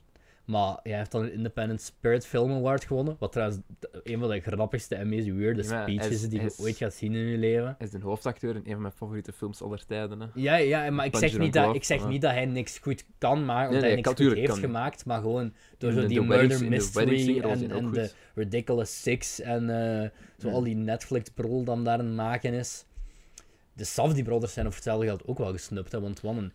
Maar hij heeft dan een Independent Spirit Film Award gewonnen, wat trouwens de- een van de grappigste en meest weirde Ja, maar hij is- speeches die je hij is- ooit gaat zien in je leven. Hij is de hoofdacteur in een van mijn favoriete films aller tijden. Hè. Ja, ja maar ik Punch zeg, Drunk niet dat, Love, ik zeg maar- niet dat hij niks goed kan maken, of dat Nee, hij nee, niks kan- goed tuurlijk heeft kan hij. gemaakt, maar gewoon door In zo de- die de Murder weddings- in de wedding Mystery singer was en, hij ook en goed. de Ridiculous Six en eh, zo Ja. al die Netflix-brol dan daar aan het maken is. De Safdie Brothers zijn of hetzelfde geld ook wel gesnupt, hè, want wat een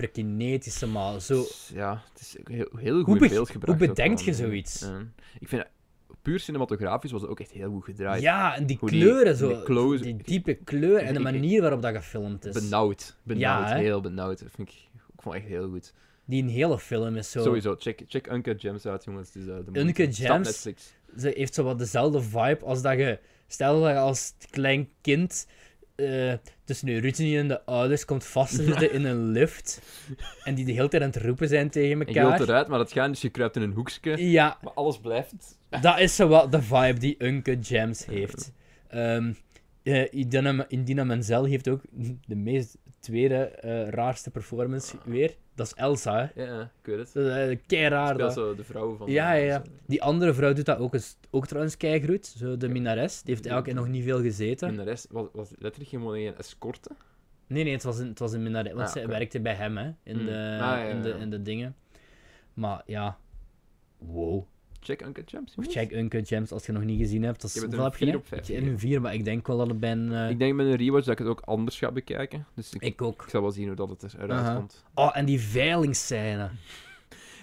hyperkinetische, maar zo... Dus ja, het is ook heel, heel goed Hoe in be- beeld hoe gebracht. ook bedenkt wel. je zoiets? Ja. Ik vind, dat- puur cinematografisch was het ook echt heel goed gedraaid. Ja, en die Hoe die- kleuren zo, die close- die diepe kleur en de Ik- ik- manier waarop dat gefilmd is. Benauwd. Benauwd. hè? heel benauwd. Dat vind ik, ik vond het echt heel goed. Die een hele film is zo... Sowieso, check, check Uncut Gems uit, jongens. Het is, eh, de moeite. Uncut Staat Gems? Netflix. ze heeft zo wat dezelfde vibe als dat je... Stel dat je als klein kind eh, tussen je routine en de ouders komt vastzitten in een lift. En die de hele tijd aan het roepen zijn tegen En je wilt elkaar. eruit, maar dat gaat, dus je kruipt in een hoekje. Ja, Maar alles blijft. dat is zo wat de vibe die Uncut Gems heeft. Ehm eh, Idina, Idina Menzel heeft ook de meest tweede eh, raarste performance weer. Dat is Elsa, hè. Ja, ik weet het. Dat is eh, kei raar, Speelt dat. zo de vrouwen van. eh, Ja, ja, ja. zo. Die andere vrouw doet dat ook, eens, ook trouwens keigroet. Zo de minares. Die heeft eigenlijk nog niet veel gezeten. En de rest was, was letterlijk helemaal geen escorte. Nee, nee, het was een, het was een minnares. Want Ah, zij oké. werkte bij hem, hè. In, Hmm. de, Ah, ja, in, de, ja, ja. in de dingen. Maar ja... Wow. Check Uncut Gems. Of jongens. check Uncut Gems als je nog niet gezien hebt. Dat is, Je bent hoeveel heb er je? een nu? vier op vijf Ik- en een vier, maar ik denk wel dat het bij een... eh, Ik denk met een rewatch dat ik het ook anders ga bekijken. Dus ik, ik... ook. ik zal wel zien hoe dat het eruit Aha. komt. Oh, en die veilingsscène.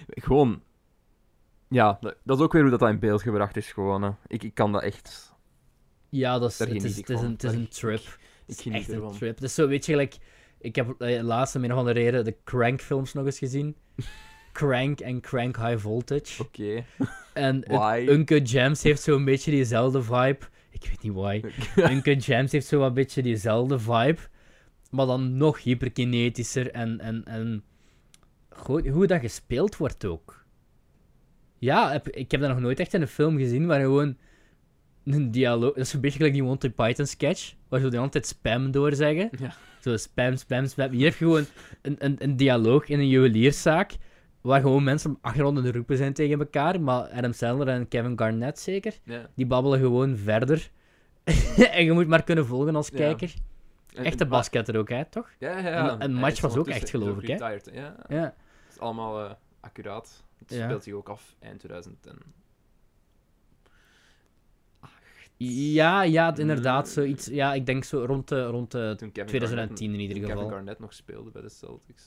Gewoon... Ja, dat, dat is ook weer hoe dat, dat in beeld gebracht is. Gewoon, hè. Ik, ik kan dat echt... Ja, dat is, Daar het, geniet is, ik het is van. een, het is Daar- een trip. Ik Het is geniet echt ervan. een trip. Dus zo weet je, gelijk, ik heb eh, laatst om een of andere reden de Crank-films nog eens gezien. Crank en Crank High Voltage. Oké. En het- Why? Uncut Gems heeft zo'n beetje diezelfde vibe. Ik weet niet why. Uncut Gems heeft zo'n beetje diezelfde vibe. Maar dan nog hyperkinetischer en... en, en gewoon hoe dat gespeeld wordt ook. Ja, heb- ik heb dat nog nooit echt in een film gezien waar gewoon een dialoog... Dat is een beetje gelijk die Monty Python sketch, waar ze de hele tijd spam doorzeggen. Ja. Zo spam, spam, spam. Hier heb je gewoon een, een, een dialoog in een juwelierszaak waar gewoon mensen op de achtergrond aan het roepen zijn tegen elkaar. Maar Adam Sandler en Kevin Garnett zeker, Ja. die babbelen gewoon verder. en je moet maar kunnen volgen als Ja. kijker. En- Echte en- maar- basketter ook, hè, toch? Ja, ja, ja. En- en Hij match is was ook ondertussen echt, geloof ik, hè? retired, Ja, Ja. het is allemaal eh, accuraat. Het Ja. speelt zich ook af eind 2010. Ja, ja, het- inderdaad, Mm. zoiets. Ja, ik denk zo rond de, rond de Toen Kevin 2010 in ieder Garnett, Kevin geval. Garnett nog speelde bij de Celtics.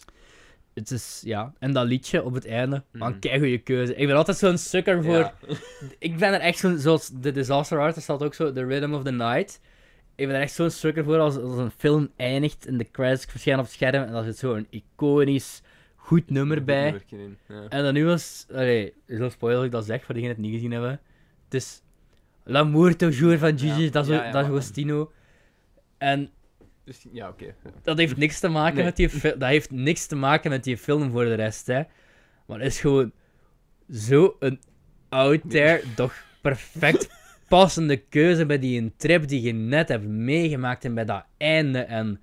Het is, ja. En dat liedje op het einde, man, Mhm. kei goede keuze. Ik ben altijd zo'n sukker voor Ja. Ik ben er echt zo'n, zoals de Disaster Artist had ook zo, The Rhythm of the Night. Ik ben er echt zo'n sukker voor als, als een film eindigt en de credits verschijnen op het scherm en daar zit zo'n iconisch goed nummer bij. En dan nu was, allee, is wel spoiler dat ik dat zeg, voor degenen die het niet gezien hebben. Het is L'amour toujours van Gigi Ja, ja, ja, D'Agostino. En Dus, ja, oké. dat heeft niks te maken Nee. met die film. Dat heeft niks te maken met die film voor de rest, hè. Maar het is gewoon zo'n out there, toch perfect passende keuze bij die een trip die je net hebt meegemaakt en bij dat einde. En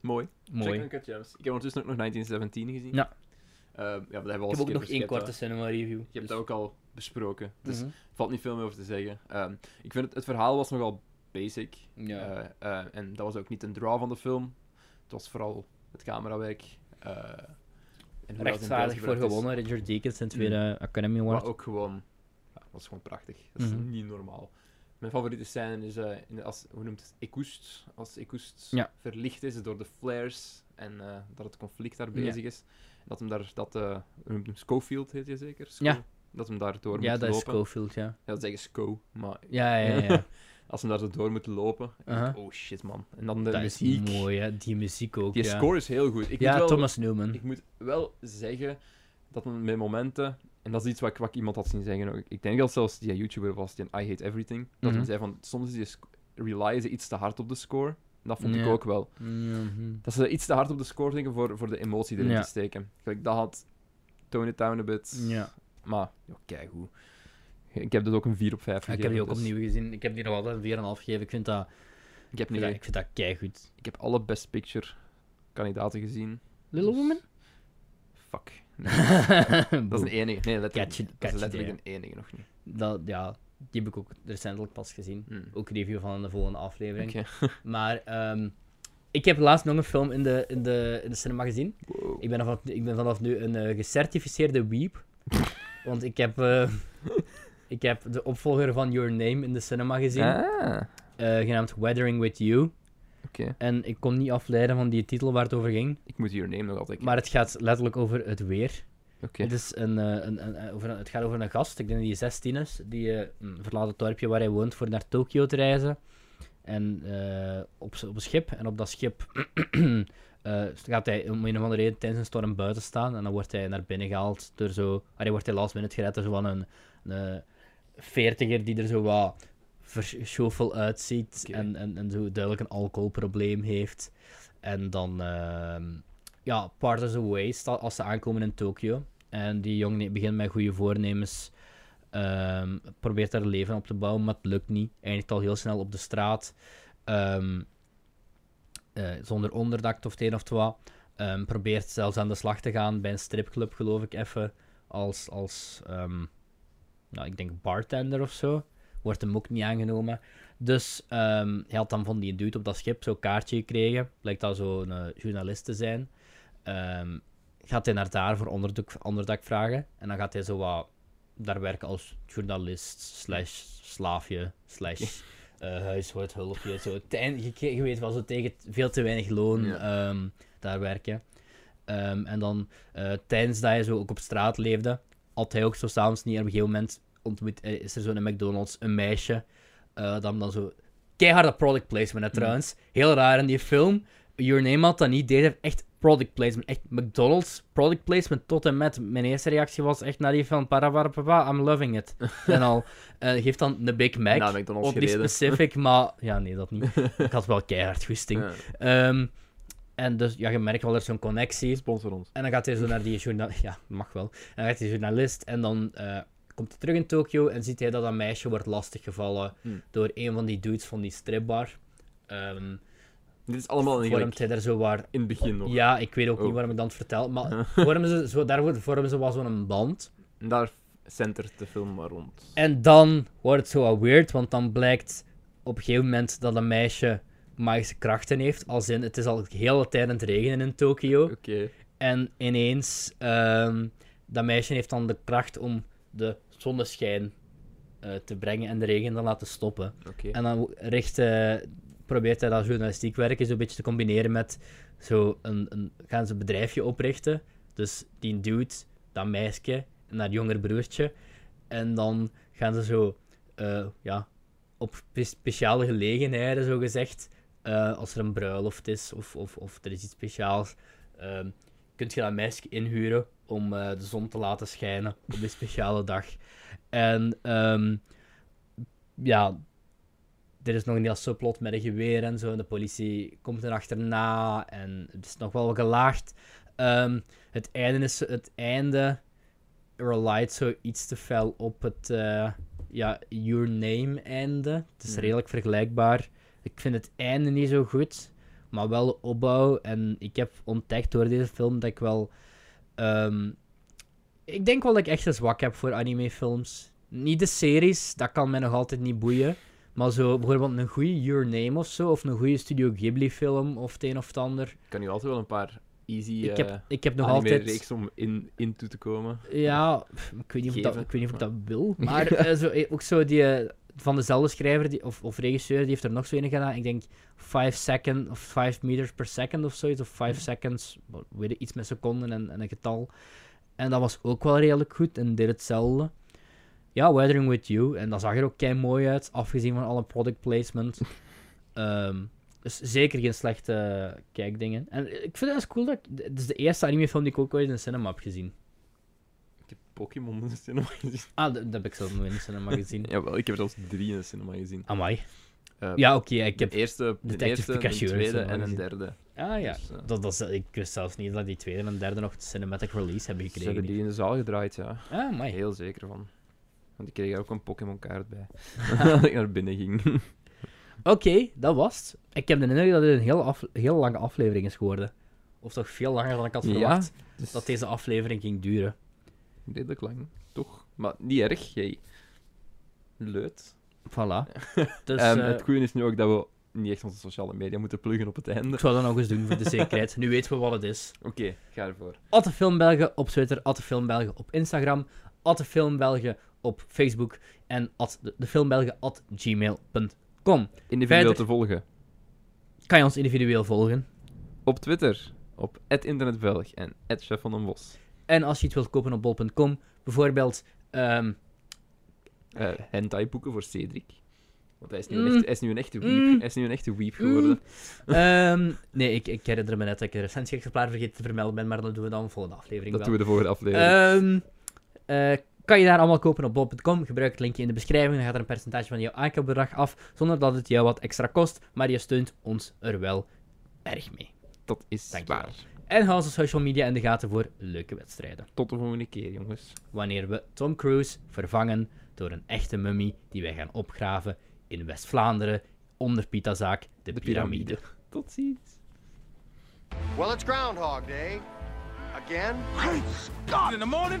Mooi. mooi. Check and Cut Gems. Ik heb ondertussen ook nog 1917 gezien. Ja. Ehm, ja, maar dat hebben we al Ik heb eens ook nog keer één korte Dus- besproken. cinema review. Je hebt dat ook al besproken. Dus dus, valt niet veel meer over te zeggen. Ehm, ik vind het, het verhaal was nogal basic. Mhm. ja. Eh, eh, en dat was ook niet een draw van de film. Het was vooral het camerawerk. eh, en hoe dat in beeld Rechtvaardig voor gebracht is. gewonnen, Richard Deakins in tweede eh, Academy Award. Mhm. Maar ook gewoon, ja, dat is gewoon prachtig. Dat is Mhm. niet normaal. Mijn favoriete scène is, eh, in de- als, hoe noemt het, Ekoest. Als Ekoest Ja. verlicht is door de flares en eh, dat het conflict daar Ja. bezig is. Dat hem daar, dat, eh, hoe noemt hem, Schofield heet je zeker? Scho- Ja. Dat hem daar door ja, moet dat is lopen. Schofield, ja. Ja, dat zeggen Sco, maar Ja, ja, ja. ja. als hem daar zo door moet lopen, ik denk, Aha. oh shit man. En dan de dat muziek. is mooi, hè. Die muziek ook, Die ja. score is heel goed. Ik ja, moet wel, Thomas Newman. Ik moet wel zeggen dat men met momenten, en dat is iets wat ik, wat ik iemand had zien zeggen, ook. ik denk dat zelfs die YouTuber was, die I Hate Everything, dat men Mhm. zei van soms is die sc- relyen ze iets te hard op de score. En dat vond ik Ja. ook wel. Mhm. Dat ze iets te hard op de score denken voor, voor de emotie erin Ja. te steken. Gelijk, dat had Tone It Down a bit, Ja. maar kijk hoe. Ik heb dat ook een 4 op 5 gegeven. ik heb die ook dus opnieuw gezien. Ik heb die nog altijd een 4,5 gegeven. Ik vind dat, Ik heb, ik vind niet, dat, ik vind dat keigoed. ik heb alle Best Picture kandidaten gezien. Little Dus- Woman? Fuck. Nee. Dat is de enige. Nee, letterlijk. Catch it- dat catch is it letterlijk de enige nog niet. dat, ja, die heb ik ook recentelijk pas gezien. Hmm. Ook review van in de volgende aflevering. Oké. Maar ehm, ik heb laatst nog een film in de, in de, in de cinema gezien. Wow. Ik ben vanaf, ik ben vanaf nu een eh, gecertificeerde weep. Want ik heb, eh, ik heb de opvolger van Your Name in de cinema gezien. Ah, eh, genaamd Weathering With You. oké. En ik kon niet afleiden van die titel waar het over ging. Ik moet hier nemen nog altijd. Maar het gaat letterlijk over het weer. Oké. Het, is een, eh, een, een- eh, over een- het gaat over een gast, ik denk dat hij 16 is, die eh, mm, verlaat het dorpje waar hij woont voor naar Tokio te reizen. En eh, op, z- op een schip. En op dat schip eh, gaat hij om een of andere reden tijdens een storm buiten staan. En dan wordt hij naar binnen gehaald door zo. Hij wordt hij last minute gered door zo van een, een veertiger die er zo wat verschoffel uitziet. Oké. En, en, en zo duidelijk een alcoholprobleem heeft. En dan, ehm, ja, Partners Away staat als ze aankomen in Tokio. En die jongen begint met goede voornemens. ehm, probeert daar leven op te bouwen, maar het lukt niet. Eindigt al heel snel op de straat. ehm, eh, zonder onderdak of het een of het wat. Ehm, probeert zelfs aan de slag te gaan bij een stripclub, geloof ik, even. Als, als ehm, nou, ik denk bartender of zo. Wordt hem ook niet aangenomen. Dus ehm, hij had dan van die dude op dat schip zo'n kaartje gekregen. Blijkt dat zo'n eh, journalist te zijn. Ehm, gaat hij naar daar voor onderdak, onderdak vragen. En dan gaat hij zo wat daar werken als journalist, slash slaafje, slash eh huishoudhulpje. Zo, tijn, je, ke- je weet wel, zo tegen t- veel te weinig loon Ja. ehm, daar werken. Ehm, en dan eh, tijdens dat hij zo ook op straat leefde, had hij ook zo s'avonds niet. En op een gegeven moment ontmoet, eh, is er zo in een McDonald's een meisje eh, dat hem dan zo... Keiharde product placement, hè, Mm. trouwens. Heel raar in die film. Your Name had dat niet. Deze heeft echt product placement. Echt McDonald's product placement tot en met. Mijn eerste reactie was echt naar die film. Para, para, papa, I'm loving it. en al. eh geeft dan de Big Mac. Nou, McDonald's Ook niet gereden. specific, maar... Ja, nee, dat niet. Ik had wel keihard goesting. Ja. Ehm, en dus, ja, je merkt wel, er is zo'n connectie. Sponsor ons. En dan gaat hij zo naar die journalist. Ja, mag wel. En dan gaat hij journalist en dan eh, komt hij terug in Tokio en ziet hij dat dat meisje wordt lastiggevallen Hmm. door een van die dudes van die stripbar. Ehm Dit is allemaal in, vormt hij daar zo waar. in het begin nog. Ja, ik weet ook Oh. niet waarom ik dat vertel, maar vormen ze zo, daar wordt- vormen ze wel zo'n band. En daar centert de film maar rond. En dan wordt het zo wat weird, want dan blijkt op een gegeven moment dat een meisje magische krachten heeft. Als in, het is al heel hele tijd aan het regenen in Tokio. Oké. En ineens, ehm, dat meisje heeft dan de kracht om de zonneschijn eh, te brengen en de regen te laten stoppen. Oké. En dan richt, eh, probeert hij dat journalistiek werken zo'n beetje te combineren met zo een, een, gaan ze een bedrijfje oprichten. Dus die dude, dat meisje en haar jonger broertje. En dan gaan ze zo eh, ja, op spe- speciale gelegenheden, zo gezegd, eh, als er een bruiloft is of, of, of er is iets speciaals, ehm kun je dat meisje inhuren om eh, de zon te laten schijnen op die speciale dag. En ehm, ja, er is nog een heel subplot met een geweer en zo, en de politie komt erachterna en het is nog wel gelaagd. Ehm, het einde is het einde relied zo iets te fel op het eh, ja, Your Name einde. Het is Mhm. redelijk vergelijkbaar. Ik vind het einde niet zo goed, maar wel de opbouw. En ik heb ontdekt door deze film dat ik wel. ehm, ik denk wel dat ik echt een zwak heb voor animefilms. Niet de series, dat kan mij nog altijd niet boeien. Maar zo bijvoorbeeld een goede Your Name of zo, of een goede Studio Ghibli-film of het een of het ander. Ik kan nu altijd wel een paar easy ik, heb, ik heb nog nog altijd... altijd. reeks om in, in toe te komen. Ja, pff, ik weet niet of ik dat, Geven. ik, weet niet of ik Ja. dat wil. Maar eh, zo, eh, ook zo die eh, van dezelfde schrijver die, of, of regisseur, die heeft er nog zo in gedaan. Ik denk 5 second of 5 meters per second of zoiets. Of 5 seconds, wat- weet ik, iets met seconden en, en een getal. En dat was ook wel redelijk goed en deed hetzelfde. Ja, Weathering with You. En dat zag er ook kei mooi uit, afgezien van alle product placement. Ehm, dus zeker geen slechte kijkdingen. En eh, ik vind het wel cool dat ik- Het is de eerste animefilm die ik ook ooit in de cinema heb gezien. Ik heb Pokémon in de cinema gezien. Ah, dat, dat heb ik zelf nog in de cinema gezien. Jawel, ik heb zelfs drie in de cinema gezien. Amai. Eh, Ja, oké, ik heb... De eerste, de Detective eerste Pikachu de in de tweede cinema en een gezien. derde. Ah ja, Dus, eh, dat, dat, is- ik wist zelfs niet dat die tweede en derde nog de cinematic release hebben ze hebben gekregen. die in de zaal gedraaid, ja. Ah, amai. Heel zeker van. Want ik kreeg er ook een Pokémon-kaart bij. dat ik naar binnen ging. Oké, dat was het. Ik heb de indruk dat dit een heel, af- heel lange aflevering is geworden. Of toch veel langer dan ik had Ja, verwacht Dus dat deze aflevering ging duren. redelijk lang, toch? Maar niet erg, jij. Leut. Voilà. Dus Ehm, eh, het goede is nu ook dat we niet echt onze sociale media moeten pluggen op het einde. ik zou dat nog eens doen voor de zekerheid. Nu weten we wat het is. Oké, ga ervoor. Atte Filmbelgen op Twitter, Atte Filmbelgen op Instagram, Atte Filmbelgen op Facebook en at de, de Filmbelgen at gmail.com. Individueel Verder- te volgen. Kan je ons individueel volgen? Op Twitter. Op internetbelg en chef van den Bos. En als je iets wilt kopen op bol.com, bijvoorbeeld. ehm, Eh hentai boeken voor Cedric. Want hij is nu Ah, Mm. een echte, hij is nu een echte weep. Mm. Hij is nu een echte weep geworden. ehm, nee, ik, ik herinner me net dat ik een recensieexemplaar vergeten te vermelden ben, maar dat doen we dan volgende aflevering Dat doen wel. we de volgende aflevering. Ehm, eh, kan je daar allemaal kopen op bol.com? Gebruik het linkje in de beschrijving. Dan gaat er een percentage van jouw aankoopbedrag af, zonder dat het jou wat extra kost. Maar je steunt ons er wel erg mee. dat is dankjewel. waar. En hou onze social media in de gaten voor leuke wedstrijden. Tot de volgende keer, jongens. wanneer we Tom Cruise vervangen door een echte mummie die wij gaan opgraven in West-Vlaanderen onder Pitazaak, de, De piramide. piramide. Tot ziens. Well, it's Groundhog Day. Again? In the morning,